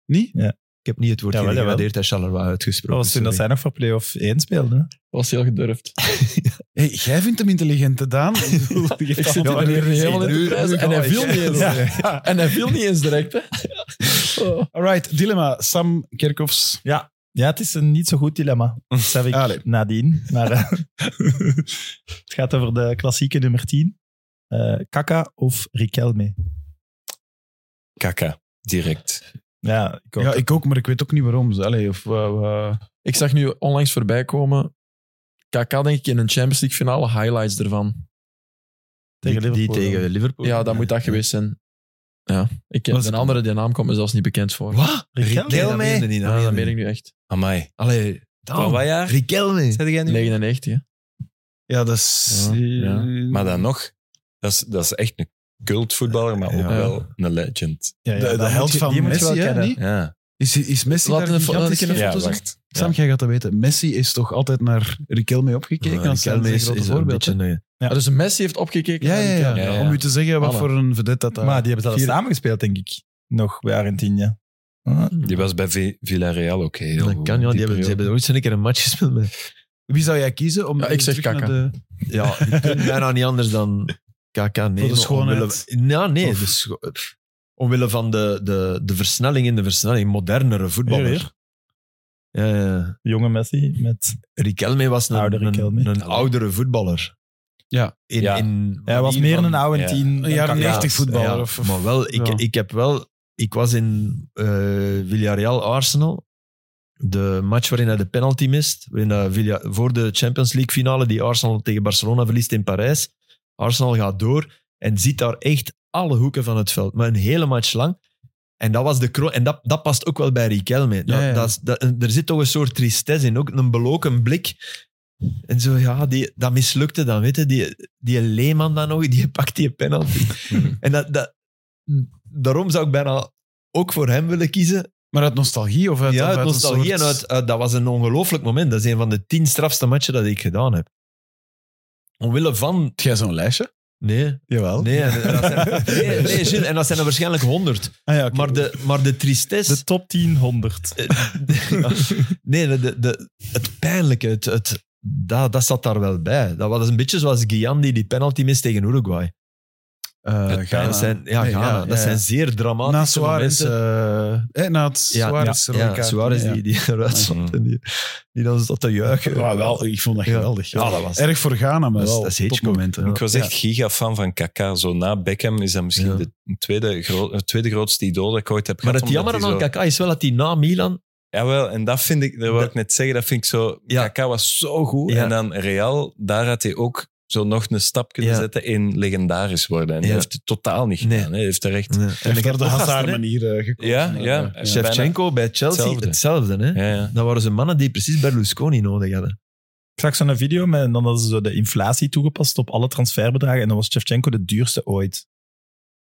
Niet?
Ik heb niet het woord
Jawel, jawel.
gedegradeerd en Charleroi
Dat
uitgesproken.
was toen dat zij nog voor play-off 1 speelden. hè?
Dat was heel gedurfd.
Hey, jij vindt hem intelligent, hè, Daan. Ik bedoel, je
Ik
hebt
zit
al-
hier hier helemaal in
nu-
de prijs.
nu
En hij
ga ik,
viel
hè.
niet eens.
Ja.
En hij viel niet eens direct, hè. Oh.
Alright, dilemma. Sam Kerkhoffs.
ja, het is een niet zo goed dilemma. Dat heb ik
Allee.
nadien. Maar, eh, het gaat over de klassieke nummer 10. Eh Kaka of Riquelme.
Kaka, direct.
Ja, ik ook.
Ja, ik ook, maar ik weet ook niet waarom. Allee, of, eh, eh,
Ik zag nu onlangs voorbij komen... KK denk ik in een Champions League finale highlights ervan.
Die,
tegen
die
Liverpool.
tegen Liverpool.
Ja, dat moet dat geweest zijn. Ja, ik,
Dat is-
de andere, die naam komt me zelfs niet bekend voor.
Wat?
Riquelme?
Riquelme?
Nee,
Nee,
dat
dat niet.
Ja, dat meen Ah, ik nu echt.
Amai.
Allee,
Van wat jaar?
Riquelme.
Zei jij nu?
99, hè.
ja, dat is...
Ja, ja.
Maar dan nog, dat is, dat is echt een cultvoetballer, maar ook
Ja.
wel een legend.
Ja, ja,
de,
dat
de
moet
held
je-
van
die moet je
Messi,
wel
hè?
kennen.
niet?
Ja,
Is, is Messi
Laat
daar
een fo- laat
gigantisch
ik een
in?
ja
foto zien?
wacht.
Sam, jij gaat dat weten. Messi is toch altijd naar Riquelme opgekeken?
Ja,
Dat is
Riquelme
een
is,
grote
is een
voorbeeld,
beetje...
hè?
een- eh,
Ah, dus Messi heeft opgekeken
Ja,
naar
ja,
die
ja,
kerel.
Ja, ja.
Om u te zeggen wat
Mannen.
voor een vedette dat daar...
Maar die hebben zelfs
Vier-
samen gespeeld, denk ik. Nog bij Argentinië. Huh?
Die was bij Vi- Villarreal ook heel
Dat
goed,
kan, ja. Die hebben,
periode.
die hebben ooit zo'n keer een match gespeeld. met-
Wie zou jij kiezen? Om
Ja, ik zeg
terug naar
Kaka.
de-
Ja, ik kan bijna niet anders dan KK nemen.
Voor de schoonheid.
Omwille, ja, nee.
Of-
de scho- omwille van de, de, de versnelling in de versnelling. Modernere voetballer.
Hier, hier.
Ja, ja, ja.
Jonge Messi met...
Riquelme was een,
Oude Riquelme.
een, een oudere voetballer.
Ja.
In,
Ja.
in
Hij was
manier
meer
van-
een oude
ja.
tien.
Een jaren
Ja.
90 voetballer.
Ja,
of, of-
maar wel, ik,
ja.
ik heb wel... Ik was in eh, Villarreal-Arsenal. De match waarin hij de penalty mist. Waarin dat Villa, voor de Champions League finale die Arsenal tegen Barcelona verliest in Parijs. Arsenal gaat door en ziet daar echt alle hoeken van het veld. Maar een hele match lang. En dat, was de kro- en dat, dat past ook wel bij Riquelme. Dat,
Ja, ja.
dat is- dat- er zit toch een soort tristesse in. Ook een beloken blik. En zo, ja, die, dat mislukte dan, weet je. Die, die Leeman dan nog, die pakt die penalty. en dat, dat, daarom zou ik bijna ook voor hem willen kiezen.
Maar uit nostalgie of uit...
ja,
of
uit
uit een
nostalgie
soort-
en uit, uit- dat was een ongelooflijk moment. Dat is een van de tien strafste matchen dat ik gedaan heb. Omwille van...
Heb jij zo'n lijstje?
Nee,
Jawel.
Nee, en dat zijn, nee, nee, Gilles, en dat zijn er waarschijnlijk honderd.
Ah, ja, oké.
Maar de, maar de
De
tristesse...
top 10 100.
Eh,
nee, de, de, de- het pijnlijke, het, het, dat, dat zat daar wel bij. Dat was een beetje zoals Guyan die die penalty mist tegen Uruguay.
Eh, Ghana.
Dat zijn, ja,
Nee,
Ghana.
Ghana,
Dat
ja, ja.
zijn zeer dramatische
Na Suarez...
momenten.
eh, eh, na het
Ja,
Suarez... rode
ja,
kaart.
Suarez
Ja.
die, die eruit stond en die, die dan zat te juichen.
Ja, wel, ik vond dat
Ja.
geweldig.
Ja, dat was...
Erg voor Ghana, maar
Dat is-
wel
dat is Hitchcock.
topmomenten.
Ik was echt giga-fan van Kaka. Zo na Beckham is dat misschien
Ja.
de tweede, gro- het tweede grootste idool dat ik ooit heb
Maar
gehad.
het
omdat
jammer
die
aan
zo-
Kaká is wel dat hij na Milan...
Jawel, en dat vind ik, dat wil ik net zeggen, dat vind ik zo...
Ja.
Kaka was zo goed.
Ja.
En dan Real, daar had hij ook zo nog een stap kunnen
Ja.
zetten in legendarisch worden. En
Ja.
dat heeft hij totaal niet
Nee.
gedaan. Hè. Hij heeft er echt...
En ik heb de
ook gasten,
Hazard
hè?
manier eh, gekozen.
Ja, ja.
Eh,
Shevchenko bij Chelsea,
Hetzelfde.
hetzelfde. hè?
Ja, ja.
Dat waren ze mannen die precies Berlusconi nodig hadden.
Ik zag zo'n video met, en dan hadden ze zo de inflatie toegepast op alle transferbedragen. En dan was Shevchenko de duurste ooit.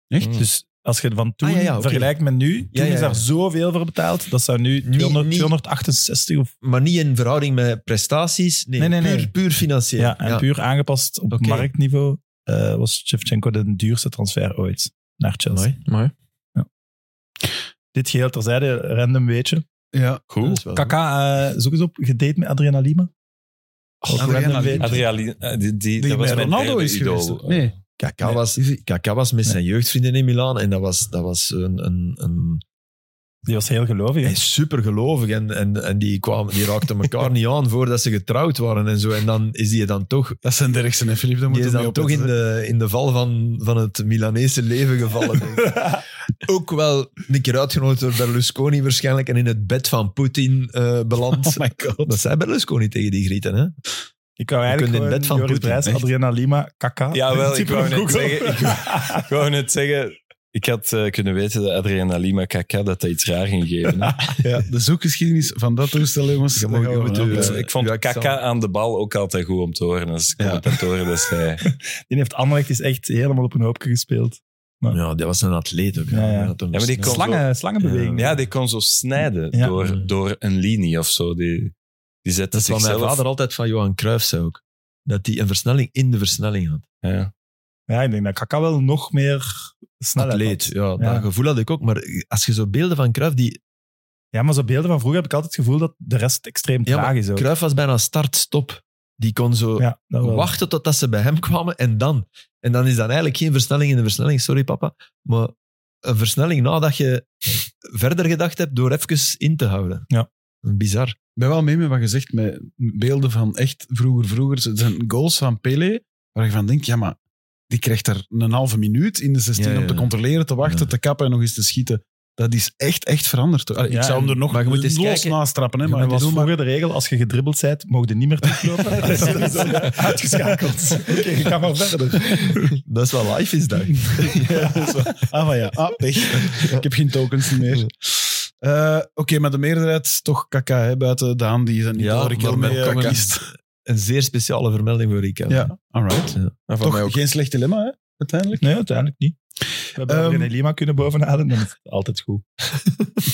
Echt?
Mm.
Dus als je het van toen
Ah, ja, ja, oké.
vergelijkt met nu, toen
Ja, ja,
is daar
ja.
zoveel voor betaald. Dat zou nu 200,
niet-
268 of...
Maar niet in verhouding met prestaties. Nee,
Nee, nee, nee.
Puur, puur financieel.
Ja, en
Ja.
puur aangepast op
Oké.
marktniveau. eh, was Shevchenko de duurste transfer ooit naar Chelsea.
Mooi.
Maar
Dit geheel terzijde, random weetje.
Ja.
Cool. Dat is wel
Kaka, eh, zoek eens op, gedate met Adriana Lima. Ook
Adriana
random
Lima.
weetje.
Adriaan, eh, die, die, dat was
met
mijn
Ronaldo
derde
is geweest.
idool.
hè? Nee.
Kaka,
Nee.
was, Kaka was met zijn jeugdvrienden in Milaan en dat was, dat was een, een, een,
Die was heel gelovig. hè?
hij is supergelovig en, en, en die, kwamen, die raakten elkaar niet aan voordat ze getrouwd waren en zo. En dan is hij dan toch,
Dat zijn Derksen en Filip. Daar
die
moeten
is
we mee
dan toch in
opletten.
de, in de val van, van het Milanese leven gevallen. denk ik. Ook wel een keer uitgenodigd door Berlusconi waarschijnlijk en in het bed van Poetin eh, beland.
Oh my god.
dat zei Berlusconi tegen die Grieten, hè?
Ik wou
kunt in
eigenlijk
bed van
Joris
Poetin,
Brijs,
echt.
Adriana Lima, Kaka.
Ja, wel, ik
Typen
wou
op
net
Google.
zeggen. Ik wou- ik wou net zeggen. Ik had eh, kunnen weten dat Adriana Lima Kaka dat hij iets raar ging geven. hè.
Ja, de zoekgeschiedenis van dat toestel, jongens.
Je
daar
mag-
gaan
je
we
moet
aan
u-
Dus
blijven.
eh,
ik vond
ja, ik
Kaka
zou-
aan de bal ook altijd goed om te horen. Als
Ja.
commentatoren, dat is hij.
Die heeft Anderlecht is echt helemaal op een hoopje gespeeld.
Ja, dat was een atleet ook. hè.
Ja, ja.
Hij had dus- een
Ja, maar die kon-
Slangen, slangenbeweging.
Ja, die kon zo snijden
Ja.
door, door een linie of zo. Die, die zette
Dat is wat mijn
zichzelf...
vader altijd van Johan Cruijff zei ook. Dat hij een versnelling in de versnelling had.
Ja.
Ja, ik denk dat Kaka wel nog meer snelheid had.
Atleet, ja, dat gevoel had ik ook. Maar als je zo beelden van Cruijff... Die,
Ja, maar zo'n beelden van vroeger heb ik altijd het gevoel dat de rest extreem
Ja, maar
traag is. Ook.
Cruijff was bijna start-stop. Die kon zo
Ja, dat wel.
wachten totdat ze bij hem kwamen en dan. En dan is dan eigenlijk geen versnelling in de versnelling, sorry papa. Maar een versnelling nadat je verder gedacht hebt door even in te houden.
Ja.
Bizar.
Ik ben wel mee met wat je zegt, met beelden van echt vroeger, vroeger. Het zijn goals van Pelé, waar je van denkt, ja, maar die krijgt daar een halve minuut in de 16
Ja, ja,
om te
ja.
controleren, te wachten,
Ja.
te kappen en nog eens te schieten. Dat is echt, echt veranderd. Allee,
Ja,
ik zou hem er nog
maar je moet eens
los
kijken.
naast trappen, hè,
maar
maar hij
het was
was
vroeger
maar...
de regel, als je gedribbeld bent, mocht je niet meer teruglopen. Dat is sowieso Uitgeschakeld. Oké, ik ga maar verder.
Dat is wat life is, daar.
Ah, maar ja. Ah, pech. Ik heb geen tokens meer. Eh, Oké, maar de meerderheid toch kaka, hè, buiten Daan, die zijn niet
Ja,
door
maar
ik
met
mee eh,
Kaka.
kiest.
Een zeer speciale vermelding voor Rika.
Ja, alright.
en van
Toch
mij ook.
geen slecht dilemma, hè, uiteindelijk.
Nee, uiteindelijk niet. We hebben
Ehm,
René Lima kunnen bovenhalen, dan is het altijd goed.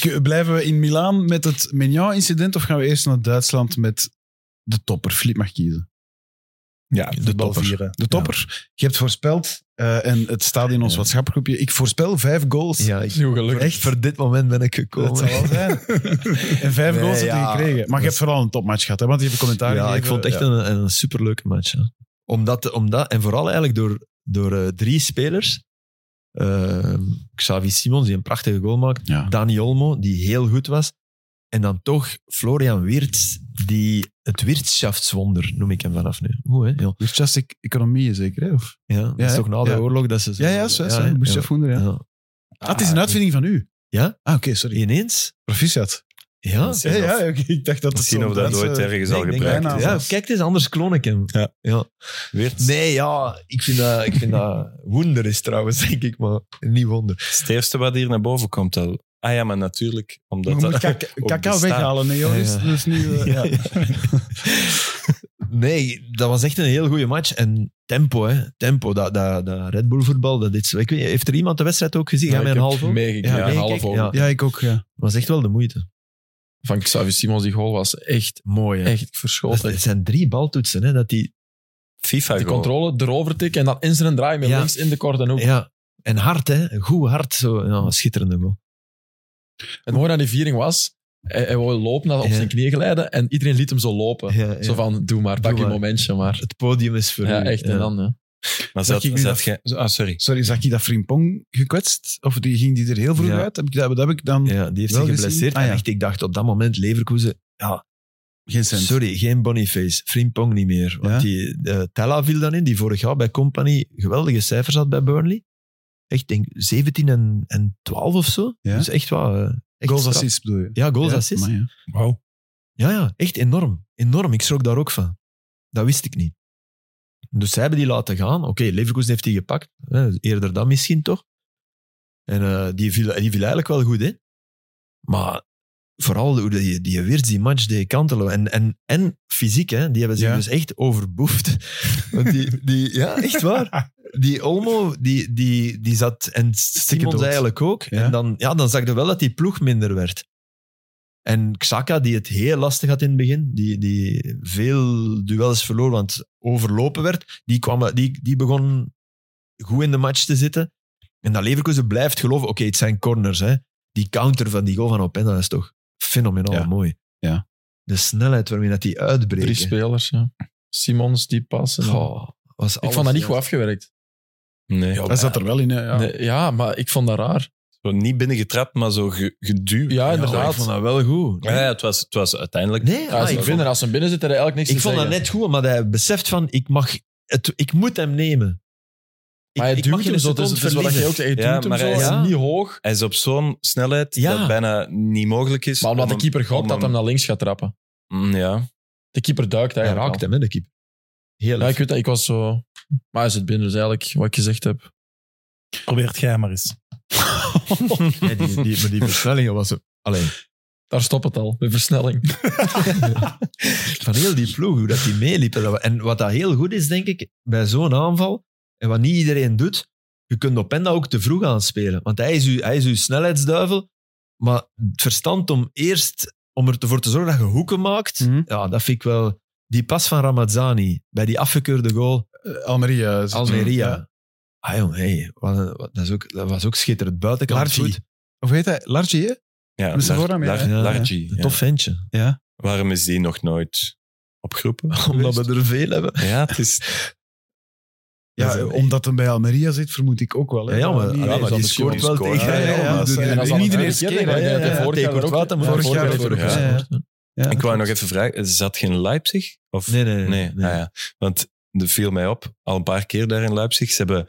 K- eh, Blijven we in Milaan met het Mignon-incident of gaan we eerst naar Duitsland met de topper? Filip mag kiezen.
Ja,
De topper.
vieren.
De topper. Je hebt voorspeld, eh, en het staat in ons
Ja.
WhatsApp-groepje, ik voorspel vijf goals.
Ja, ik,
Heel gelukkig.
echt voor dit moment ben ik gekomen.
Dat zal wel zijn. En vijf
Nee,
goals heb je
ja.
gekregen. Maar je hebt vooral een topmatch gehad, hè? want je hebt commentaar
ja,
gegeven.
ik vond het echt een, een superleuke match. Hè. Omdat, omdat, en vooral eigenlijk door, door eh, drie spelers. Eh, Xavi Simons, die een prachtige goal maakt.
Ja.
Dani Olmo, die heel goed was. En dan toch Florian Wirtz, die het Wirtschaftswonder, noem ik hem vanaf nu. Hoe, hè? Ja,
Dus just ec- economie, zeker? Hè? Of?
ja, dat
Ja,
is
hè?
toch na de
Ja.
oorlog dat ze... zo-
Ja, ja, zo, zo.
hè?
Moest je
Ja.
afvoeren, ja.
Ja.
Ah, het is een uitvinding van u.
Ja?
Ah, oké, sorry.
Ineens?
Proficiat.
Ja.
Misschien
Ja, ja,
of-
oké, ik dacht dat het
Misschien
zo'n
of dat
Duitse-
nooit ergens al
Nee, ik denk
gebruikt
bijna.
is.
Ja, kijk, het is anders kloon ik hem.
Ja.
ja.
Weer het
Nee, ja, ik vind dat, ik vind dat wonder is trouwens, denk ik, maar niet wonder.
het eerste wat hier naar boven komt. al. Ah ja, maar natuurlijk.
Je
Omdat
moet
dat-
kaka,
op
kaka
de staart.
weghalen, nee, Joris.
Ja, ja.
Dat is niet... eh, ja.
Nee, dat was echt een heel goede match. En tempo, hè. Tempo, dat, dat, dat Red Bull voetbal, dat is... Ik weet, niet, heeft er iemand de wedstrijd ook gezien?
Ja,
Jij met
ik
een
heb
half oog?
meegekeken,
Ja,
een
meekeken,
half oog.
ja.
Ja, ik ook. Ja.
was echt wel de moeite.
Van Xavi Simons, die goal was echt,
Mooi, hè.
echt
Dat,
verschoten.
het zijn drie baltoetsen, hè. Dat die,
FIFA
Die
goal.
controle, erover tikken en dan in zijn draai met
Ja.
links in de korte hoek.
ja. En hard, hè. Een Goed hard, zo. Ja, een schitterende goal.
Het mooie aan die viering was, hij, hij wou lopen, hij had op
Ja.
zijn knieën glijden en iedereen liet hem zo lopen.
Ja, ja.
Zo van, doe maar, pak je
maar.
momentje maar.
Het podium is voor
Ja,
u.
echt. En dan, ja.
Zag
Maar zat,
ik nu
zat
dat-
ge- Ah, sorry.
Sorry, zag je dat Frimpong gekwetst? Of die, ging die er heel vroeg
Ja.
uit? Heb ik, dat, dat heb ik dan
Ja, die heeft
Wel
zich
gezien?
geblesseerd.
Ah,
en
ja.
echt, ik dacht op dat moment, Leverkusen,
geen cent.
Sorry, geen Boniface. Frimpong niet meer. Want
Ja?
die eh, Tella viel dan in, die vorig jaar bij Company geweldige cijfers had bij Burnley. Echt, denk 17 en, en 12 of zo.
Ja?
Dus echt wat. eh, echt
Goals
straf.
assist bedoel je?
Ja, goals
Ja,
assist.
maar ja.
Wauw.
Ja, ja, echt enorm. Enorm. Ik schrok daar ook van. Dat wist ik niet. Dus zij hebben die laten gaan. Oké, Leverkusen heeft die gepakt. hè, Eerder dan misschien toch. En eh, die, viel, die viel eigenlijk wel goed in. Maar vooral hoe die, die Wirtz die match deed kantelen. En, en, en fysiek, hè, die hebben zich
Ja.
dus echt overboefd. Want die, die, ja, echt waar. Die Olmo, die, die, die zat... En Simons
dood.
eigenlijk ook.
Ja.
En dan, ja, dan zag je wel dat die ploeg minder werd. En Xhaka, die het heel lastig had in het begin, die, die veel duels verloor, want overlopen werd, die, kwam, die, die begon goed in de match te zitten. En dat Leverkusen blijft geloven. Oké, het zijn corners. Hè. Die counter van die goal van Openda is toch fenomenaal
Ja.
mooi.
Ja.
De snelheid waarmee dat die
Drie
uitbreekt.
spelers, ja. Simons, die passen.
was
ik vond dat niet goed afgewerkt.
Nee.
Hij zat er wel in, eh, hè, ja.
Nee, ja, maar ik vond dat raar.
Zo niet binnengetrapt, maar zo ge- geduwd.
Ja,
Ik
inderdaad.
vond dat wel goed.
Ja, ja, het, was, het was uiteindelijk...
Nee,
Ja,
ah,
als
ik,
een
vond,
binnen, als een binnen zit, er eigenlijk niks
ik
te
vond dat
zeggen.
net goed, maar hij beseft van, ik, mag het, ik moet hem nemen.
Maar hij
ik, ik mag
duwt
geen
hem zo, dus
seconde
dat is wat
verliezen.
je ook zegt. Hij
Ja,
duwt hem
maar
zo,
hij
hij
is-
is niet hoog.
Hij is op zo'n snelheid
Ja.
dat bijna niet mogelijk is.
Maar omdat
om
de keeper
om
gokt dat hij naar links gaat trappen.
Mm, Ja.
De keeper duikt
Hij
eigenlijk
raakt
al.
hem, hè, de keeper. Heel
Ja,
erg.
ik weet dat. Ik was zo... Maar hij zit binnen, dus eigenlijk wat ik gezegd heb.
Probeert jij maar eens.
Ja, die, die, maar die versnellingen was... Alleen,
Daar stopt het al, de versnelling.
van heel die ploeg, hoe dat die meeliepen. Dat we- En wat dat heel goed is, denk ik, bij zo'n aanval, en wat niet iedereen doet, je kunt Openda ook te vroeg aanspelen. Want hij is, uw, hij is uw snelheidsduivel, maar het verstand om eerst om ervoor te zorgen dat je hoeken maakt,
Mhm.
ja, dat vind ik wel... Die pas van Ramazzani, bij die afgekeurde goal,
Eh, Almeria. is-
Almeria.
Ja.
Ah jong, hey, wat een- wat- dat, is ook, dat was ook schitterend. Buitenkant
Largi.
goed.
Of heet hij? Largi, hè?
Ja,
Met zijn
Lar-
voornaam, ja,
Lar-
hè?
Largi,
Een
ja.
tof ventje.
Ja.
Waarom is die nog nooit opgeroepen?
Omdat we er veel hebben.
Ja, het is...
Ja,
Dat is een-
omdat hij bij Almeria zit, vermoed ik ook wel. Hè?
Ja, ja, maar,
Dat
ja,
niet-
maar
zal
die
misschien
scoort wel
scoren.
tegen
Ja, ja, ja.
Real Madrid.
Dat is-
En dat is
niet
al
de
een
eerste
keer,
keer,
hè.
hè.
Ja, ja, ja.
Ja,
Vorig jaar
tegen
ook.
Courtois, maar
Ja,
vorig jaar
heeft
vorig
hij ook
jaar.
gescoord, hè.
ja.
Ik wou nog even vragen, zat geen Leipzig? Of...
Nee, nee, nee.
Nee, ah ja. want er viel mij op, al een paar keer daar in Leipzig. Ze hebben,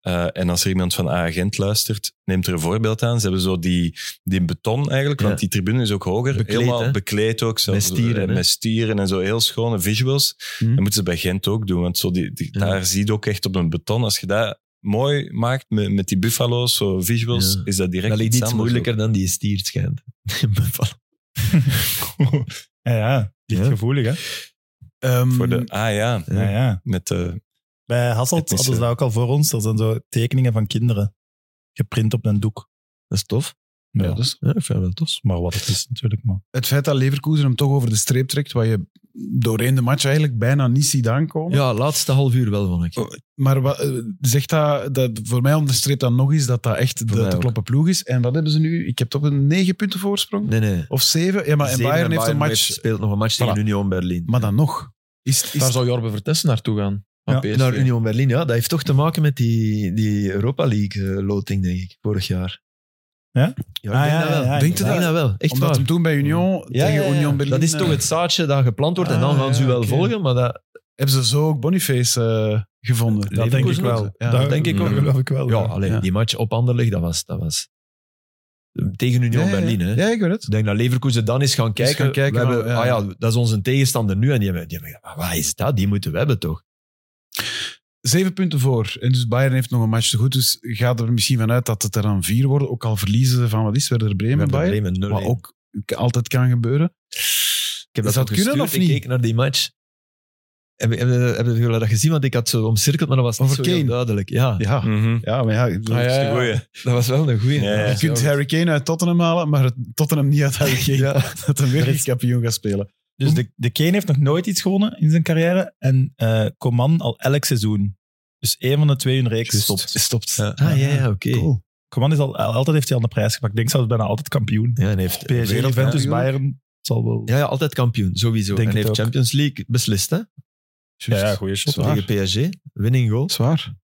eh, en als er iemand van A-agent luistert, neemt er een voorbeeld aan. Ze hebben zo die, die beton eigenlijk,
Ja.
want die tribune is ook hoger.
Bekleed,
helemaal
hè?
bekleed ook. Zo, eh,
Met stieren, hè?
Met stieren en zo, heel schone visuals.
Hm.
Dat moeten ze bij Gent ook doen, want zo die, die-
Ja.
daar zie je ook echt op een beton. Als je dat mooi maakt met, met die buffalo's, zo visuals,
Ja.
Dus is dat direct
Dat ligt iets
anders
moeilijker dan die stiert schijnt.
Ja, ja. Ligt
Ja.
gevoelig, hè?
Ehm,
ook. Voor de, ah ja,
Ja.
Ja, ja.
met de...
Bij Hasselt
Etnische.
hadden ze dat ook al voor ons. Er zijn zo tekeningen van kinderen geprint op een doek.
Dat is tof.
Ja,
dat is, ja, ik vind dat wel tof.
Maar wat het is natuurlijk, maar...
Het feit dat Leverkusen hem toch over de streep trekt, wat je doorheen de match eigenlijk bijna niet ziet aankomen.
Ja, laatste half uur wel, vond ik.
Maar wat, eh, zegt dat, dat, voor mij onderstreept dat nog eens dat dat echt
mij
de te
ook.
kloppen ploeg is. En wat hebben ze nu? Ik heb toch een negen punten voorsprong?
Nee, nee.
Of zeven? Ja, maar en
Zeven
Bayern heeft een match.
speelt nog een match tegen
Voilà.
Union Berlin.
Maar dan nog. Is, is,
Daar zou Jorbe Vertessen naartoe gaan. Van
Ja,
PSV.
Naar Union Berlin, ja. Dat heeft toch te maken met die, die Europa League-loting, denk ik, vorig jaar.
Ja?
Ja, ik
Ah,
denk
ja,
dat wel.
ja, ja,
Denk je dat?
inderdaad.
dat wel. Echt
omdat
waar.
hem toen bij Union
Ja,
tegen
ja, ja.
Union Berlin...
Dat is
eh,
toch het zaadje dat geplant wordt en dan
Ah,
gaan ze u
ja,
wel
oké.
volgen, maar dat...
Hebben ze zo ook Boniface eh, gevonden?
Dat denk ik wel.
Ja.
dat
denk ik
dat
ook.
geloof ik wel.
Ja, alleen
Ja.
die match op Anderlecht, dat was, dat was tegen Union
Ja, ja, ja.
Berlin. Hè.
Ja, ik weet het.
Ik denk dat Leverkusen dan eens gaan kijken.
gaan kijken,
we hebben,
ja.
Ah ja, dat is onze tegenstander nu. En die hebben, die hebben gedacht, maar wat is dat? Die moeten we hebben, toch?
Zeven punten voor. En dus Bayern heeft nog een match te goed. Dus gaat er misschien vanuit dat het er dan vier worden. Ook al verliezen ze van, wat is Werder
We
Bremen,
hebben
Bayern?
Bremen 0-1.
Wat ook altijd kan gebeuren.
Ik heb
Is
dat,
dat
ook
kunnen
gestuurd.
of
Ik
niet?
keek naar die match. Hebben heb, heb, hebben jullie dat gezien? Want ik had zo omcirkeld, maar dat was niet
Over
zo heel
Kane?
duidelijk. Ja,
Ja,
Mhm.
ja maar ja, ik bedoel,
Ah, ja, ja.
Goeie.
dat was wel een goeie.
Ja, ja.
je kunt Harry Kane uit Tottenham halen, maar het- Tottenham niet uit Harry Kane. Dat hem weer
Er is-
eens kampioen gaat spelen.
Dus de, de Kane heeft nog nooit iets gewonnen in zijn carrière. En eh Coman al elk seizoen. Dus één van de twee in reeks
Juist.
stopt.
Stopt.
Ah, ja, ja, oké.
Cool.
Coman is al, al- altijd heeft hij al de prijs gepakt. Ik denk zelfs bijna altijd kampioen.
Ja, en heeft
PSG, Juventus, Bayern. het zal wel...
Ja, ja, altijd kampioen, sowieso.
Denk
en
het
heeft
ook.
Champions League beslist, hè?
ja, ja, goeie shot.
Zwaar.
Tegen PSG, winning goal.
Zwaar.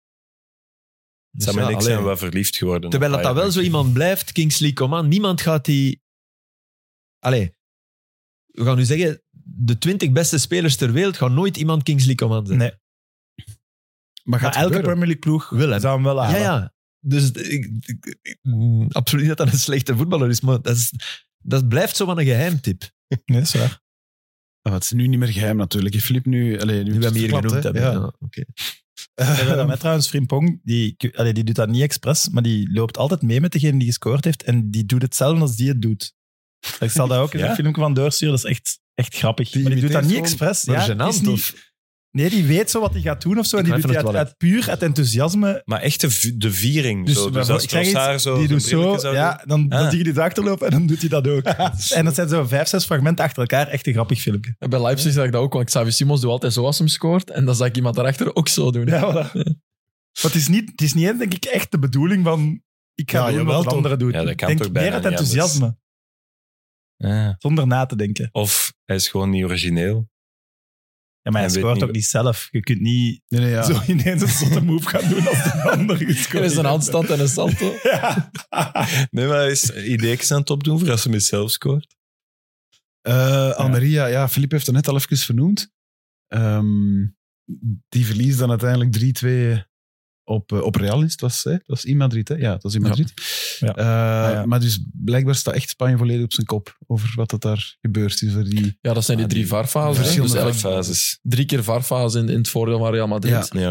Dus
Sam en
ja,
ik zijn
allee.
wel verliefd geworden. op
Terwijl dat, dat
Bayern.
wel zo iemand blijft, Kingsley Coman. Niemand gaat die... Allee, we gaan nu zeggen, de 20 beste spelers ter wereld gaan nooit iemand Kingsley Coman zijn.
Nee.
Maar
Maar
gaat
elke
elke
Premier League ploeg
Wil hem.
zou hem Ah, wel
Ja,
halen.
ja. Dus ik, ik- ik- mm, absoluut niet dat dat een slechte voetballer is, maar dat, is, dat blijft zo van een geheimtip.
Nee, dat is waar.
Ah, Het is nu niet meer geheim natuurlijk. Je flip nu... Allee, nu
Nu we hem hier
verklapt,
genoemd
hè.
hebben.
Ja.
Ja, oké.
Ik herinner mij trouwens Frimpong, die, allee, die doet dat niet expres, maar die loopt altijd mee met degene die gescoord heeft en die doet hetzelfde als die het doet. Ik zal daar ook eens
Ja?
een filmpje van doorsturen, dat is echt, echt grappig.
Die
maar die doet dat niet
imiteert
expres.
Maar
Ja,
gênant,
het is niet-
of-
Nee, die weet zo wat hij gaat doen of zo. En
Ik
die
ga
doet die uit,
even naar het
uit puur uit enthousiasme.
Maar echt de, vi- de viering.
Dus,
zo. dus
bijvoorbeeld,
als
ik zeg iets,
Trossard zo
die
zo'n
doet zo,
brilletje zou doen.
ja, dan, dan
Ah.
zie je die erachter lopen en dan doet hij dat ook. en dat zijn zo vijf, zes fragmenten achter elkaar. Echt een grappig filmpje.
En Bij Leipzig zag ik dat ook, want Xavi Simons doet altijd zo als hem scoort. En dan zag ik iemand daarachter ook zo doen.
Ja, voilà. Maar het is niet, het is niet denk ik, echt de bedoeling van... Ik ga
Ja,
doen
jawel,
wat een
toch?
andere doet.
Ja, dat kan
Ik denk
toch bijna
meer het
niet anders.
enthousiasme,
Ja.
zonder na te denken.
Of hij is gewoon niet origineel.
Ja, maar hij
Hij weet
scoort
niet
ook
wat-
niet zelf. Je kunt niet
Nee, nee, ja.
zo ineens een zotte move gaan doen als de ander gescoord
Er is een
heeft.
handstand en een salto.
Ja.
Nee, maar hij is ideeën aan het opdoen voor als hij met zelf scoort.
Eh, Almeria, ja, Filip heeft het net al even vernoemd. Ehm, die verliest dan uiteindelijk 3-2 op, eh, op Real. Is het was, hè? Het was in Madrid, hè? Ja, het was in Madrid.
Ja.
Eh,
Ah,
ja.
Maar dus blijkbaar staat echt Spanje volledig op zijn kop over wat dat daar gebeurt. is. Voor die...
Ja, dat zijn die
Ah,
drie
die
varfasen. hè. Dus
verschillende
eigenlijk
fases.
drie keer varfasen in, in het voordeel van Real Madrid.
Ja.
Ja.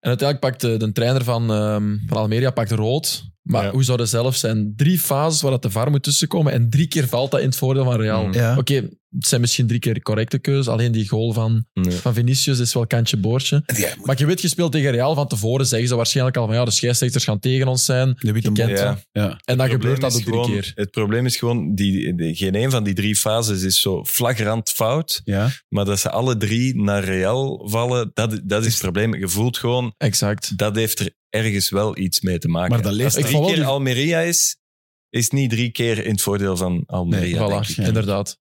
En uiteindelijk pakt eh, de, de trainer van, ehm, van Almeria pakt rood. Maar
Ja.
hoe zou dat zelf zijn? Drie fases waar dat de VAR moet tussenkomen en drie keer valt dat in het voordeel van Real.
Mm.
Ja.
Oké, het zijn misschien drie keer correcte keuzes. Alleen die goal van,
Nee.
van Vinicius is wel kantje boordje. Maar je weet, je speelt tegen Real van tevoren. Zeggen ze waarschijnlijk al van ja, de scheidsrechters gaan tegen ons zijn.
De witte
Je kent
Ja.
dat.
Ja.
En dan
Het probleem
gebeurt dat
is
ook drie
gewoon-
keer.
Het probleem is gewoon, die, die- geen een van die drie fases is zo flagrant fout.
Ja.
Maar dat ze alle drie naar Real vallen, dat, dat is het probleem. Je voelt gewoon,
Exact.
dat heeft er ergens wel iets mee te maken.
Maar dat
Als
leest
het
Ik
drie
vond
keer
wel die-
Almeria is, is niet drie keer in het voordeel van Almeria. denk
voilà,
ik.
inderdaad.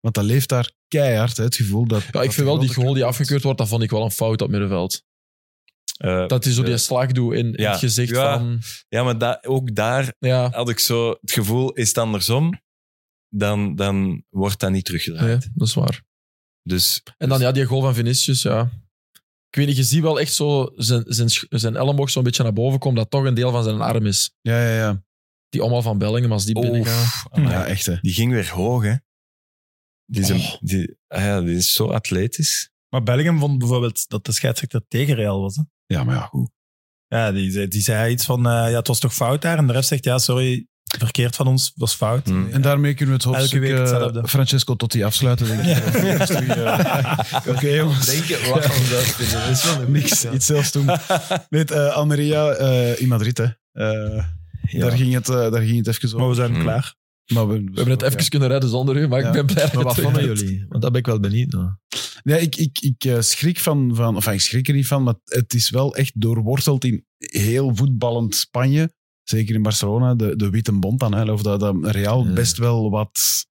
Want dat leeft daar keihard, hè, het gevoel dat...
Ja, ik
dat de
vind wel die
grote
goal die
kans-
afgekeurd wordt, dat vond ik wel een fout op middenveld.
Eh,
Dat hij zo die
Ja.
slag doet in, in
Ja.
het gezicht
Ja.
van...
ja, maar da- ook daar
Ja,
had ik zo het gevoel, is het andersom, dan, dan wordt dat niet teruggedraaid.
nee, dat is waar.
Dus
En dan ja, die goal van Vinicius, ja. Ik weet niet, je ziet wel echt zo zijn, zijn, sch- zijn elleboog zo'n beetje naar boven komt, dat toch een deel van zijn arm is.
Ja, ja, ja.
Die omhaal van Bellingham, als die
Oh,
binnengaat.
Oef, amai.
Ja, echt, hè.
die ging weer hoog, hè. Die is, een-
Oh.
die, ah ja, die is zo atletisch.
Maar Belgium vond bijvoorbeeld dat de scheidsrechter tegen Real was. Hè?
Ja, maar ja, goed.
Ja, die, zei- die zei iets van, eh, ja, het was toch fout daar? En de ref zegt, ja, sorry, verkeerd van ons, was fout.
Hmm.
En daarmee kunnen we het
Elke
hoofdstuk
week
eh,
hetzelfde.
Francesco Totti afsluiten, denk ik. eh, Oké, jongens.
Denken, wat van dat.
Dat is wel niks. Iets zelfs doen. Nee, het, eh, Almeria eh, in Madrid, hè. Eh, daar, ging het, eh, daar ging het even
Maar
over.
we zijn
Hmm.
klaar.
Maar we,
We hebben het even kunnen redden zonder u, maar
Ja.
ik ben blij
Maar
dat
wat
je
vonden
terug
jullie? Want daar ben ik wel benieuwd naar.
Ja, ik, ik, ik eh, schrik van, van, enfin, ik schrik er niet van, maar het is wel echt doorworteld in heel voetballend Spanje. Zeker in Barcelona, de, de witte bond dan. Hè, of dat, dat Real
Ja.
best wel wat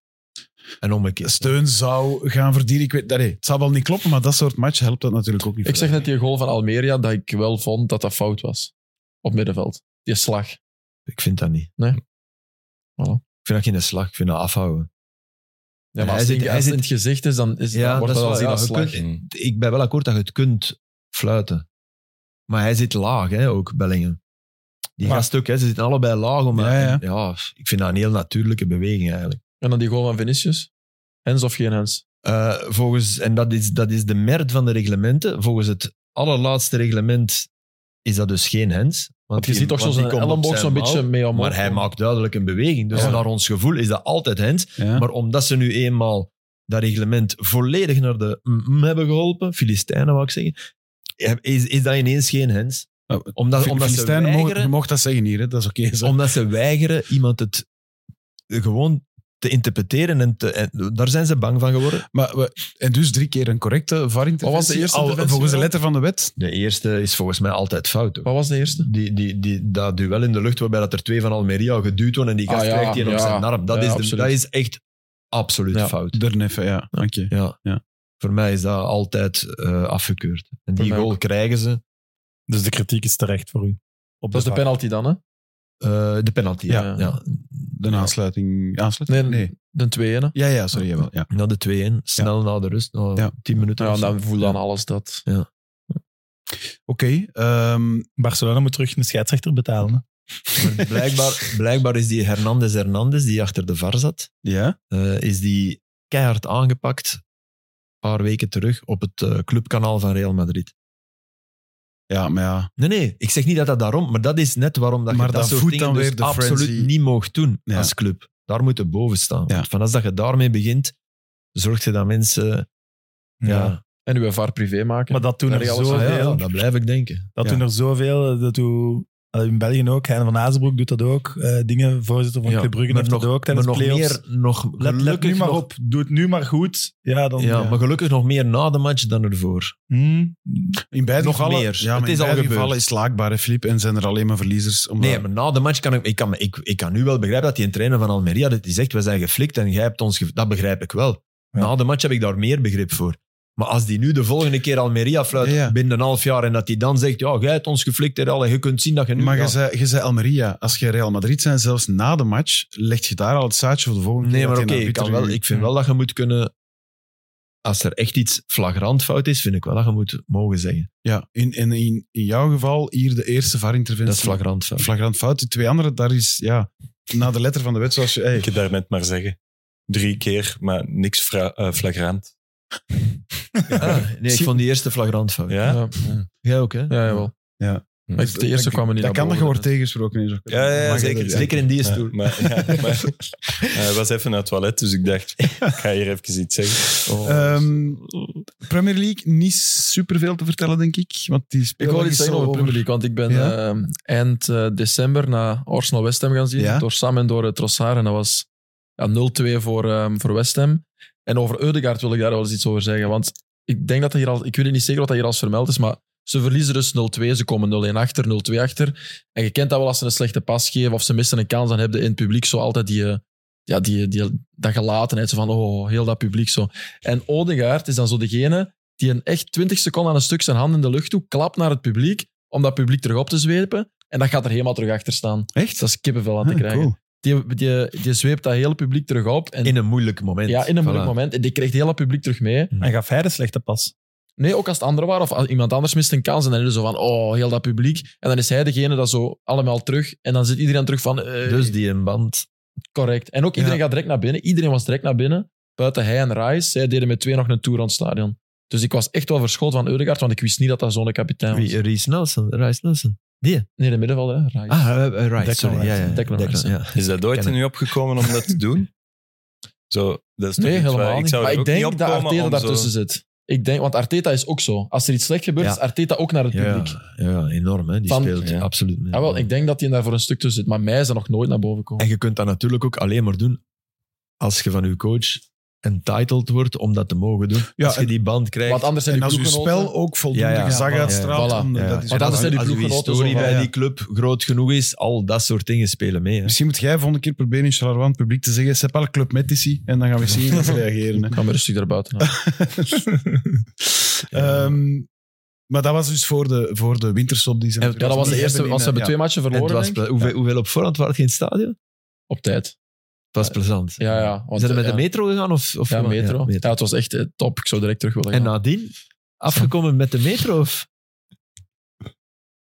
En omgekeerd.
steun zou gaan verdienen. Ik weet, nee, het zal wel niet kloppen, maar dat soort match helpt dat natuurlijk ook niet.
bent. Ik zeg net die goal van Almeria, dat ik wel vond dat dat fout was. Op middenveld. Die slag.
Ik vind dat niet.
Nee. Voilà.
Ik vind dat geen slag, ik vind dat afhouden.
Ja, maar
Hij
als
zit-
het in-
hij
als het in
zit-
het gezicht is, dan, is,
Ja,
dan wordt
dat
dat,
is
wel
wel-
zien als
ja,
slag.
ook- Ik ben wel akkoord dat je het kunt fluiten. Maar hij zit laag, hè, ook Bellingen. Die
Maar-
gast ook, hè, ze zitten allebei laag. Om,
Ja, ja.
en- ik vind dat een heel natuurlijke beweging eigenlijk.
En dan die goal van Vinicius. Hens of geen hens?
Eh, volgens, en dat is, dat is de merd van de reglementen. Volgens het allerlaatste reglement is dat dus geen hens.
Want je
die-
ziet toch zo
want die
zijn
komt op
elleboog
zijn
zo'n beetje
mouw.
mee omhoog.
Maar hij maakt duidelijk een beweging. Dus
Ja.
naar ons gevoel is dat altijd hens.
Ja.
Maar omdat ze nu eenmaal dat reglement volledig naar de mm hebben geholpen, Filistijnen wou ik zeggen, is, is dat ineens geen hens.
Oh,
Omdat, omdat, ze
Filistijnen mogen- je
weigeren,
mocht dat zeggen hier, hè, dat is oké. zo.
omdat ze weigeren iemand het gewoon te interpreteren. En, te, en daar zijn ze bang van geworden.
Maar we, en dus drie keer een correcte
Wat was de
VAR-interventie.
eerste
Al
interventie
Volgens de
wel?
letter van de wet.
De eerste is volgens mij altijd fout. hoor.
Wat was de Oh, eerste?
Die, die, die, dat duel in de lucht waarbij dat er twee van Almeria geduwd worden en die gast
Ah, ja,
krijgt die op
ja.
zijn arm. Dat,
Ja,
is de,
absoluut.
dat is echt absoluut
Ja.
fout.
Derneffen, ja. Dank je.
Ja.
Ja.
Voor mij is dat altijd eh, afgekeurd. En die
Voor mij
goal krijgen ze.
Dus de kritiek is terecht voor u. Op
Dat is de
VAR.
penalty dan, hè?
Eh, de penalty, ja.
Ja.
ja.
De aansluiting.
Nee,
aansluiting?
nee. de tweede.
Ja, ja, sorry. Jawel, ja.
Na de 2-1, snel na de rust, na
Ja.
10 minuten.
Ja,
of zo.
dan voel dan alles dat.
Oké. ehm,
Barcelona moet terug een scheidsrechter betalen. hè.
Maar blijkbaar, blijkbaar is die Hernandez Hernandez, die achter de VAR zat,
ja.
eh, is die keihard aangepakt, een paar weken terug, op het eh, clubkanaal van Real Madrid.
Ja, maar ja.
Nee, nee, ik zeg niet dat dat daarom, maar dat is net waarom dat
Maar
je dat,
dat
soort
voedt
dingen
dan
dus
weer de
absoluut
frenzy.
niet mocht doen
Ja.
als club. Daar moet je boven staan.
Ja.
Want van als dat je daarmee begint, zorgt je dat mensen... Ja,
Ja.
En uw VAR privé maken.
Maar dat doen er
Real is
Ah, ja,
zoveel.
dat blijf ik denken.
Dat
Ja.
doen er zoveel. Dat doet eh, in België ook. Hein van Azenbroek doet dat ook. eh, dingen, voorzitter van
Ja,
Club Brugge
maar
heeft dat
nog-
ook tijdens
maar nog
playoffs.
meer, nog
Let, let
gelukkig
nu maar
nog-
op. Doe het nu maar goed. Ja, dan...
Ja,
eh,
maar gelukkig nog meer na de match dan ervoor.
hmm.
In beide
Nog
gevallen,
meer.
Ja, maar
Het
in
is al
beide
gebeurd.
gevallen is het laakbaar, hè, Filip. En zijn er alleen maar verliezers. Omdat...
Nee, maar na de match kan ik... Ik kan, me- ik, ik kan nu wel begrijpen dat die trainer van Almeria dat die zegt, we zijn geflikt en jij hebt ons... ge- Dat begrijp ik wel.
Ja.
Na de match heb ik daar meer begrip voor. Maar als die nu de volgende keer Almeria fluit
Ja, ja.
binnen een half jaar en dat die dan zegt, ja, jij hebt ons geflikt en al, en je kunt zien dat je nu...
Maar je
gaat-
zei, je zei Almeria, als je Real Madrid zijn, zelfs na de match, leg je daar al het zaadje voor de volgende
Nee,
keer.
maar oké,
dat je
ik,
naar
kan wel-
Pieter-
ik vind wel dat je moet kunnen... Als er echt iets flagrant fout is, vind ik wel dat je moet mogen zeggen.
Ja, in, in, in, in jouw geval hier de eerste
Dat
VAR-interventie.
is flagrant fout.
Flagrant fout. Die twee andere, daar is, ja, na de letter van de wet, zoals je... hey,
Ik heb daarnet maar zeggen. Drie keer, maar niks fra- eh, flagrant.
Ah, nee, ik vond die eerste flagrant fout.
Ja?
Ja,
Jij ook, hè?
ja, jawel. Maar ik- de eerste
dat-
kwam er niet
Dat
naar
kan dat je
boven,
wordt tegengesproken. is ook-
Ja, ja, ja,
Mag je
zeker,
dat-
zeker.
Zeker in die
Ja,
stoel.
maar, ja, maar, eh, ik was even naar het toilet, dus ik dacht, ik ga hier even iets zeggen.
Ehm, Premier League, niet superveel te vertellen, denk ik. Want die
Ik
spelen
wil iets
gisteren
zeggen over Premier League, want ik ben
Ja?
eh, eind eh, december naar Arsenal West Ham gaan zien.
Ja?
Door Sam en door eh, Trossard. En dat was ja, 0-2 voor, eh, voor West Ham. En over Eudegaard wil ik daar wel eens iets over zeggen. Want ik denk dat dat hier al... Ik weet niet zeker wat dat hier al vermeld is, maar ze verliezen dus 0-2. Ze komen 0-1 achter, 0-2 achter. En je kent dat wel als ze een slechte pas geven of ze missen een kans. Dan hebben in het publiek zo altijd die... eh, ja, die, die, dat gelatenheid. Zo van, oh, heel dat publiek zo. En Odegaard is dan zo degene die een echt 20 seconden aan een stuk zijn hand in de lucht doet, klapt naar het publiek, om dat publiek terug op te zwepen. En dat gaat er helemaal terug achter staan.
Echt?
Dus Dat is kippenvel aan te
Ah,
krijgen.
cool.
Die, die, die zweept dat hele publiek terug op. En,
In een moeilijk moment.
ja, in een moeilijk
Voilà. Mm.
moment. En die krijgt heel dat publiek terug mee.
En gaf hij de slechte pas.
Nee, ook als het anderen waren of als iemand anders mist een kans. En dan is het zo van, oh, heel dat publiek. En dan is hij degene dat zo allemaal terug. En dan zit iedereen terug van, eh,
Dus die een band.
Correct. En ook iedereen gaat direct naar binnen. Iedereen was direct naar binnen. Buiten hij en Rice. Zij deden met twee nog een tour aan het stadion. Dus ik was echt wel verschoten van Eudegaard, want ik wist niet dat dat zo'n kapitein was.
Wie? Reece Nelson. Rice Nelson.
Nee, de middenvelder, hè, Rice.
Ah, eh, eh, Rice.
Declan
Sorry. Ja,
Rice.
ja.
Declan Rice,
ja.
Is dat ooit
Kennen.
in u opgekomen om dat te doen? Zo, dat is toch
nee,
iets waar-
helemaal
Ik
niet.
zou er
Maar ik
ook
denk
niet op
dat
komen
Arteta
om zo-
daartussen zit. Ik denk, want Arteta is ook zo. Als er iets slecht gebeurt,
Ja.
is Arteta ook naar het
Ja,
publiek.
ja, enorm. Hè. Die
Van-
speelt
Ja.
absoluut mee.
Ah, wel, ik denk dat hij daar voor een stuk tussen zit. Maar mij is dat nog nooit naar boven gekomen.
En je kunt dat natuurlijk ook alleen maar doen als je van je coach entitled wordt om dat te mogen doen.
Ja,
als je
en-
die band krijgt.
Want anders zijn
En
die
als uw
ploeggenoten...
spel ook voldoende
Ja, ja.
gezag
Ja, voilà.
uitstraalt...
Ja,
dan, eh,
Ja,
dat is
Want anders
wel-
zijn die
als je
ploeggenoten
historie
zo van,
bij
ja.
die club groot genoeg is, al dat soort dingen spelen mee. Hè.
Misschien moet jij volgende keer proberen in Charleroi aan het publiek te zeggen Sepp al club met ici en dan gaan we zien hoe ze reageren. hè.
Ik ga me rustig daarbuiten houden.
Ehm, maar dat was dus voor de, voor de winterstop die ze...
En- Ja, dat was de eerste... Want ze hebben twee matchen
En het
verloren,
was
denk ik.
ple- hoeveel, hoeveel op voorhand waren het geen stadion?
Op tijd.
Het was plezant.
Ja, ja. Want,
Zijn ze met
ja.
de metro gegaan? Of, of
Ja, metro. Ja, het was echt eh, top. Ik zou direct terug willen gaan.
En nadien? Afgekomen met de metro of,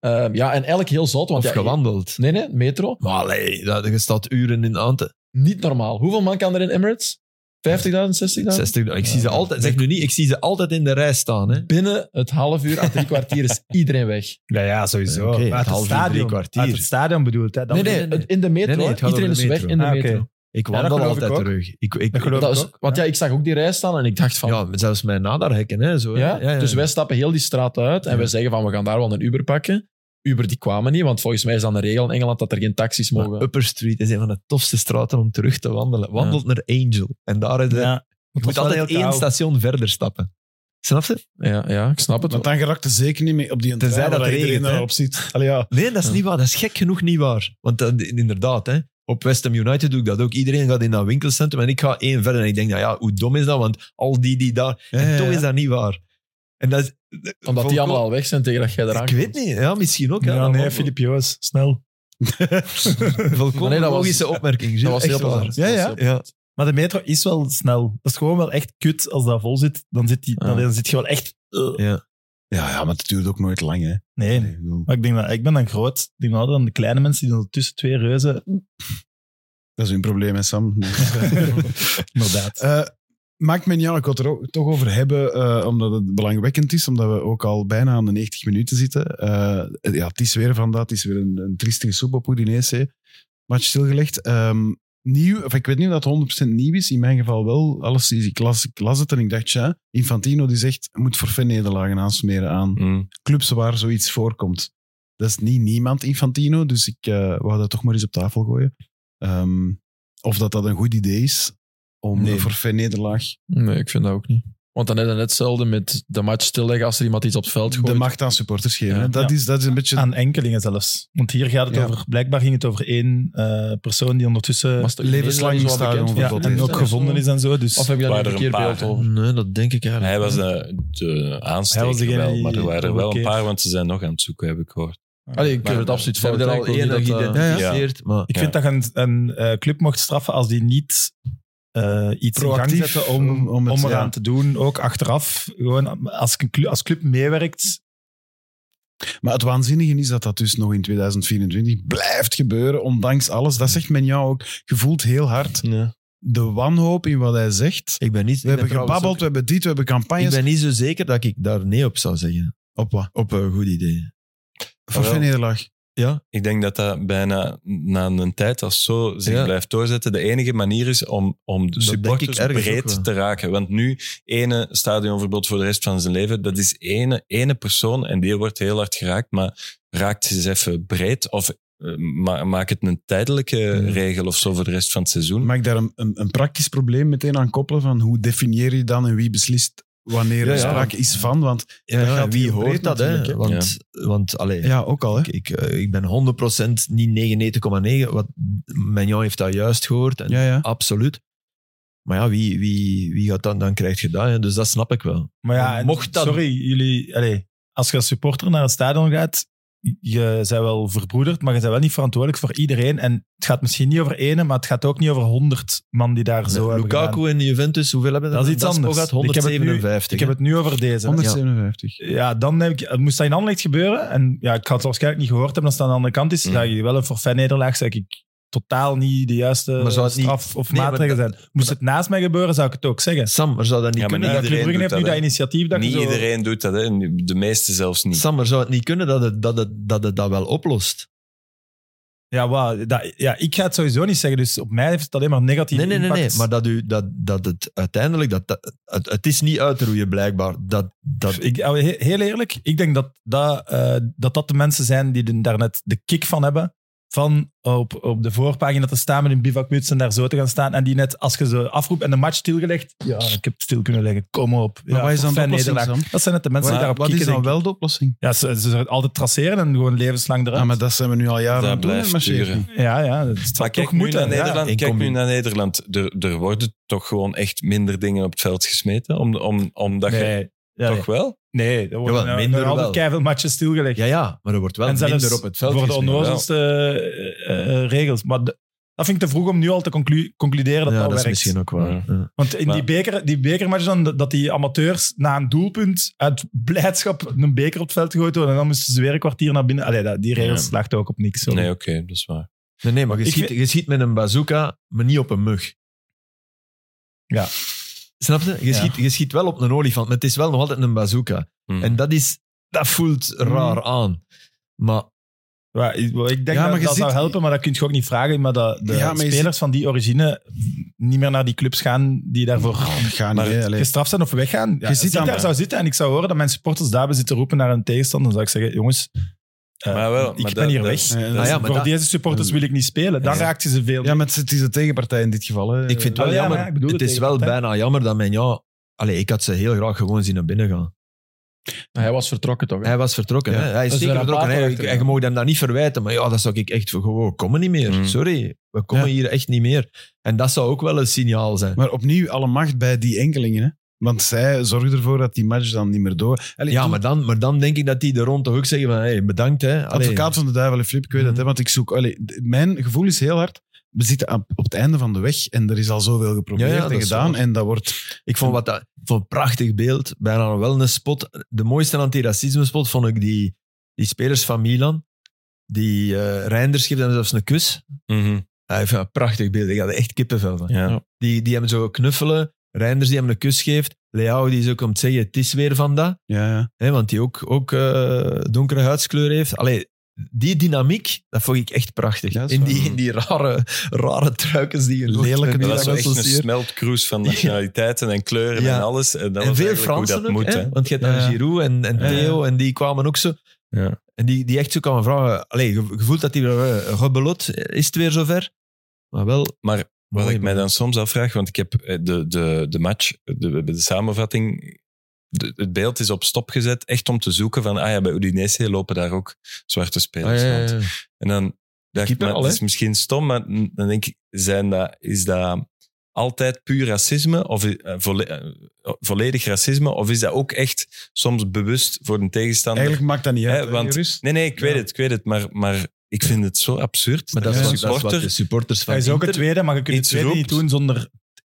Ehm, ja, en eigenlijk heel zot. Want
of
ja,
gewandeld?
Nee, nee, metro.
Maar allee, dat, je staat uren in aan te...
Niet normaal. Hoeveel man kan er in Emirates? 50.000, 60.000?
60, ik zie ze altijd, zeg nu niet, ik zie ze altijd in de rij staan. Hè.
Binnen het half uur, aan drie kwartier, is iedereen weg.
Ja, ja, sowieso.
Oké,
uit,
half
het
uur,
stadion,
drie kwartier.
uit het stadion bedoelt. Hè, dat
nee, nee,
nee, nee.
het- in de metro.
Nee, nee, het
hè.
gaat
iedereen
over
is
de
weg
metro.
in de
Ah, oké.
metro.
Ik
Ja, dat
wandel
geloof ik
altijd
ook.
terug. Ik, ik,
Dat geloof
Dat
ik
is-
ook,
want
ja.
ja, ik zag ook die rij staan en ik dacht van... Ja,
ja, zelfs mijn nadarhekken. Hè, zo, hè.
Dus wij stappen heel die straat uit en
Ja.
we zeggen van, we gaan daar wel een Uber pakken. Uber die kwamen niet, want volgens mij is dan de regel in Engeland dat er geen taxis
Maar
mogen.
Upper Street is een van de tofste straten om terug te wandelen. Wandelt naar Angel. En daar is de,
Ja.
je moet altijd één station verder stappen. Snap je?
Ja, ja, ik snap het.
Want dan geraakt ze zeker niet mee op die
Tenzij
trein
dat
waar
regent,
iedereen
hè.
daarop zit. Allee, ja.
Nee, dat is
Ja.
niet waar. Dat is gek genoeg niet waar. Want dat, inderdaad, hè, op West Ham United doe ik dat ook. Iedereen gaat in dat winkelcentrum en ik ga één verder. En ik denk, nou ja, hoe dom is dat? Want al die die daar...
Ja,
en
ja,
toch
ja.
is dat niet waar. En dat is,
Omdat die
volkomen-
allemaal al weg zijn tegen dat jij eraan
Ik weet niet. Ja, misschien ook.
Ja,
Ja, dat
nee,
was-
Filip Joos, snel.
Volkomen
Maar nee, dat was-
logische opmerking. Gilles.
Dat was
Echt
heel
waar.
plezant.
Ja,
Dat was
ja.
heel
Ja.
Maar de metro is wel snel. Dat is gewoon wel echt kut als dat vol zit. Dan zit, die, dan,
Ja.
dan zit je wel echt... uh.
Ja, ja, maar het duurt ook nooit lang, hè.
Nee,
Nee, ik bedoel,
maar ik, denk dat, ik ben dan groot. Ik denk wel dan de kleine mensen die dan tussen twee reuzen...
Dat is hun probleem, hè, Sam. Dus, eh.
Inderdaad.
Eh, maakt me niet uit, ik wil het er ook, toch over hebben, eh, omdat het belangwekkend is, omdat we ook al bijna aan de 90 minuten zitten. Eh, ja, het is weer vandaag, het is weer een, een triestige soep op Udinese. Match stilgelegd. Ehm, nieuw, of ik weet niet of dat 100% nieuw is, in mijn geval wel. Alles is, ik, las, ik las het en ik dacht, ja, Infantino die zegt, moet voor nederlagen aansmeren aan
Mm.
clubs waar zoiets voorkomt. Dat is niet niemand Infantino, dus ik eh, wou dat toch maar eens op tafel gooien. Ehm, of dat dat een goed idee is om
Nee.
een forfait-nederlaag...
Nee, ik vind dat ook niet. Want dan heb je net hetzelfde met de match stilleggen als er iemand iets op het veld gooit.
de macht aan supporters geven.
Ja.
hè. dat,
Ja.
is, dat is een beetje...
Aan enkelingen zelfs. Want hier gaat het
Ja.
over, blijkbaar ging het over één eh, persoon die ondertussen
Was het ook in
Levenslang
Nederland zo
stadion
bekend?
ja,
dat
en
is-
ook gevonden is en zo. Dus
Of heb je daar
Waren
een
er
verkeerd
een paar,
beeld
hè?
over?
Nee, dat denk ik eigenlijk.
Hij was
niet.
de, de aansteker
Hij was degene
wel, maar
die-
er waren er wel een
die
paar, want ze zijn nog aan het zoeken, heb ik gehoord.
Allee, ik heb het
Maar-
absoluut
Ze
fout.
hebben er
hè. Ik
al
wil
één
niet dat, eh,
geïdentificeerd, maar...
Ik vind dat je een, een eh, club mocht straffen als die niet eh, iets in
Proactief
gang zetten om,
om- om
om,
het, ja.
eraan te doen. Ook achteraf. Gewoon als, een clu- als club meewerkt.
Maar het waanzinnige is dat dat dus nog in 2024 blijft gebeuren, ondanks alles. Dat zegt men jou ook. Je voelt heel hard
Ja.
de wanhoop in wat hij zegt.
Ik ben niet...
We hebben gebabbeld, eh, we hebben dit, we hebben
Ik
campagnes.
ben niet zo zeker dat ik daar nee op zou zeggen.
Op wat?
Op een goed idee.
Voor
Jawel.
geen nederlaag.
Ik denk dat dat bijna na een tijd als zo zich
Ja.
blijft doorzetten, de enige manier is om, om de
Dat
supporters
denk ik ergens ook wel.
breed te raken. Want nu, ene stadionverbod voor de rest van zijn leven, dat is ene, ene persoon en die wordt heel hard geraakt, maar raakt ze eens even breed of eh, ma- maak het een tijdelijke regel of zo voor de rest van het seizoen.
Mag ik daar een, een, een praktisch probleem meteen aan koppelen? Van hoe definieer je dan en wie beslist wanneer
Ja,
er
ja.
sprake is van? Want
Ja,
Dat
ja,
gaat
wie
heel
hoort
breed
dat, hè?
natuurlijk, hè?
Want, want allee,
ja, ook al. Hè?
ik, ik, eh, ik ben 100% niet 99,9. Wat Mignon heeft dat juist gehoord. En
Ja, ja.
Absoluut. Maar ja, wie, wie, wie gaat dat dan krijgt gedaan? Hè? Dus dat snap ik wel.
Maar ja, en
Mocht dat-
sorry, jullie, allee, als je als supporter naar het stadion gaat, je bent wel verbroederd, maar je bent wel niet verantwoordelijk voor iedereen. En het gaat misschien niet over ene, maar het gaat ook niet over honderd man die daar zo hebben
Lukaku
gedaan.
en Juventus, hoeveel hebben
Dat is iets anders.
Spogat,
Ik heb het nu-
157.
Ik heb het nu over deze. hè.
157.
Ja, dan heb ik, het moest dat in Anderlecht gebeuren. En ja, ik had het waarschijnlijk niet gehoord hebben als het aan de andere kant is.
Mm.
Dan je wel een forfait-nederlaag, zou ik totaal niet de juiste
Maar zou het niet-
straf of
Nee, maar
maatregelen
dat-
zijn. Moest het naast mij gebeuren, zou ik het ook zeggen.
Sam, maar zou dat niet
Ja, maar
kunnen?
niet
Ja,
dat-
Club Brugge
doet
heeft
dat,
nu dat
hè.
initiatief. Dat je
niet
zo-
iedereen doet dat, hè. de meeste zelfs niet.
Sam, maar zou het niet kunnen dat het dat, het, dat, het dat wel oplost?
Ja, wauw, dat, ja, ik ga het sowieso niet zeggen. Dus op mij heeft het alleen maar negatief
Nee, nee, nee, nee.
impact.
Maar dat, u, dat, dat het uiteindelijk... Dat, dat- het, het is niet uit te roeien, blijkbaar. Dat, dat,
Ik, ja, he- heel eerlijk, ik denk dat dat, eh, dat dat de mensen zijn die de- daar net de kick van hebben. Van op, op de voorpagina te staan met een bivakmuts en daar zo te gaan staan. En die net, als je ze afroept en de match stilgelegd. Ja, ik heb het stil kunnen leggen. Kom op.
Maar
ja,
wat is dan de
forfait,
oplossing,
nederlaag.
Sam?
Dat zijn net de mensen
Wat-
die daarop
wat is
kicken.
dan
denk ik.
wel de oplossing?
Ja, ze, ze zullen altijd traceren en gewoon levenslang
Ah,
eruit.
maar dat zijn we nu al jaren
Dat
aan het doen, hè,
blijft
Marcel?
duren.
ja, ja, dat zou toch
Maar kijk, nu
moeten.
naar,
ja.
Nederland,
in
kijk nu
combi-
naar Nederland. Er, er worden toch gewoon echt minder dingen op het veld gesmeten. Om, om, omdat je
Nee, ja,
toch wel?
nee, er worden
Jawel,
nou-
minder
nog altijd
wel.
keihard matches stilgelegd.
ja, ja, maar er wordt wel
en zelfs
minder op het veld
voor de
gespeeld.
onnozelste eh, eh, regels. Maar de- dat vind ik te vroeg om nu al te conclu- concluderen dat
ja,
dat,
dat is
werkt.
misschien ook waar.
Ja.
Ja.
Want in
Maar-
die, beker, die bekermatch dan, dat- dat die amateurs na een doelpunt uit blijdschap een beker op het veld gegooid worden en dan moesten ze weer een kwartier naar binnen. Allee, dat, die regels
Ja.
slachten ook op niks. sorry.
Nee, oké, dat is waar.
Nee, nee, maar je
Ik
schiet, je schiet met een bazooka, maar niet op een mug.
Ja.
Snap je? Je,
Ja.
schiet, je schiet wel op een olifant, maar het is wel nog altijd een bazooka.
Hm.
En dat, is, dat voelt raar aan. Maar
Wa- Ik ik denk
Ja, maar
dat
je
dat zou
ziet-
helpen, maar dat kun je ook niet vragen. Maar dat de
Ja, maar je
spelers van die origine niet meer naar die clubs gaan die daarvoor
Ga niet,
Maar
hè, allee.
gestraft zijn of weggaan. Ja,
Je ziet
als ik
aan-
daar zou zitten en ik zou horen dat mijn supporters daarbij zitten roepen naar een tegenstander, dan zou ik zeggen, jongens, eh,
Maar wel,
ik
maar
ben
dat-
hier
dat-
weg.
Eh,
Ah ja, maar
voor
dat-
deze supporters wil ik niet spelen. Dan
Ja.
raakt je ze veel.
Ja, maar het is- het is de tegenpartij in dit geval. Hè.
ik vind het wel
Ah, ja,
jammer.
maar ik bedoel
het
het
is wel
tegenwoordig,
bijna jammer dat Menja... Allee, ik had ze heel graag gewoon zien naar binnen gaan.
Hij was vertrokken toch? hè?
Hij was vertrokken.
Ja.
Hè? Hij is
Dat is
zeker
een
vertrokken.
aparte
hè.
achter,
Ik- en je
ja.
mag hem dat niet verwijten. Maar ja, dat zou ik echt... Gewoon, we komen niet meer.
Mm.
Sorry. We komen
Ja.
hier echt niet meer. En dat zou ook wel een signaal zijn.
Maar opnieuw alle macht bij die enkelingen. Hè? Want zij zorgen ervoor dat die match dan niet meer door... Allee,
ja,
toen-
maar dan, maar dan denk ik dat die er rond toch ook zeggen van... Hey, bedankt, hè. Allee.
Advocaat van de duivel, hè, Flip, ik weet het. Hè, want ik zoek... allee, d- mijn gevoel is heel hard. We zitten aan- op het einde van de weg en er is al zoveel geprobeerd
Ja, ja, dat
en
is
gedaan.
waar.
En dat wordt...
Ik vond, wat dat, ik vond een prachtig beeld. Bijna wel een spot. De mooiste antiracisme spot vond ik die, die spelers van Milan. Die eh Reinders geeft hem zelfs een kus.
Mhm.
Hij heeft een prachtig beeld. Ik had er echt kippenvel van.
ja.
Die, die hem zo knuffelen. Reinders die hem een kus geeft. Leao die zo komt zeggen, het is weer van dat.
Ja, ja.
Hè, want die ook, ook eh, donkere huidskleur heeft. Allee, die dynamiek, dat vond ik echt prachtig.
Ja, dat is
in,
waar.
die, in die rare, rare truikens die je nooit
Lelijke
met-
Dat
Ja,
was
dat
wel
is
echt een
zozeer.
smeltcruise van nationaliteiten en kleuren
Ja.
en alles. En, dat
en
was
veel
eigenlijk hoe
Fransen
dat
ook,
moet,
hè?
hè.
want je hebt dan
Ja.
Giroud en, en
Ja, ja.
Theo en die kwamen ook zo.
Ja.
En die, die echt zo kan vragen. Allee, je je voelt dat die eh, Rebelot, eh, is het weer zover? Maar wel,
Maar wat
Mooi,
ik mij dan soms afvraag, want ik heb eh, de, de, de match, de, de samenvatting, de- het beeld is op stop gezet, echt om te zoeken van, ah ja, bij Udinese lopen daar ook zwarte
Ah,
spelers
ja, ja,
rond.
ja.
En dan dacht ik,
Keeper
maar
al,
het
hè?
is misschien stom, maar n- dan denk ik, zijn dat, is dat altijd puur racisme of i- eh, volle- eh, volledig racisme? Of is dat ook echt soms bewust voor een tegenstander?
Eigenlijk maakt dat niet uit.
Hè,
hè,
want-
Joris.
nee, nee, ik weet
Ja.
het, ik weet het, maar, maar ik vind het zo absurd.
maar dat,
een
is, wat- dat is
supporter.
wat de supporters van
Hij is ook het
Inter-
tweede, maar je kunt het
iets
tweede niet
roept.
doen zonder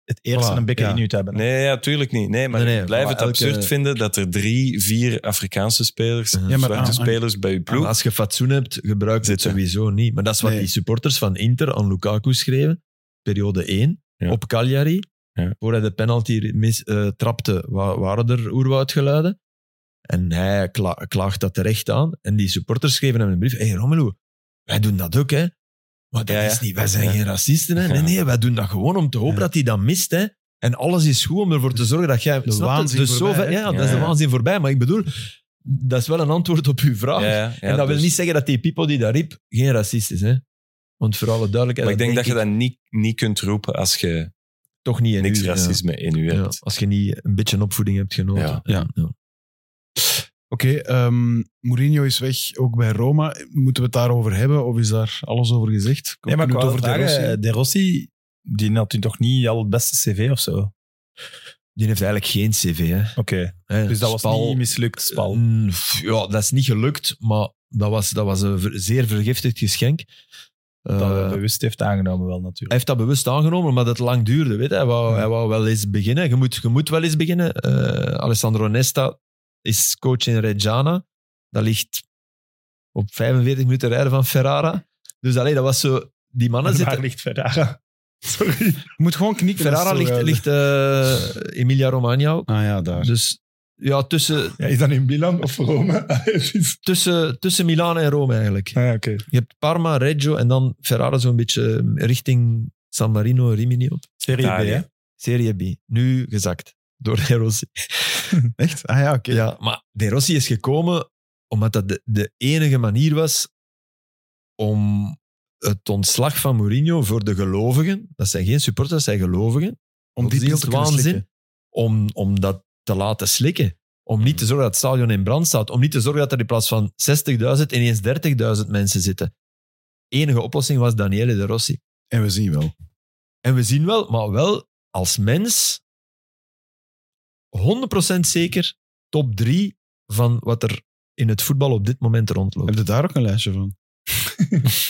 het eerste
Voilà,
een bekken
ja.
in je te hebben.
Nee, ja, tuurlijk niet. Nee, maar
Nee, nee,
ik blijf
maar
het
elke-
absurd vinden dat er drie, vier Afrikaanse spelers,
Ja,
maar
zwarte
aan- aan-
spelers bij uw
Maar
ploeg.
als je fatsoen hebt, gebruik je het
Zitten.
sowieso niet. Maar dat is wat
Nee.
die supporters van Inter aan Lukaku schreven, periode 1,
Ja.
op Cagliari.
Ja.
Voor hij de penalty mis, eh, trapte, wa- waren er oerwoudgeluiden. En hij kla- klaagt dat terecht aan. En die supporters schreven hem een brief. Hé hey, Romelu, wij doen dat ook, hè. Maar dat
Ja, ja.
is niet, wij zijn
Ja.
geen racisten, hè.
Ja.
Nee, nee, wij doen dat gewoon om te hopen
Ja.
dat hij dat mist, hè. En alles is goed om ervoor
Dus
te zorgen dat jij...
De
Snap je?
waanzin
dus zo
voorbij,
ver-
hè?
ja, ja, dat is de
Ja, ja.
waanzin voorbij. Maar ik bedoel, dat is wel een antwoord op uw vraag.
Ja, ja, ja,
en dat
dus-
wil niet zeggen dat die Pipo die dat riep geen racist is. Hè? Want voor alle duidelijkheid,
Maar ik denk dat je
ik
dat niet, niet kunt ropen als je
toch niet in
niks
u-
racisme in je
ja. Ja,
hebt.
Als je niet een beetje een opvoeding hebt genoten.
Ja.
Ja. Oké, ehm, Mourinho is weg, ook bij Roma. Moeten we het daarover hebben of is daar alles over gezegd?
Nee, maar ik
Kunnen we het
wou
over De Rossi?
vragen, eh, De Rossi, die had nu toch niet al het beste cv of zo? Oké,
Die heeft eigenlijk geen cv. Hè? Hè,
dus dat was
Spal-
niet mislukt, Spal.
Mm, pff, Ja, dat is niet gelukt, maar dat was, dat was een ver- zeer vergiftigd geschenk.
Dat
Eh,
hij bewust heeft aangenomen wel
Hij
natuurlijk.
heeft dat bewust aangenomen, maar dat het lang duurde. Weet je. hij, wou, hij wou wel eens beginnen. Je moet, je moet wel eens beginnen. Eh, Alessandro Nesta is coach in Reggiana. Dat ligt op 45 minuten rijden van Ferrara. Dus allee, dat was zo... Die mannen
Maar
zitten...
Daar ligt Ferrara. Sorry.
Je moet gewoon knikken.
Ferrara
dat is toch,
ligt,
eh,
ligt eh, Emilia Romagna ook.
Ah ja, daar.
Dus ja, tussen,
Ja, is dat in Milan of Rome? Ah, het is-
tussen, tussen Milaan en Rome eigenlijk.
ah, ja, oké.
Je hebt Parma, Reggio en dan Ferrara zo'n beetje ehm, richting San Marino, Rimini op.
Serie B,
Italië.
hè?
Serie B. Nu gezakt. Door de Rossi.
Echt? Ah ja, oké.
Ja, maar De Rossi is gekomen omdat dat de, de enige manier was om het ontslag van Mourinho voor de gelovigen, dat zijn geen supporters, dat zijn gelovigen,
Om die beeld te kunnen
godsdienstwaanzin,
slikken.
om, om dat te laten slikken. Om niet
Hmm.
te zorgen dat het stadion in brand staat. Om niet te zorgen dat er in plaats van 60.000 ineens 30.000 mensen zitten. Enige oplossing was Daniele De Rossi.
En we zien wel.
En we zien wel, maar wel als mens 100% zeker top 3 van wat er in het voetbal op dit moment
Heb
rondloopt.
je daar ook een lijstje van?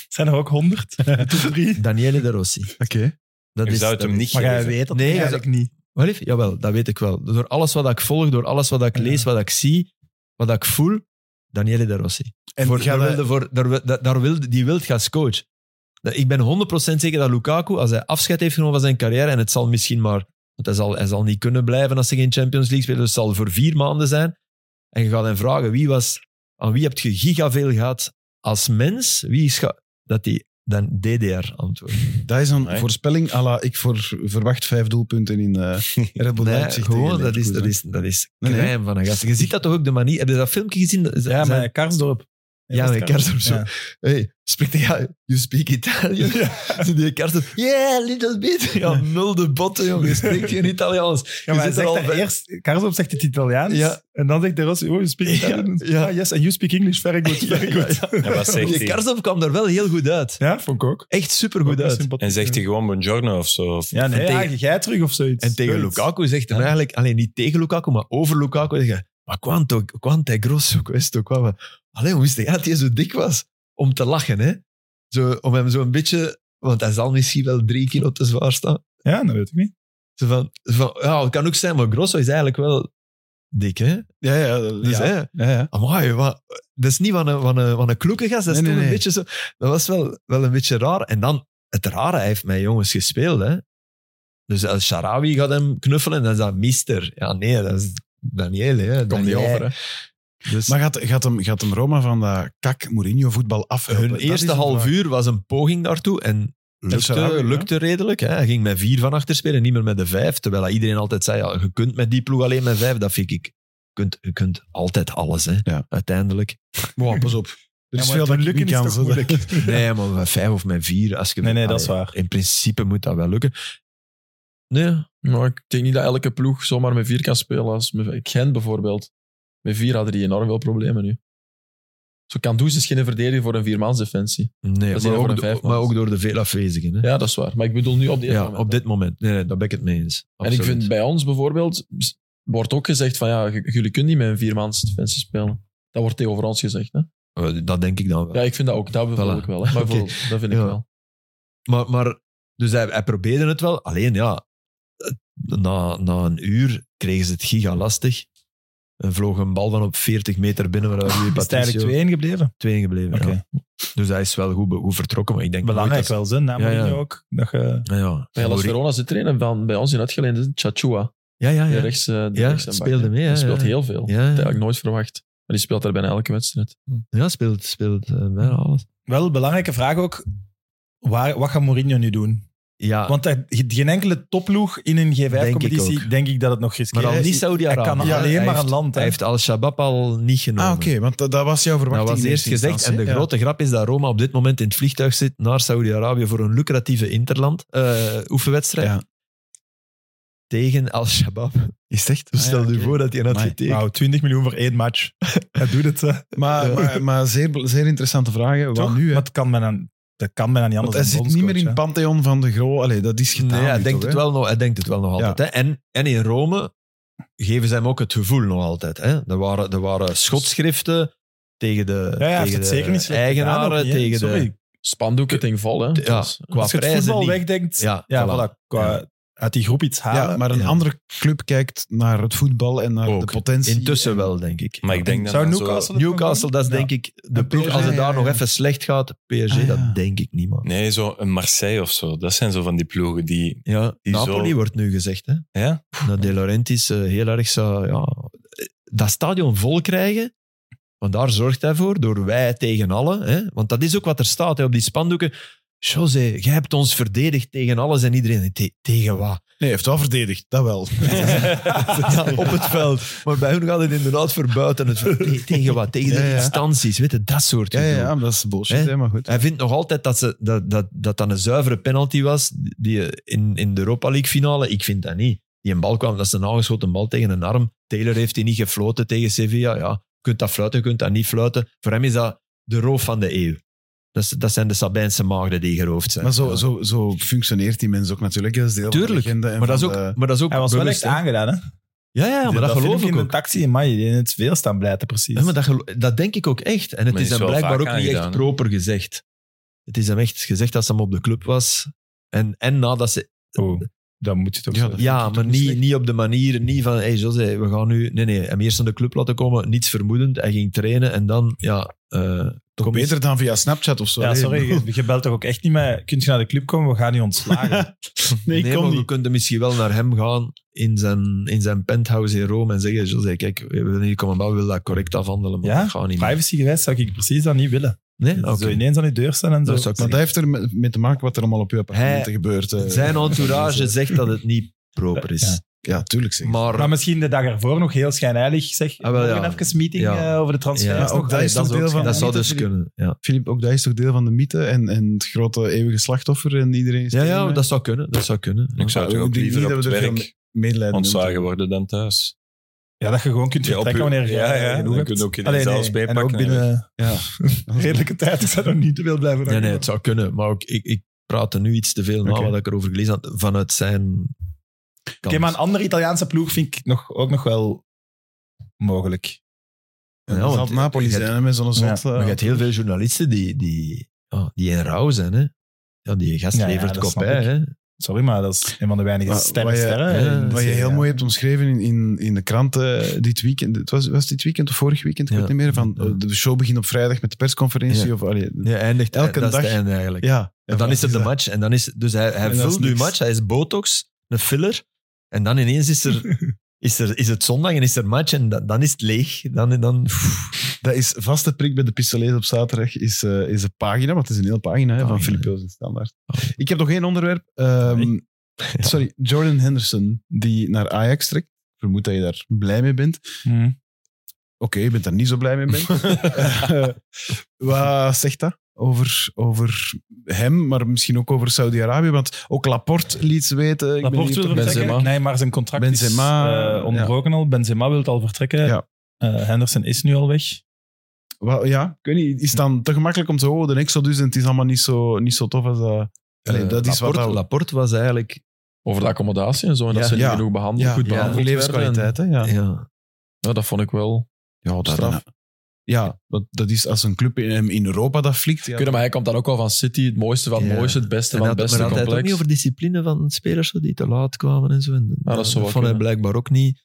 Zijn er ook honderd? drie?
Daniele De Rossi.
Oké.
Dat
Je zou het
dat
hem niet
Maar jij
geven.
weet dat
Nee,
nee,
hij
eigenlijk niet.
Wel lief? Jawel, dat weet ik wel. Door alles wat ik volg, door alles wat ik
Ja.
lees, wat ik zie, wat ik voel, Daniele De Rossi.
En
voor,
ga
daar
dat-
wilde voor, daar, wi- da- daar wilde, die wilt gaan coach. Dat- Ik ben 100% zeker dat Lukaku, als hij afscheid heeft genomen van zijn carrière, en het zal misschien maar, want hij zal, hij zal niet kunnen blijven als hij geen Champions League speelt, dus het zal voor vier maanden zijn. En je gaat hem vragen, wie was, aan wie heb je gigaveel gehad als mens? Wie is ga- dat die dan DDR antwoordt.
Dat is een
Nee.
voorspelling à la ik voor, verwacht vijf doelpunten in eh Red Bull
Nee,
Leipzig
gewoon,
tegen
dat is,
Leverkusen.
dat is, dat is
Nee, nee.
crème van een gast. Je ziet dat toch ook de manier... Heb je dat filmpje gezien?
Ja,
Zijn-
maar Karsdorp.
Ja, maar Karsdorp zo.
Ja.
Hey, spreek ja, you speak Italian. Zit die kaart op, yeah, little bit. Ja, nul de botten, jongen. Je spreekt geen Italiaans.
Ja, maar
je
hij
zit er
zegt
al
dat
bij.
eerst, Karsdorp zegt het Italiaans.
Ja.
En dan zegt de Rossi, oh, you speak
Ja,
Italian.
ja.
Ah, yes, and you speak English very good. Very
Ja,
good.
ja,
En wat zegt
Die
hij?
Karsdorp kwam er wel heel goed uit.
Ja, vond ik ook.
Echt supergoed uit.
En zegt hij gewoon buongiorno of zo? Of,
Ja, nee,
En tegen-
ja, jij terug of zoiets.
En tegen
Zoiets.
Lukaku zegt hij eigenlijk, alleen niet tegen Lukaku, maar over Lukaku zegt hij, maar quanto, quanto è grosso questo qua. Maar, Allee, hoe wist hij dat hij zo dik was? Om te lachen, hè. Zo, om hem zo'n beetje, want hij zal misschien wel drie kilo te zwaar staan.
Ja, dat weet ik niet.
Zo van, zo van, ja, het kan ook zijn, maar Grosso is eigenlijk wel dik, hè.
Ja, ja. dat-
Dus,
ja.
hè,
ja, ja.
Amai, wat, dat is niet van een, van een, van een kloeke gast. Dat is
Nee,
toch
nee, nee.
een beetje zo. Dat was wel, wel een beetje raar. En dan, het rare, hij heeft met jongens gespeeld. Hè? Dus El Sharawi gaat hem knuffelen en dan is dat mister. Ja, nee, dat is Daniele. Hè?
Komt niet
Daniele.
over, hè.
Dus
Maar gaat, gaat, hem, gaat hem Roma van dat kak Mourinho voetbal afhelpen?
hun
Dat
eerste
is een
half
vraag. Dus
uur was een poging daartoe. En
Shaarawy,
lukte,
ja.
lukte redelijk. Hè? Hij ging met vier van achter spelen, niet meer met de vijf. Terwijl dat iedereen altijd zei, ja, je kunt met die ploeg alleen met vijf. Dat vind ik... Je kunt, je kunt altijd alles, hè?
Ja.
uiteindelijk.
Wow, pas op. Er is
maar
veel
het
dat ik
lukken
niet kan.
is toch
zo dat-
moeilijk.
Nee, maar met vijf of met vier. Als je
Nee, nee,
Allee,
dat is waar.
In principe moet dat wel lukken. Nee,
Maar ik denk niet dat elke ploeg zomaar met vier kan spelen. Als met Gent bijvoorbeeld. Met vier hadden die enorm veel problemen nu. Zo Kandus is geen verdediger voor een viermansdefensie.
nee
Dat is
maar,
eerder voor
ook,
een
do-
vijfmans.
maar ook door de veel afwezigen. Hè?
Ja, dat is waar. Maar ik bedoel nu op de
Ja, op dit moment. Nee, nee, daar ben ik het mee eens.
En ik
Absoluut.
vind bij ons bijvoorbeeld, wordt ook gezegd van ja, j- jullie kunnen niet met een viermansdefensie spelen. Dat wordt tegenover ons gezegd. Hè?
Eh, Dat denk ik dan wel.
Ja, ik vind dat ook. Dat bevel
Voilà.
ik wel. Hè? Maar
Oké.
bijvoorbeeld, dat vind ik
Ja.
wel.
Maar, maar dus hij, hij probeerde het wel. Alleen ja, na, na een uur kregen ze het giga lastig. En vloog een bal van op 40 meter binnen waaruit Rui
Is het eigenlijk
Patricio
twee gebleven?
twee gebleven.
Oké.
ja. Dus hij is wel goed, be- goed vertrokken. Maar ik denk
Belangrijk
nooit
wel, zin. Na
Ja, ja.
Mourinho ook. Dat je-
dat- Ja,
Bij Hellas
Mourinho-
Verona zit er een van bij ons in uitgeleend, is Chachua.
ja, ja,
De
ja.
rechts, eh, de
Ja,
rechtsaanbak,
speelde
hè.
mee, hè,
Hij speelt
ja.
heel veel.
Ja,
Dat
ja.
had ik nooit verwacht. Maar die speelt daar bijna elke wedstrijd.
ja speelt, speelt eh, bijna alles.
Wel, belangrijke vraag ook. Waar, wat gaat Mourinho nu doen?
Ja,
Want er- geen enkele topploeg in een
Denk ik
G5-competitie,
ook.
denk ik dat het nog
maar
riskeert
dan niet
is. Hij
Saudi-Arabië.
kan
Ja,
alleen
hij
maar
heeft-
een land. hè.
Hij heeft Al-Shabaab al niet genomen.
Ah, oké, want dat, dat was jouw
Dat
verwachting.
Nou, was
in
eerst
eerste
gezegd. En
instantie,
de
hè? Ja.
grote grap is dat Roma op dit moment in het vliegtuig zit naar Saudi-Arabië voor een lucratieve interland eh, oefenwedstrijd.
Ja.
Tegen Al-Shabaab. Is echt? dus
Ah, ja,
Stel je
oké.
voor dat hij had
Amai.
getekend.
Wauw, 20 miljoen voor één match. Hij doet het. hè.
Maar, maar, maar zeer, zeer interessante vragen. Wat
Toch?
nu? Hè?
Maar het kan bijna, dat kan bijna niet
Want
anders
hij zit
dan
niet meer in het
bondscoach,
pantheon van de Gro. Allee, dat is gedaan.
Nee,
nu
hij,
toch,
denkt het
hè?
wel nog, hij denkt het wel nog altijd. Hè? En, en in Rome geven ze hem ook het gevoel nog altijd. Hè? Er, waren, er waren schotschriften tegen de,
hè. Ja, ja, hij heeft
tegen
het
de
zeker niet slecht gedaan ook
eigenaren.
niet, hè.
tegen
Sorry.
de,
Spandoek het ding vol, hè.
Ja,
Dus, eh,
qua
Als je het
prijzen
voetbal
niet.
wegdenkt, ja,
Ja, voilà.
voilà, qua uit die groep iets halen.
Ja, maar een
Ja.
andere club kijkt naar het voetbal en naar
Ook.
de potentie.
Intussen
en-
wel, denk ik.
Maar ik denk dat
Zou
dat zo-
Newcastle... het
Newcastle, dat is
Ja.
denk ik de
En
ploeg.
PSG,
Als het
ja,
daar
ja,
nog
ja.
even slecht gaat, PSG,
Ah, ja.
dat denk ik niet, man.
Nee, zo een Marseille of zo. Dat zijn zo van die ploegen die...
Ja,
Die
Napoli
zo-
wordt nu gezegd. Hè?
Ja?
Dat De Laurentiis eh, heel erg zou... Ja, dat stadion vol krijgen, want daar zorgt hij voor, door wij tegen allen. Hè? Want dat is ook wat er staat hè, op die spandoeken. José, jij hebt ons verdedigd tegen alles en iedereen. Te- tegen wat?
Nee, hij heeft wel verdedigd. Dat wel.
Ja, op het veld. Maar bij hun gaat het inderdaad voor buiten het veld. Te- tegen wat? Tegen de
Ja, ja.
instanties. Weet je, dat soort
Ja, ja,
gedoe.
ja, maar dat is bullshit,
Hè?
hè, maar goed.
Hij vindt nog altijd dat, ze, dat, dat, dat dat een zuivere penalty was die je in, in de Europa League finale. Ik vind dat niet. Die een bal kwam, dat is een aangeschoten bal tegen een arm. Taylor heeft die niet gefloten tegen Sevilla. Ja, je kunt dat fluiten, je kunt dat niet fluiten. Voor hem is dat de roof van de eeuw. Dat, is- dat zijn de Sabijnse maagden die geroofd zijn.
Maar zo,
Ja.
zo, zo functioneert die mens ook natuurlijk. Dat is deel van de
Tuurlijk.
legende. en
maar, dat is
van eh,
ook,
de-
maar dat is ook
Hij was
bewust,
wel
hè.
echt aangedaan, hè?
Ja, ja, ja, maar dat, geloof
filmpje
ik
in
ook.
de taxi in Maj, die in het veel staan blijten, precies.
Ja, maar dat, gelo- dat denk ik ook echt. En het is
Maar die is
hem
wel
blijkbaar
vaak
ook niet echt
aangedaan, hè?
proper gezegd. Het is hem echt gezegd dat ze hem op de club was. En, en nadat ze
Oh, dat moet je toch
Ja,
zo-
dat-
Ja,
vind ik
maar
toch niet
niet,
slecht.
niet op de manier, niet van, hey José, we gaan nu... Nee, nee, hem eerst aan de club laten komen, niets vermoedend. Hij ging trainen en dan, ja... eh,
toch
kom eens.
beter dan via Snapchat of zo.
Ja,
Allee,
sorry, je, je belt toch ook echt niet meer. Kun je naar de club komen? We gaan je ontslagen.
Nee, ik kon
maar we
niet.
kunnen misschien wel naar hem gaan in zijn, in zijn penthouse in Rome en zeggen, José, kijk, we willen hier komen, maar we willen dat correct afhandelen, maar
Ja,
dat gaat niet meer.
Privacy geweest zou ik precies dat niet willen.
Nee?
Zo
Oké.
ineens aan je deur staan en zo.
Dat zou ik
Maar dat heeft er met- mee te maken wat er allemaal op je appartementen
Hij-
gebeurt. eh.
Zijn entourage zegt dat het niet proper is.
Ja, tuurlijk zeg.
Maar,
Maar misschien de dag ervoor nog heel schijnheilig. Zeg,
Ah, wel,
morgen
ja.
even meeting
Ja.
eh, over de transfer.
Ja,
ook dat is toch deel van-
dat zou
niet
dus
dat jullie-
kunnen, ja.
Filip, ook dat is toch deel van de mythe en, en het grote eeuwige slachtoffer en iedereen is
Ja,
tegen
ja,
mij?
dat zou kunnen, dat zou kunnen. ja.
Ik zou toch
ik
ook
denk niet
liever op
dat
het
we er veel
werk
medelijden mee
ontslagen
moeten
worden dan thuis.
Ja, dat je gewoon kunt
Ja, op
vertrekken
uw-
wanneer je
ja, ja,
genoeg
dan
hebt.
kun je ook iedereen
Allee,
zelfs
En ook
bijpakken
binnen
hebben.
redelijke tijd. Ik zou nog niet te veel blijven.
Nee, nee, het zou kunnen. Maar ook, ik, ik praat er nu iets te veel na
Oké.
wat ik erover gelezen had vanuit zijn kant.
Oké, maar een andere Italiaanse ploeg vind ik nog, ook nog wel mogelijk.
Ja, dat
Ja, want
zal het Napoli
je
zijn
hebt-
hè, met zo'n
Ja,
zot. eh,
Maar je hebt heel veel journalisten die, die, ja, die in rouw zijn. Hè? Ja, die gast
Ja, ja,
levert
dat
kop
snap
bij.
ik.
Hè?
Sorry, maar dat is een van de weinige
Wa-
sterren.
wat je-
sterren
ja,
in de
Wat je
serie,
heel
ja.
mooi hebt omschreven in, in, in de kranten eh, dit weekend. Het was, was dit weekend of vorig weekend? Ik
Ja.
weet niet meer. Van,
Ja.
eh, de show begint op vrijdag met de persconferentie.
Ja.
Of, allee, ja.
Ja, eindigt,
Elke
dat is
dag.
het einde eigenlijk.
Ja,
En dan
wat
is het de
dat?
match. En dan is, dus hij, hij
En dat is
vult nu
niks.
match. Hij is botox, een filler. En dan ineens is, er, is, er, is het zondag en is er match. En dan, dan is het leeg. Dan, dan,
Dat is vaste prik bij de pistolees op zaterdag. Is, eh, is een pagina, want het is een hele pagina, hè, van
Pagina. Oh.
Filip Joos in Standaard. Ik heb nog één onderwerp. Ehm,
Nee.
Sorry, Jordan Henderson, die naar Ajax trekt. Ik vermoed dat je daar blij mee bent.
Mhm.
je bent daar niet zo blij mee bent. Eh, wat zegt dat over, over hem, maar misschien ook over Saudi-Arabië? Want ook Laporte liet ze weten. ik ben
Laporte
hier
wil
toch-
Benzema.
vertrekken. Nee, maar zijn contract
Benzema,
is eh, onderbroken al. Benzema wil al vertrekken.
Ja.
Eh, Henderson is nu al weg.
Wel, ja, ik weet niet. Is het dan te gemakkelijk om te horen, de Exodus, en het is allemaal niet zo, niet zo tof als dat... Allee,
Eh,
dat is wat
Laporte,
dat-
Laporte was eigenlijk...
Over de accommodatie en zo. En dat
Ja.
ze niet
Ja.
genoeg behandeld, goed behandeld werden.
levenskwaliteit, hè? Ja.
Ja.
En- ja, dat vond ik wel.
Ja, dat,
Straf.
ja dat, dat is als een club in, in Europa dat flikt. Ja,
Kunnen, maar hij komt dan ook wel van City. Het mooiste van het
Ja.
mooiste, het beste
En
van het
had- maar
beste
had hij het ook
complex.
niet over discipline van spelers zo, die te laat kwamen en zo. En,
dat zou wel
vond hij
kunnen.
blijkbaar ook niet.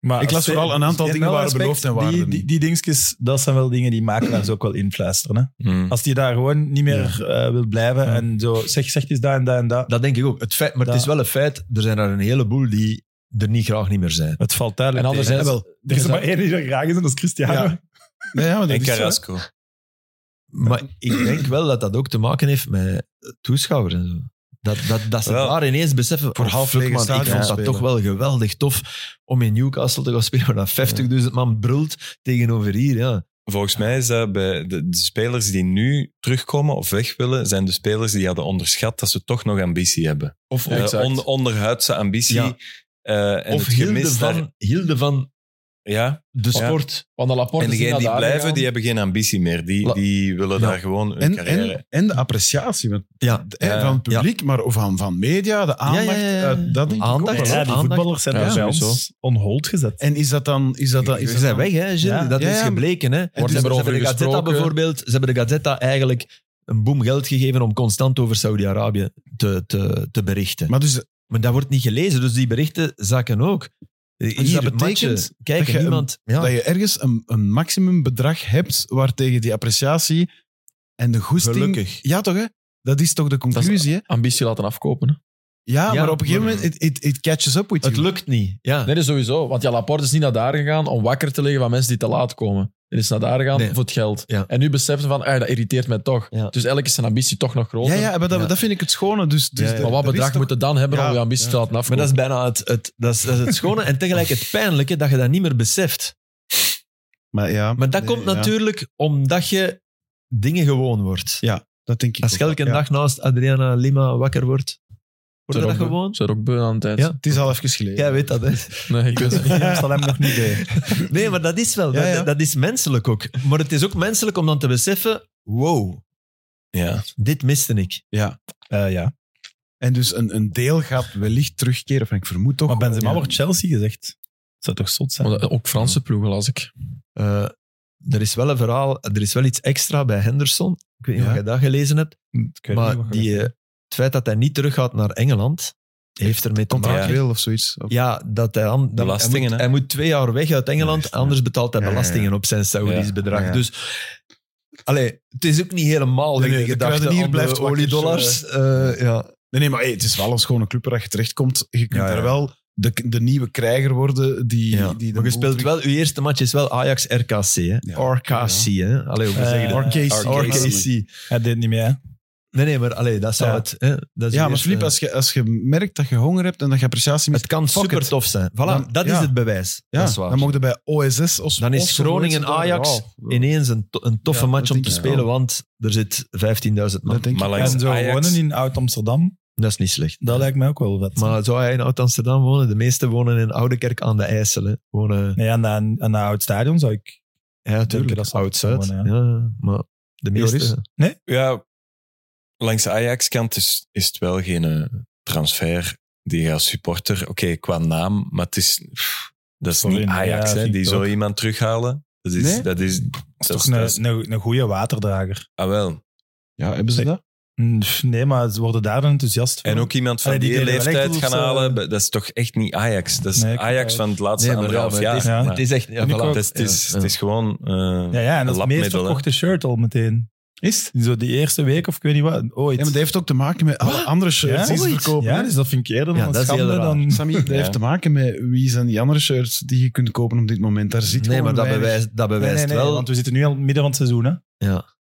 Maar
Ik las
als-
vooral een aantal
met
dingen
alle
waren beloofd en waren
Die,
er
die,
niet.
die dingetjes, dat zijn wel dingen die maakbaars ook wel influisteren. Hè?
Hmm.
Als die daar gewoon niet meer eh, wil blijven
Hm. Ja.
en zo zeg, zeg eens dat en dat en dat.
Dat denk ik ook. Het feit, maar het
Dat-
is wel een feit, er zijn er een heleboel die er niet graag niet meer zijn.
Het valt duidelijk
En
tegen.
anderzijds-
Ja, wel, er is er maar één die er graag is en dat is Cristiano.
Ja. Nee, ja, maar dat
En
is zo, hè.
Carrasco.
Maar ik denk wel dat dat ook te maken heeft met toeschouwers en zo. Dat, dat, dat ze
Wel.
daar ineens beseffen,
Voor
oh,
half
fuck,
lege
man, ik
stadions
vond dat
spelen.
toch wel geweldig tof om in Newcastle te gaan spelen, waar dat 50.000 man brult tegenover hier. Ja.
Volgens mij is dat bij de, de spelers die nu terugkomen of weg willen, zijn de spelers die hadden onderschat dat ze toch nog ambitie hebben.
Of
Eh,
exact.
on- onderhuidse ambitie.
Ja.
eh, en
Of
het
hielden
gemis
van,
daar-
hielden van
Ja,
de
Ja.
sport.
Want de Laporte
en
is
degenen
niet
die
naar daar
blijven,
gegaan.
die hebben geen ambitie meer. Die,
La-
die willen
Ja.
daar gewoon hun
En,
carrière...
en, en de appreciatie want,
Ja.
eh,
Ja.
van het publiek, maar ook van, van media, de aandacht.
Ja, ja, ja, ja.
eh, dat denk ik
Aandacht,
ook wel.
Ja, die
Aandacht.
voetballers zijn
Ja,
daar bij
sowieso.
ons on hold gezet.
En is dat dan... Is dat dan is
Ze
dat
zijn
dan-
weg, hè, Gilles?
Ja.
Dat
Ja,
is
ja.
gebleken. Hè?
hebben
ze hebben,
erover
de Gazzetta
gesproken.
bijvoorbeeld, ze hebben de Gazzetta eigenlijk een boom geld gegeven om constant over Saudi-Arabië te, te, te berichten. Maar,
Maar dus
dat wordt niet gelezen, dus die berichten zakken ook.
Dus dat
Hier,
betekent
matchen, Ah. Kijk,
dat je
niemand... ja.
dat je ergens een, een maximumbedrag hebt waartegen die appreciatie en de goesting...
Gelukkig.
Ja, toch, hè? Dat is toch de conclusie, hè?
Ambitie laten afkopen. hè.
Ja,
Ja,
maar op een gegeven
maar-
moment, it, it, it catches up with
Het
you.
lukt niet. Ja.
Nee, dat is sowieso. Want ja, Laporte is niet naar daar gegaan om wakker te liggen van mensen die te laat komen. Hij is naar daar gegaan
Nee.
voor het geld.
Ja.
En nu beseft hij van, ah, dat irriteert mij toch.
Ja.
Dus elk is zijn ambitie toch nog groter.
Ja, ja, maar dat,
Ja.
dat vind ik het schone. Dus, dus
Ja, ja.
er-
Maar wat
er is
bedrag
toch-
moet je dan hebben
Ja.
om je ambitie te laten afkomen?
Maar dat is bijna het, het, dat is, dat is het schone en tegelijk het pijnlijke dat je dat niet meer beseft.
Maar, ja,
Maar dat
Nee,
komt
ja.
natuurlijk omdat je dingen gewoon wordt.
Dat denk ik
Als je
ook.
elke
Ja.
dag naast Adriana Lima wakker wordt, wordt
Zijn
dat
ook beu-
gewoon?
zijn ook beu aan de tijd.
Ja.
Het is al even geleden.
Jij weet dat, hè?
Nee, ik weet het niet.
Dat hem nog niet bij.
Nee, maar dat is wel. Dat,
Ja, ja.
dat is menselijk ook. Maar het is ook menselijk om dan te beseffen: wow,
Ja.
dit miste ik.
Eh, ja.
En dus een, een deel gaat wellicht terugkeren. Of ik vermoed toch.
Maar Benzema
Ja.
wordt Chelsea gezegd. Dat zou toch zot zijn?
Maar dat- ook Franse ploegen las ik.
Eh, er is wel een verhaal, er is wel iets extra bij Henderson. Ik weet niet
Ja.
of je dat gelezen hebt.
Ik weet niet
maar
wat
die,
je-
eh, het feit dat hij niet terug gaat naar Engeland, heeft ermee te maken.
Contractueel.
Contractueel of zoiets. Of-
Ja, dat hij, dan, dan-
Belastingen,
hij, moet,
hè?
hij moet twee jaar weg uit Engeland,
Juist, ja.
anders betaalt hij
Ja, ja, ja.
belastingen op zijn Saudisch
Ja,
bedrag.
ja, ja.
Dus allee, het is ook niet helemaal
Nee,
nee,
nee, de
gedachte
kruidenier
aan
blijft
de
wakker, dus,
oliedollars. dus, eh, ja.
Nee, nee, maar hey, het is wel een schone club waar je terechtkomt. Je kunt
Ja, ja.
daar wel de, de nieuwe krijger worden. Die,
Ja,
die de
maar je
boel
speelt
terug-
wel, je eerste match is wel Ajax RKC. Hè?
Ja.
RKC, hè? Allee, hoe
Eh,
zeg je dat?
RKC.
RKC.
RKC.
Hij deed niet meer. hè?
Nee, nee, maar allee, dat zou
Ja.
het. Hè? Dat is
Ja,
de
maar
eerste-
Filip, als je, als je merkt dat je honger hebt en dat je appreciatie mist,
eh, het kan
Fuck
super
it.
tof zijn. Voilà,
Dan-
dat
ja.
is het bewijs.
ja,
dat is waar.
dan mogen bij OSS of
Dan is
of zo
Groningen
zoiets
Ajax
daar- ja.
Ineens een, to- een toffe
Ja,
match
dat
om
denk
te
ik
spelen,
wel.
want er zit 15.000 man.
Dat denk ik.
Maar langs
En zo
Ajax...
wonen in Oud-Amsterdam,
Dat is niet slecht.
dat lijkt mij ook wel vet.
Maar zou hij in Oud-Amsterdam wonen? De meesten wonen in Oudekerk aan de IJssel. Hè. Wonen,
nee, aan, aan, aan dat oud stadion zou ik...
ja, natuurlijk,
dat is
Oud-Zuid.
gewoon,
ja. maar de meeste...
Joris?
Ja, langs de Ajax-kant is, is het wel geen eh, transfer die je als supporter... Oké, qua naam, maar het is... pff, dat is
Sorry,
niet
nee,
Ajax,
ja,
hè,
vind
die
ik
zo
ook.
iemand terughalen. Dat is...
Nee?
Dat is, dat
Toch
is- dat is-
een, een, een goede waterdrager.
ah, wel.
Ja, hebben ze dat?
Mm, pff, Nee, maar ze worden daar dan enthousiast van.
En ook iemand van
Allee, die
die,
deden wel
leeftijd
echt als,
gaan
eh,
halen, dat is toch echt niet Ajax. Dat is
Nee, ik-
Ajax van het laatste
Nee, maar ja,
anderhalf
maar
jaar.
het is-
Ja.
Het is echt... Ja,
En ik
voilà.
ook.
Het is, dus het is,
Ja.
het is gewoon... eh,
Ja, ja en dat is het meest
Lapmiddel, hè.
verkochte shirt al meteen. Is Zo die eerste week of ik weet niet wat, ooit.
Ja, maar dat heeft ook te maken met alle andere shirts die ze
Ooit.
verkopen.
Ja,
hè.
dus dat vind ik eerder
Ja,
dan
dat
een
is
schande.
heel raar.
Dan...
Sammy, dat
Ja.
heeft te maken met wie zijn die andere shirts die je kunt kopen op dit moment. Daar zit
Nee,
gewoon
maar dat
weinig-
bewijst, dat
Nee,
bewijst
nee, nee,
wel...
want we zitten nu al in het midden van het seizoen. Hè?
Ja.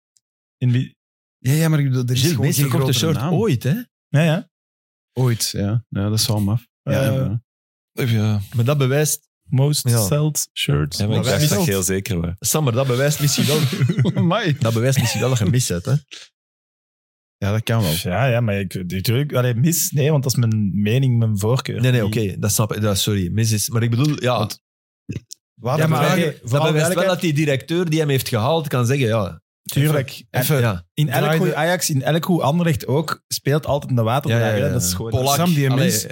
In wie...
Ja, ja, maar ik bedoel, er is
Gilles,
gewoon
meest
geen
verkochte
grote
shirt
naam.
ooit, hè?
Ja, ja.
Ooit, ja. ja. Dat is wel maf. Ja,
Eh,
ja.
ja.
Maar dat bewijst
most
Ja.
sold shirts.
Ja, maar ik
wij
dacht dat
niet.
je heel zeker was.
Sam, maar dat bewijst misschien wel,
Amai.
dat, bewijst misschien wel dat je mis hebt. Hè?
Ja, dat kan wel.
Ja, ja, maar ik, natuurlijk, allee, mis, nee, want dat is mijn mening, mijn voorkeur.
Nee, nee,
Die-
oké. dat snap ik. Dat, sorry, mis is. Maar ik bedoel, ja.
Wat
ja, maar
vragen-
eigenlijk- Ah, dat bewijst wel dat die directeur die hem heeft gehaald kan zeggen, ja.
Tuurlijk. En
Even,
ja.
in elk
draaide-
goed Ajax, in elk goed Anderlecht ook, speelt altijd een waterdrager.
Ja, ja, ja,
hè.
Ah, ja.
Dat is gewoon...
Polak.
Sam, die
Allee,
mens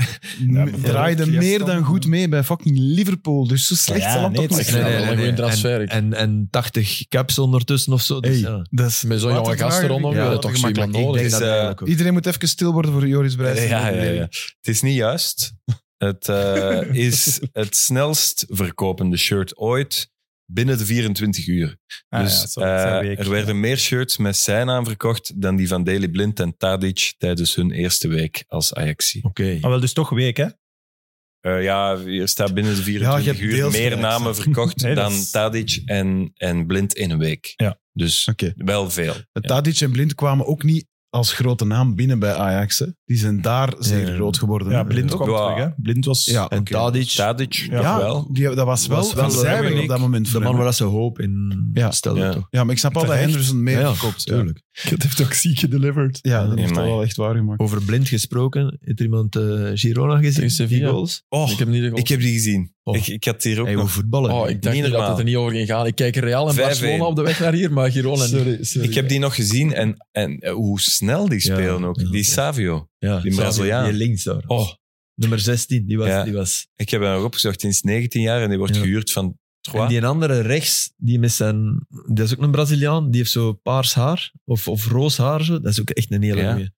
m-
maar
draaide
Fiesta-
meer dan goed mee bij fucking Liverpool. Dus zo slecht
Ja,
zal hem
nee,
toch
het
niet
Ik
zijn.
is-
vind dat wel
nee,
een
nee.
goede transfer. ik.
En, en 80 caps ondertussen of zo. Dus,
Hey,
ja.
dat is-
Met zo'n jonge
waterdrager,
gast eronder
ja,
we hebben
dat
toch zo
gemakkelijk.
iemand
Ik
nodig.
denk
is,
dat
eh,
eigenlijk ook.
Iedereen moet even stil worden voor Joris
Ja,
Brijs.
ja, ja, ja. Het is niet juist. Het eh, is het snelst verkopende shirt ooit binnen de 24 uur.
Ah, ja,
dus
zo- zo'n
eh,
week,
er
ja.
werden meer shirts met zijn naam verkocht dan die van Daley Blind en Tadic tijdens hun eerste week als Ajaxie.
Oké.
Maar wel, dus toch week, hè?
Eh, ja, hier staat binnen de
Ja,
24
je hebt
uur
deels
meer
gelijk,
namen verkocht
Nee, dat
dan
is-
Tadic en, en Blind in een week.
Ja.
Dus
Oké.
wel veel.
Het
Ja.
Tadic en Blind kwamen ook niet als grote naam binnen bij Ajax. Hè. Die zijn daar zeer
ja.
groot geworden.
Ja, Blind
Ja.
kwam
Ja.
terug, hè? Blind was...
Ja,
En
oké.
Tadic,
Tadic,
Ja.
nog
Ja,
wel.
die, dat was wel,
Was wel
een zijweg
Premier
op dat moment.
de
voor
man
hem.
waar dat ze hoop in
Ja.
stelde,
Ja.
toch?
Ja, maar ik snap wel dat
Terecht.
Henderson meer
Ja, ja,
verkoopt. Ja,
Tuurlijk.
Het heeft ook ziek gedelivered.
Ja, dat
Ja,
heeft dat
amai.
wel echt waar gemaakt.
Oh.
Over blind gesproken, heeft er iemand eh, Girona gezien?
Tegen Sevilla.
Die goals?
Oh,
Ik heb hem niet gehoord.
ik heb die gezien.
Oh.
Ik, ik had hier ook
Hey, hoe
nog
voetballen.
Oh, ik dacht
Niet
niet dat
normaal.
het er niet over ging gaan. Ik kijk Real en
5-1.
Barcelona op de weg naar hier, maar Girona niet.
Ik heb die nog gezien en, en eh, hoe snel die
Ja,
spelen ook.
ja,
die
ja.
Savio.
ja,
die Braziliaan.
Die links daar.
Oh,
Nummer 16, die was...
Ja.
Die was
ik heb hem nog opgezocht. Die is 19 jaar en die wordt
Ja.
gehuurd van
en
Troyes.
die andere rechts, die met zijn... Dat is ook een Braziliaan, die heeft zo paars haar. Of, of roos haar, zo. Dat is ook echt een hele
Ja.
goeie.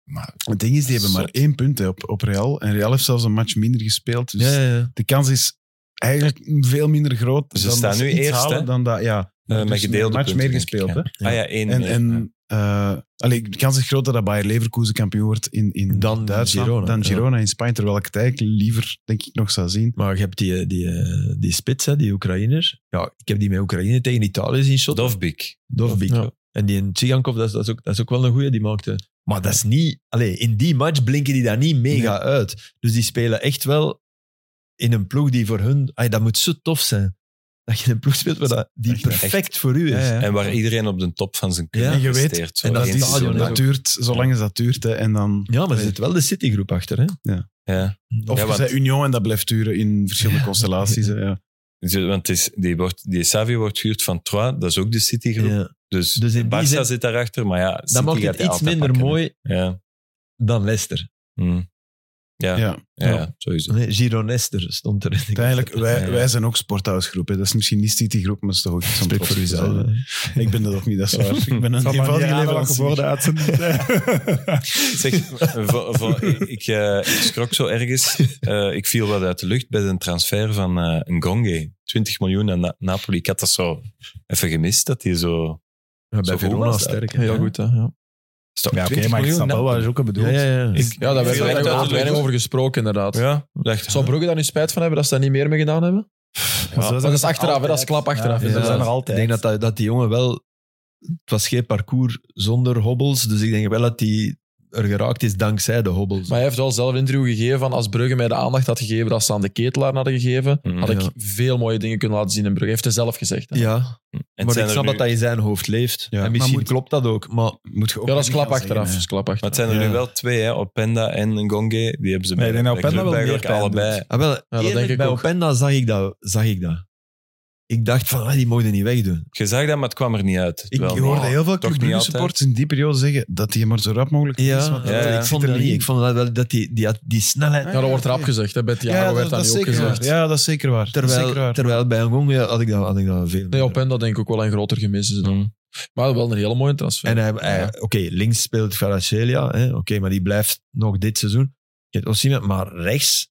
Het ding is, die hebben maar
Zot.
één punt hè, op, op Real. En Real heeft zelfs een match minder gespeeld. Dus
Ja, ja, ja.
de kans is eigenlijk veel minder groot.
Ze
dan dat
staan nu
iets
eerst,
halen
hè?
Dan dat, ja,
Eh, met
Dus
gedeelde
een match
punten,
meer
denk ik,
gespeeld.
ja.
Hè?
Ah ja, één.
En,
meer, ja.
en eh, allee, de kans is groot dat Bayer Leverkusen kampioen wordt in, in
Dan
Duitsland
Girona,
dan
ja.
Girona in Spanje. Terwijl ik het eigenlijk liever, denk ik, nog zou zien.
Maar je hebt die, eh, die, eh, die spits, hè, die Oekraïner. Ja, ik heb die met Oekraïne tegen Italië zien shotten.
Dovbik.
Dovbik.
Ja.
En die in Tsigankov, dat is, dat, is ook, dat is ook wel een goeie, die maakte. Maar dat is niet... Allee, in die match blinken die daar niet mega uit. Dus die spelen echt wel in een ploeg die voor hun... Ay, dat moet zo tof zijn. Dat je in een ploeg speelt waar dat, die
Echt,
perfect voor u is.
Ja, ja.
En waar iedereen op de top van zijn
Ja,
kunnen
en je weet-
presteert. Zo
en dat
één
dat, is,
stadion
seizoen
dat
lang.
duurt zolang als dat duurt. Hè, en dan,
Ja, maar er zit wel de Citigroep achter. Hè?
Ja.
of
Ja,
je
want-
zei Union en dat blijft duren in verschillende constellaties. Hè, ja.
Want het is, die, wordt, die Savio wordt gehuurd van Troyes. Dat is ook de City-groep.
Ja.
Dus,
Dus in die
Barca
zin-
zit daarachter. Maar ja, City
Dan maakt
gaat
het
die
iets
altijd
minder
pakken, hè.
mooi
Ja.
dan Leicester.
Hm. Ja. Ja.
Ja.
Ja,
Ja.
sowieso.
Nee, Gironester stond er.
Uiteindelijk,
Ja.
wij, wij zijn ook sporthuisgroep. Hè. Dat is misschien niet City-groep, maar dat is toch ook iets om trots te zijn, hè. Ik ben dat ook niet, dat is waar. Ik ben een
Zal maar niet
eenvoudige
aanlachen voor
leverancier.
de uitzending.
Zeg, vo- vo- ik, eh, ik schrok zo ergens. Eh, ik viel wat uit de lucht bij een transfer van eh Ngonge. 20 miljoen naar Na- Napoli. Ik had dat zo even gemist, dat hij zo...
Ja, bij
Zo goed
Verona
was dat.
sterk. hè.
Heel goed, hè. Ja.
Stop,
Ja, oké, maar ik snap wel wat je ook bedoelt.
Ja, ja, ja.
Ja, daar werd
Veel uit de
weinig-
lucht.
weinig over gesproken, inderdaad.
Ja, dacht,
Zou Brugge daar nu spijt van hebben dat ze dat niet meer mee gedaan hebben?
Maar zo
dat
zijn
is
er
achteraf, hè, dat is
altijd.
klap achteraf.
Ja,
Dus
Ja,
Ze zijn er
Ik
altijd.
denk dat, dat, dat die jongen wel... Het was geen parcours zonder hobbels, dus ik denk wel dat hij er geraakt is dankzij de hobbels.
Maar hij heeft wel zelf een interview gegeven van als Brugge mij de aandacht had gegeven dat ze aan de ketelaar hadden gegeven,
Mm,
had ik
ja.
veel mooie dingen kunnen laten zien in Brugge. Heeft hij zelf gezegd. hè.
ja,
En
maar ik
zijn er
snap
nu-
dat dat in zijn hoofd leeft.
Ja.
En misschien
Maar moet-
klopt dat ook, maar
Moet je ook
Ja, dat is
niet
klap
gaan
achteraf.
zeggen,
Dat
hè.
is klap
Maar het
achteraf.
zijn er
Ja.
nu wel twee, hè. Openda en Ngonge. Die hebben ze
Nee,
bij,
ik denk dat
bij
Openda
club
wel meer
eigenlijk
pijn
allebei.
ah, wel,
dat
eerlijk,
denk ik
bij
ook.
Openda zag ik dat. Zag ik, dat. ik dacht van, ah, die mogen niet wegdoen.
Je zag dat, maar het kwam er niet uit.
Ik
Wel,
Je hoorde
maar-
heel veel
toch
Club
niet
Brugge
altijd.
supporters in die periode zeggen dat hij maar zo rap mogelijk
Ja,
is. want
ja, ja.
ik vond dat
er
niet.
in.
Ik vond dat wel dat die, die, had die snelheid...
Ja, dat wordt rap gezegd. Hè. Bij het jaar werd dat,
is
niet ook
zeker
gezegd.
waar. Ja, dat is zeker waar. Dat is zeker
Terwijl,
waar.
terwijl bij een jongen had ik dat, had ik dat veel
Nee,
meer.
op hen dat denk ik ook wel een groter gemis is dan.
Mm.
Maar wel een hele mooie transfer.
En hij, hij-
Ja.
oké, links speelt Kvaratskhelia, hè, oké, maar die blijft nog dit seizoen. Je hebt Osimhen, maar rechts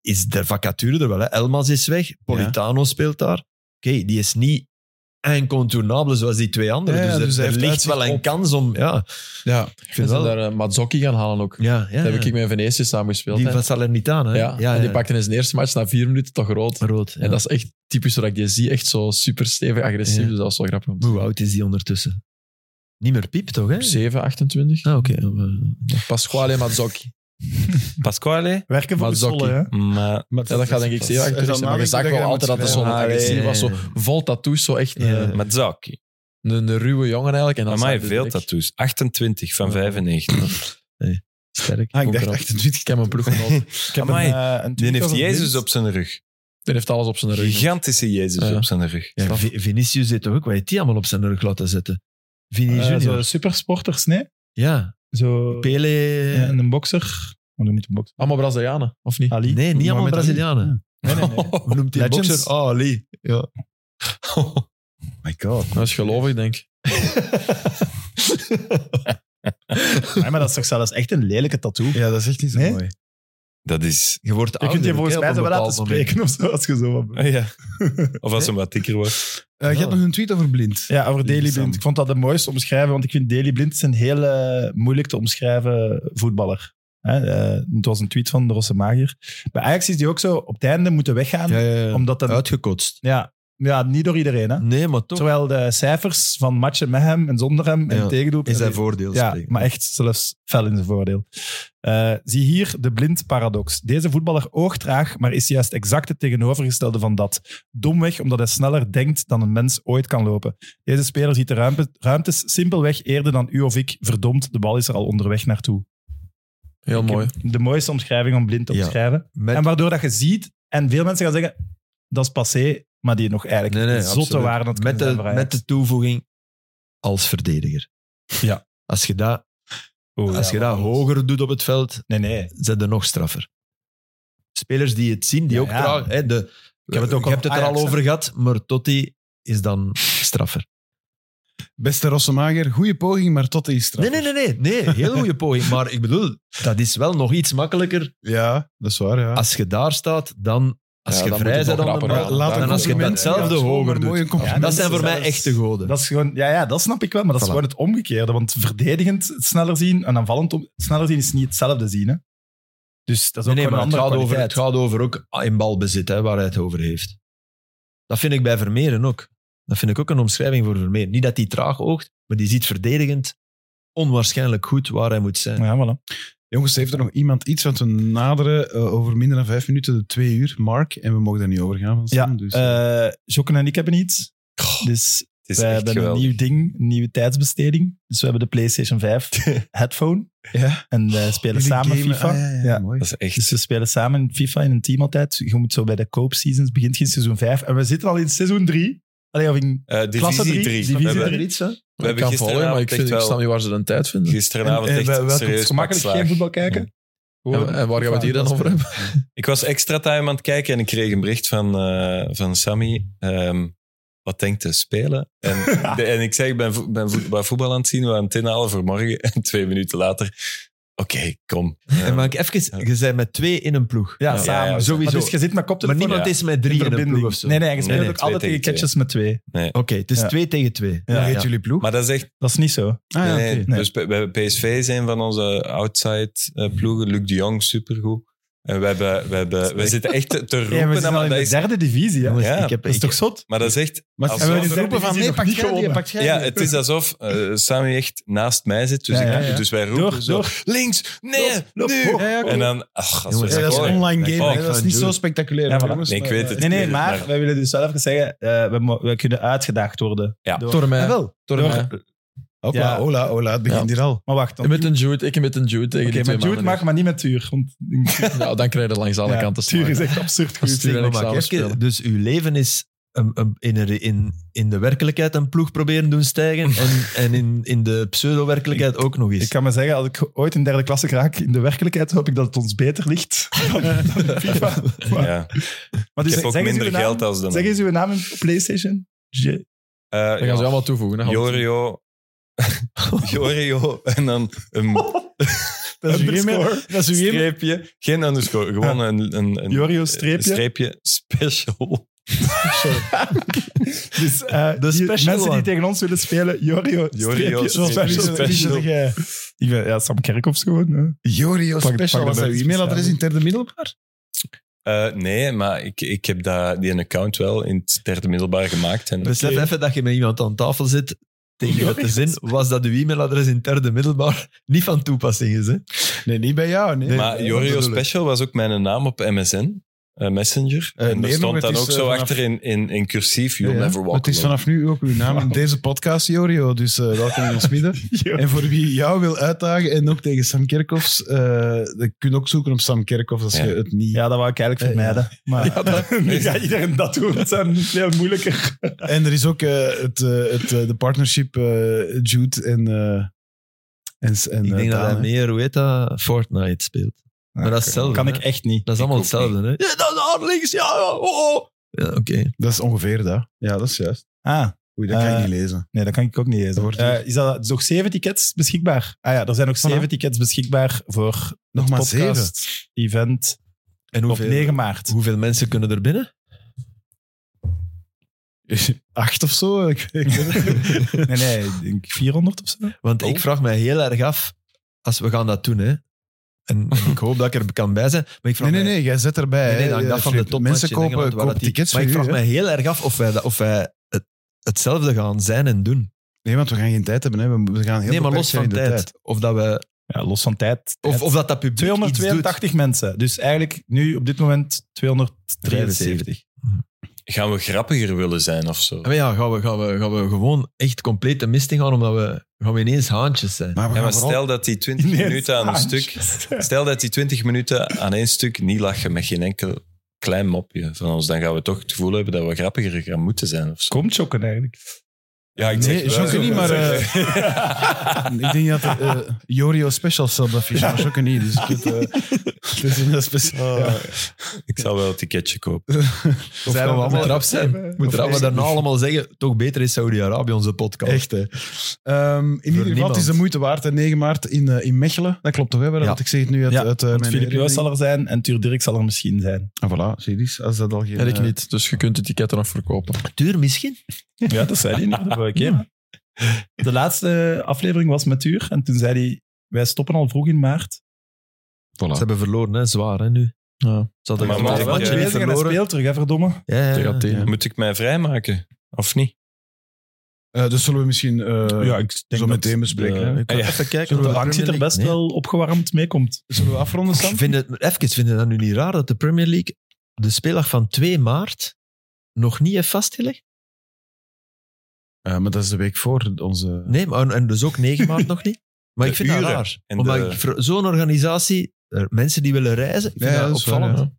is de vacature er wel. Hè. Elmas is weg, Politano speelt daar. Oké, die is niet incontournabel zoals die twee anderen.
Ja,
dus er,
dus hij
er
heeft
ligt
uitzicht
wel een
op-
kans om... Ja,
Ja.
ik
Ze
vind wel...
zijn daar eh, Mazzocchi gaan halen ook.
ja, ja,
Daar heb
ja.
ik met Venetië samen gespeeld.
Die
hè.
van Salernitana. hè.
Ja, en die pakte in zijn eerste match na vier minuten toch rood.
rood. Ja.
En dat is echt typisch zodat ik die zie. Echt zo super stevig agressief.
Ja.
Dus dat is wel grappig. om te
Hoe oud is die ondertussen? Niet meer piep, toch? Hè?
zien. 7, 28.
Ah, oké. Ja, maar-
Pasquale Mazzocchi.
Pasquale.
Werken voor de
Mazzocchi.
Zolle, hè? Ah,
Maar
Ja, dat gaat denk ik zeer agressief zijn. Maar je zag wel altijd dat de zon
Ah,
agressief
ja, ja,
was. Zo vol tattoos, zo echt
Ja.
een,
Mazzocchi.
een, een ruwe jongen eigenlijk. En dan
Amai,
zat hij
veel
direct-
tattoos. 28 dus. van 95.
Sterk.
Ah, ik dacht
Ook erop.
28.
Ik heb een ploeg genoten.
Ik heb
Amai,
een, eh, een
Die
tweet
heeft
over
Jezus
Blind.
op zijn rug.
Die heeft alles op zijn rug.
Gigantische Jezus
Ja.
op zijn rug.
Ja, Vi- Vinicius deed toch ook, wat heeft die allemaal op zijn rug laten zetten? Vini
Eh,
Junior.
zo supersporters, nee?
ja,
Zo
Pele.
ja, en een bokser. Oh, Maar doe niet een bokser.
Allemaal Brazilianen, of niet?
Ali.
Nee, niet allemaal
Mohamed Ali.
Brazilianen.
Nee, nee, nee.
Hoe noemt die een
Legends.
bokser? Oh, Ali. Ja.
My god.
Dat is gelovig, denk ik.
Nee, maar dat is toch zelfs echt een lelijke tattoo.
Ja, dat is echt niet zo
Nee?
mooi.
Dat is...
Je wordt
Je kunt je
ouder,
volgens
hè,
mij
op
zo
een
wel laten
bepaald moment.
spreken of zo, als je zo wat
Ah, ja. Of als hem wat dikker wordt.
Eh, je hebt nog een tweet over blind.
Ja, over Daily Blind.
Interessant.
Ik vond dat de mooiste omschrijven, want ik vind Daily Blind is een hele moeilijk te omschrijven voetballer. Hè, eh, het was een tweet van de Rosse Magier. Bij Ajax is die ook zo op het einde moeten weggaan,
Ja, ja, ja.
omdat dat...
Uitgekotst.
Ja, ja, niet door iedereen. Hè?
Nee, maar toch
Terwijl de cijfers van matchen met hem en zonder hem en
Ja,
tegendoep...
is zijn voordeel.
Ja,
spreken.
maar echt zelfs fel in zijn voordeel. Eh, zie hier de blind paradox. Deze voetballer oogt traag, maar is juist exact het tegenovergestelde van dat. Domweg omdat hij sneller denkt dan een mens ooit kan lopen. Deze speler ziet de ruimte, ruimtes simpelweg eerder dan u of ik. Verdomd, de bal is er al onderweg naartoe.
Heel
Ik heb
mooi.
De mooiste omschrijving om blind te
Ja.
omschrijven.
Met-
En waardoor dat je ziet, en veel mensen gaan zeggen, dat is passé, maar die nog eigenlijk
Nee, nee,
zotte
absoluut.
waren. Dat
met, de, met de toevoeging als verdediger.
Ja. Oh,
Als je dat, als je dat hoger doet op het veld,
Nee, nee.
zijn er nog straffer. Spelers die het zien, die
Ja,
ook
ja.
traag... Hè, de,
heb het ook over
je hebt het er
Ajax,
al
hè.
over gehad, maar Totti is dan straffer.
Beste Rossemager, goede poging, maar tot de straf.
Nee, nee, nee, nee, nee. Heel goede poging. Maar ik bedoel, dat is wel nog iets makkelijker.
Ja, dat is waar, ja.
Als je daar staat, dan als
Ja,
je
dan moet
vrij
het
bent
nog
dan de
rapper
bal.
gaan. Laat
dan
het
als je
compliment-
datzelfde
ja, dat is
hoger
gewoon
doet.
een mooie compliment.
Ja,
dat zijn voor mij
zelfs-
echte goden.
Dat is gewoon, ja, ja, dat snap ik wel, maar dat is
Voilà.
gewoon het omgekeerde. Want verdedigend sneller zien en aanvallend om, sneller zien is niet hetzelfde zien. Hè? Dus dat is ook
nee, nee, maar
gewoon
het
een
gaat,
andere
over,
kwaliteit.
het gaat over ook in balbezit, hè, waar hij het over heeft. Dat vind ik bij Vermeeren ook. Dat vind ik ook een omschrijving voor Vermeeren. Niet dat hij traag oogt, maar die ziet verdedigend onwaarschijnlijk goed waar hij moet zijn.
Ja, voilà.
Jongens, heeft er nog iemand iets? Want we naderen eh, over minder dan vijf minuten de twee uur, Mark. En we mogen daar niet over gaan van
Ja,
Sam. dus,
eh, Jokken en ik hebben iets. Dus
Het is
we
echt
hebben
geweldig.
een nieuw ding, een nieuwe tijdsbesteding. Dus we hebben de PlayStation 5 headphone.
Ja.
En we spelen
Jullie
samen
gamen-
FIFA.
ah, ja, ja,
Ja.
mooi.
Dat is echt...
Dus we spelen samen in FIFA in een team altijd. Je moet zo bij de koopseasons, begint geen seizoen 5. En we zitten al in seizoen 3. Allee, of in
eh
Klasse
divisie
drie,
3.
divisie
we
drie.
hebben
iets, hè?
we
ik
hebben
kan vallen, maar ik,
gisteravond
vind, ik
echt
snap
wel...
niet waar ze dan tijd vinden.
Gisteravond
en, eh,
echt
wij- wij kunnen
serieus
gemakkelijk
pakslaag.
geen voetbal kijken.
En, en waar gaan we het hier dan over hebben?
Ik was extra time aan het kijken en ik kreeg een bericht van, eh, van Sammy. ehm, wat denkt te spelen? En, de- en ik zeg, ik ben, vo- ben vo- ben voetbal aan het zien, we gaan het inhalen voor morgen. En twee minuten later, oké, kom. Eh,
En maar ik even, je bent met twee in een ploeg.
Ja,
Ja,
samen.
ja,
sowieso.
Maar dus je zit met
Maar
koptelefoon
niemand
ja.
is met drie in, een
verbinding.
ploeg of zo.
Nee, nee, je speelt
Nee, nee,
ook
twee
altijd tegen
tegen
catches met twee.
Oké, het is
Ja.
twee tegen twee.
Ja.
Ja,
Heet
ja.
jullie ploeg?
maar dat is echt...
Dat is niet zo.
ah, ja,
nee,
oké.
Nee.
Dus bij- bij PSV zijn van onze outside-ploegen. Luc de Jong, supergoed. En we, hebben, we, hebben, we zitten echt te- te roepen.
Ja, we
hè,
zijn al
maar,
in
dat
de
is,
derde divisie. Hè?
Jongens,
Ja,
ik heb,
Dat is
ik,
toch zot?
maar dat is echt...
Maar
als-
het is
we
wel
hebben
het
de
roepen van
derde
nee,
divisie
pak jij, die,
nog niet gewonnen.
pak jij.
Ja,
die.
het is alsof eh, Sammy echt naast mij zit. Dus,
Ja,
ik-
ja, ja.
dus wij roepen
Door,
zo,
door.
links, nee,
Loop,
nu.
hoor.
Ja, ja, oké.
En dan, ach, als we
Jongens,
Ja,
dat
dat is
horen.
online
Nee,
game.
oh,
hè. dat is niet
van
zo
Jules.
spectaculair.
Ja,
maar
voilà.
jongens,
Nee, ik weet het.
Nee, nee,
Ja,
maar
maar-
wij willen dus wel even zeggen, eh, we, mo- we kunnen uitgedaagd worden.
Ja.
Door-
Door mij.
Ah, wel.
Door
Door-
mij.
Hopla,
Ja.
hola, hola, het begint hier al.
Maar wacht, dan.
Met een Jude, ik met een Jude tegen
Oké,
die twee
met Jude mag,
mannen.
maar niet met Tuur. Want
Ja, dan krijg je langs alle
Ja,
kanten
Tuur is
slagen.
echt absurd
Als
goed.
Tuur en
zeg
ik
maar.
samen
Even,
spelen.
dus uw leven is een- een- in, een- in, in de werkelijkheid een ploeg proberen doen stijgen en, en in, in de pseudo-werkelijkheid ook nog
Ik
eens.
kan maar zeggen, als ik ooit in derde klasse raak, in de werkelijkheid hoop ik dat het ons beter ligt dan, dan in FIFA. Maar,
Ja.
maar dus
ik heb ook
zeg eens
minder
uw naam.
geld als dan.
Zeg eens uw naam in PlayStation. Je-
Eh,
Dat gaan ze allemaal toevoegen. hè.
Jorio. Jorio. En dan een
Dat is
Underscore. Dat is uw game.
streepje. Geen underscore. Gewoon een, een, een
Jorio streepje.
een streepje special.
Dus eh,
De
die-
special
mensen
one.
die tegen ons willen spelen, Jorio,
Jorio,
streepje, special.
special.
special. eh, Ik ben, ja, Sam Kerkhoffs gewoon. hè.
Jorio
Pak-
Special.
pak
Was
de
dat uw
leuk.
e-mailadres in het derde middelbaar?
Eh, nee, maar ik, ik heb dat, die account wel in het derde middelbaar gemaakt. En
Besef even dat je met iemand aan tafel zit
Oh
Tegen de zin was dat uw e-mailadres in derde middelbaar niet van toepassing is. Hè?
Nee, niet bij jou. Nee.
maar Jorio Special was ook mijn naam op MSN, eh, Messenger.
Eh, nee,
en daar
maar
stond
het
dan
is,
ook
eh,
zo
vanaf-
achter in, in, in cursief, You'll
Ja,
never walk
Het is
alone.
vanaf nu ook uw naam in deze podcast, Jorio. Dus eh, welkom in ons midden. En voor wie jou wil uitdagen en ook tegen Sam Kerkhoffs, eh, dan kun je ook zoeken op Sam Kerkhoffs als
Ja.
je het niet...
Ja, dat wou ik eigenlijk
Eh,
vermijden. Maar ja,
Nee.
gaat iedereen dat doen. Het zijn veel moeilijker.
En er is ook eh, het, eh, het, eh, de partnership eh, Jude en... eh, en, s- en
Ik
eh,
denk dat
Daan,
hij
hè.
meer, hoe heet dat, Fortnite speelt. Maar dat is hetzelfde.
kan
hè?
ik echt niet.
Dat is allemaal hetzelfde. Hè? Ja, dat is hard links, ja, ja, oh, oh. Ja, oké.
Dat is ongeveer dat. Ja, dat is juist.
Ah,
Oei, dat kan
Eh,
je niet lezen.
nee, dat kan ik ook niet eens.
Dat wordt
Eh, is dat nog zeven tickets beschikbaar? Ah ja, er zijn nog zeven tickets beschikbaar voor
Nog maar zeven.
podcast-event
En
op
hoeveel,
9 maart.
hoeveel mensen kunnen er binnen?
Acht of zo? Ik, ik weet het niet.
Nee, nee, ik denk 400 of zo.
Want
Oh.
ik vraag mij heel erg af, als we gaan dat doen, hè. En, en ik hoop dat ik er kan bij zijn. Maar ik vraag
Nee, nee,
mij-
nee. Jij zet erbij.
Nee, nee,
hè.
dat hangt af van de
Flip,
top.
Mensen kopen, kopen tickets
Maar
voor
ik
u,
vraag
hè.
mij heel erg af of wij, dat- of wij het, hetzelfde gaan zijn en doen.
Nee, want we gaan geen tijd hebben. Hè. We- We gaan heel
nee, maar
beperkt
los
zijn
van
in de
tijd. Of, dat we,
Ja, los van tijd.
of, of dat dat publiek iets
282 mensen. Dus eigenlijk nu op dit moment 273.
Gaan we grappiger willen zijn of zo?
doet. Ah, Maar ja, gaan we, gaan, we, gaan we gewoon echt compleet de mist in gaan, omdat we, gaan we ineens haantjes zijn.
Maar we
Ja,
gaan
maar
vooral-
stel dat die 20 minuten aan een stuk... Stel dat die 20 minuten aan één stuk niet lachen met geen enkel klein mopje van ons, dan gaan we toch het gevoel hebben dat we grappiger gaan moeten zijn of zo.
Komt chokken eigenlijk.
Ja, ik
Nee, Jokke niet, maar... eh, ik denk dat eh, Jorio Special zelf dat fiche, maar Jokke niet. Dus ik weet, eh, het is een speciaal...
Oh.
ja.
Ik zal wel een ticketje kopen.
Of
Zijn
gaan
we
we allemaal
allemaal-
eraf zijn. Moeten we daarna allemaal zeggen, toch beter is Saudi-Arabië onze podcast.
Echt, hè. Ehm, in ieder geval, het
niemand.
is de moeite waard. hè. 9 maart in, eh, in Mechelen. Dat klopt toch, hè? Want
Ja.
ik zeg het nu uit,
Ja,
uit eh,
Want
mijn
Filip Joos zal
herinnering.
er zijn en Tuur Dirk zal er misschien zijn.
Ah, voilà, zie je eens, Als dat al geen...
En ik
eh,
niet, dus je kunt de ticketen nog verkopen.
Tuur misschien.
Ja, dat zei hij nog de vorige keer. De laatste aflevering was met Tuur en toen zei hij, wij stoppen al vroeg in maart.
Ze hebben verloren, hè. zwaar hè, nu.
Ja.
Ze hadden
Maar
gewoon
mag
een
ik,
match
eh,
niet
bezig
en hij
verloren.
speelt terug, hè, verdomme.
Ja, eh, ja, ja.
Tegen Athene.
Moet ik mij vrijmaken? Of niet?
eh, dus zullen we misschien eh,
ik
zo meteen bespreken. hè.
Ik ga
Ah, Ja.
even kijken.
De
of
bank zit er
Premier
best
League-
wel opgewarmd mee komt.
Zullen we afronden,
Nee.
Sam?
Vind het, even, vind je dat nu niet raar dat de Premier League de speeldag van 2 maart nog niet heeft vastgelegd?
Eh, maar dat is de week voor onze...
Nee, maar, en dus ook 9 maart nog niet. Maar
De
ik vind dat
uren
raar.
en
Omdat
de-
ik voor zo'n organisatie, er- mensen die willen reizen, ik vind
Ja,
dat,
dat is waar,
opvallend.
ja.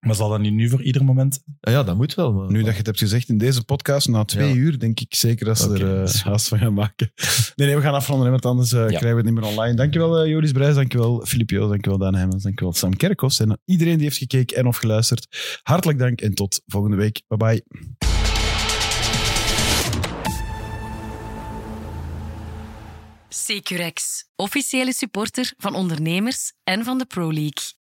Maar zal dat niet nu voor ieder moment?
Ah ja, dat moet wel. Maar,
Nu dat je het hebt gezegd in deze podcast, na twee
Ja.
uur, denk ik zeker dat ze
Oké,
er
dat is
eh haast van gaan maken. Nee, nee, we gaan afronden, hè, want anders eh, krijgen we het niet meer online. Dankjewel eh, Joris Brijs, dankjewel Filip Joos, dankjewel Daan Hemmens, dankjewel Sam Kerkhoffs. En aan iedereen die heeft gekeken en of geluisterd, hartelijk dank en tot volgende week. Bye bye.
Securex, officiële supporter van ondernemers en van de Pro League.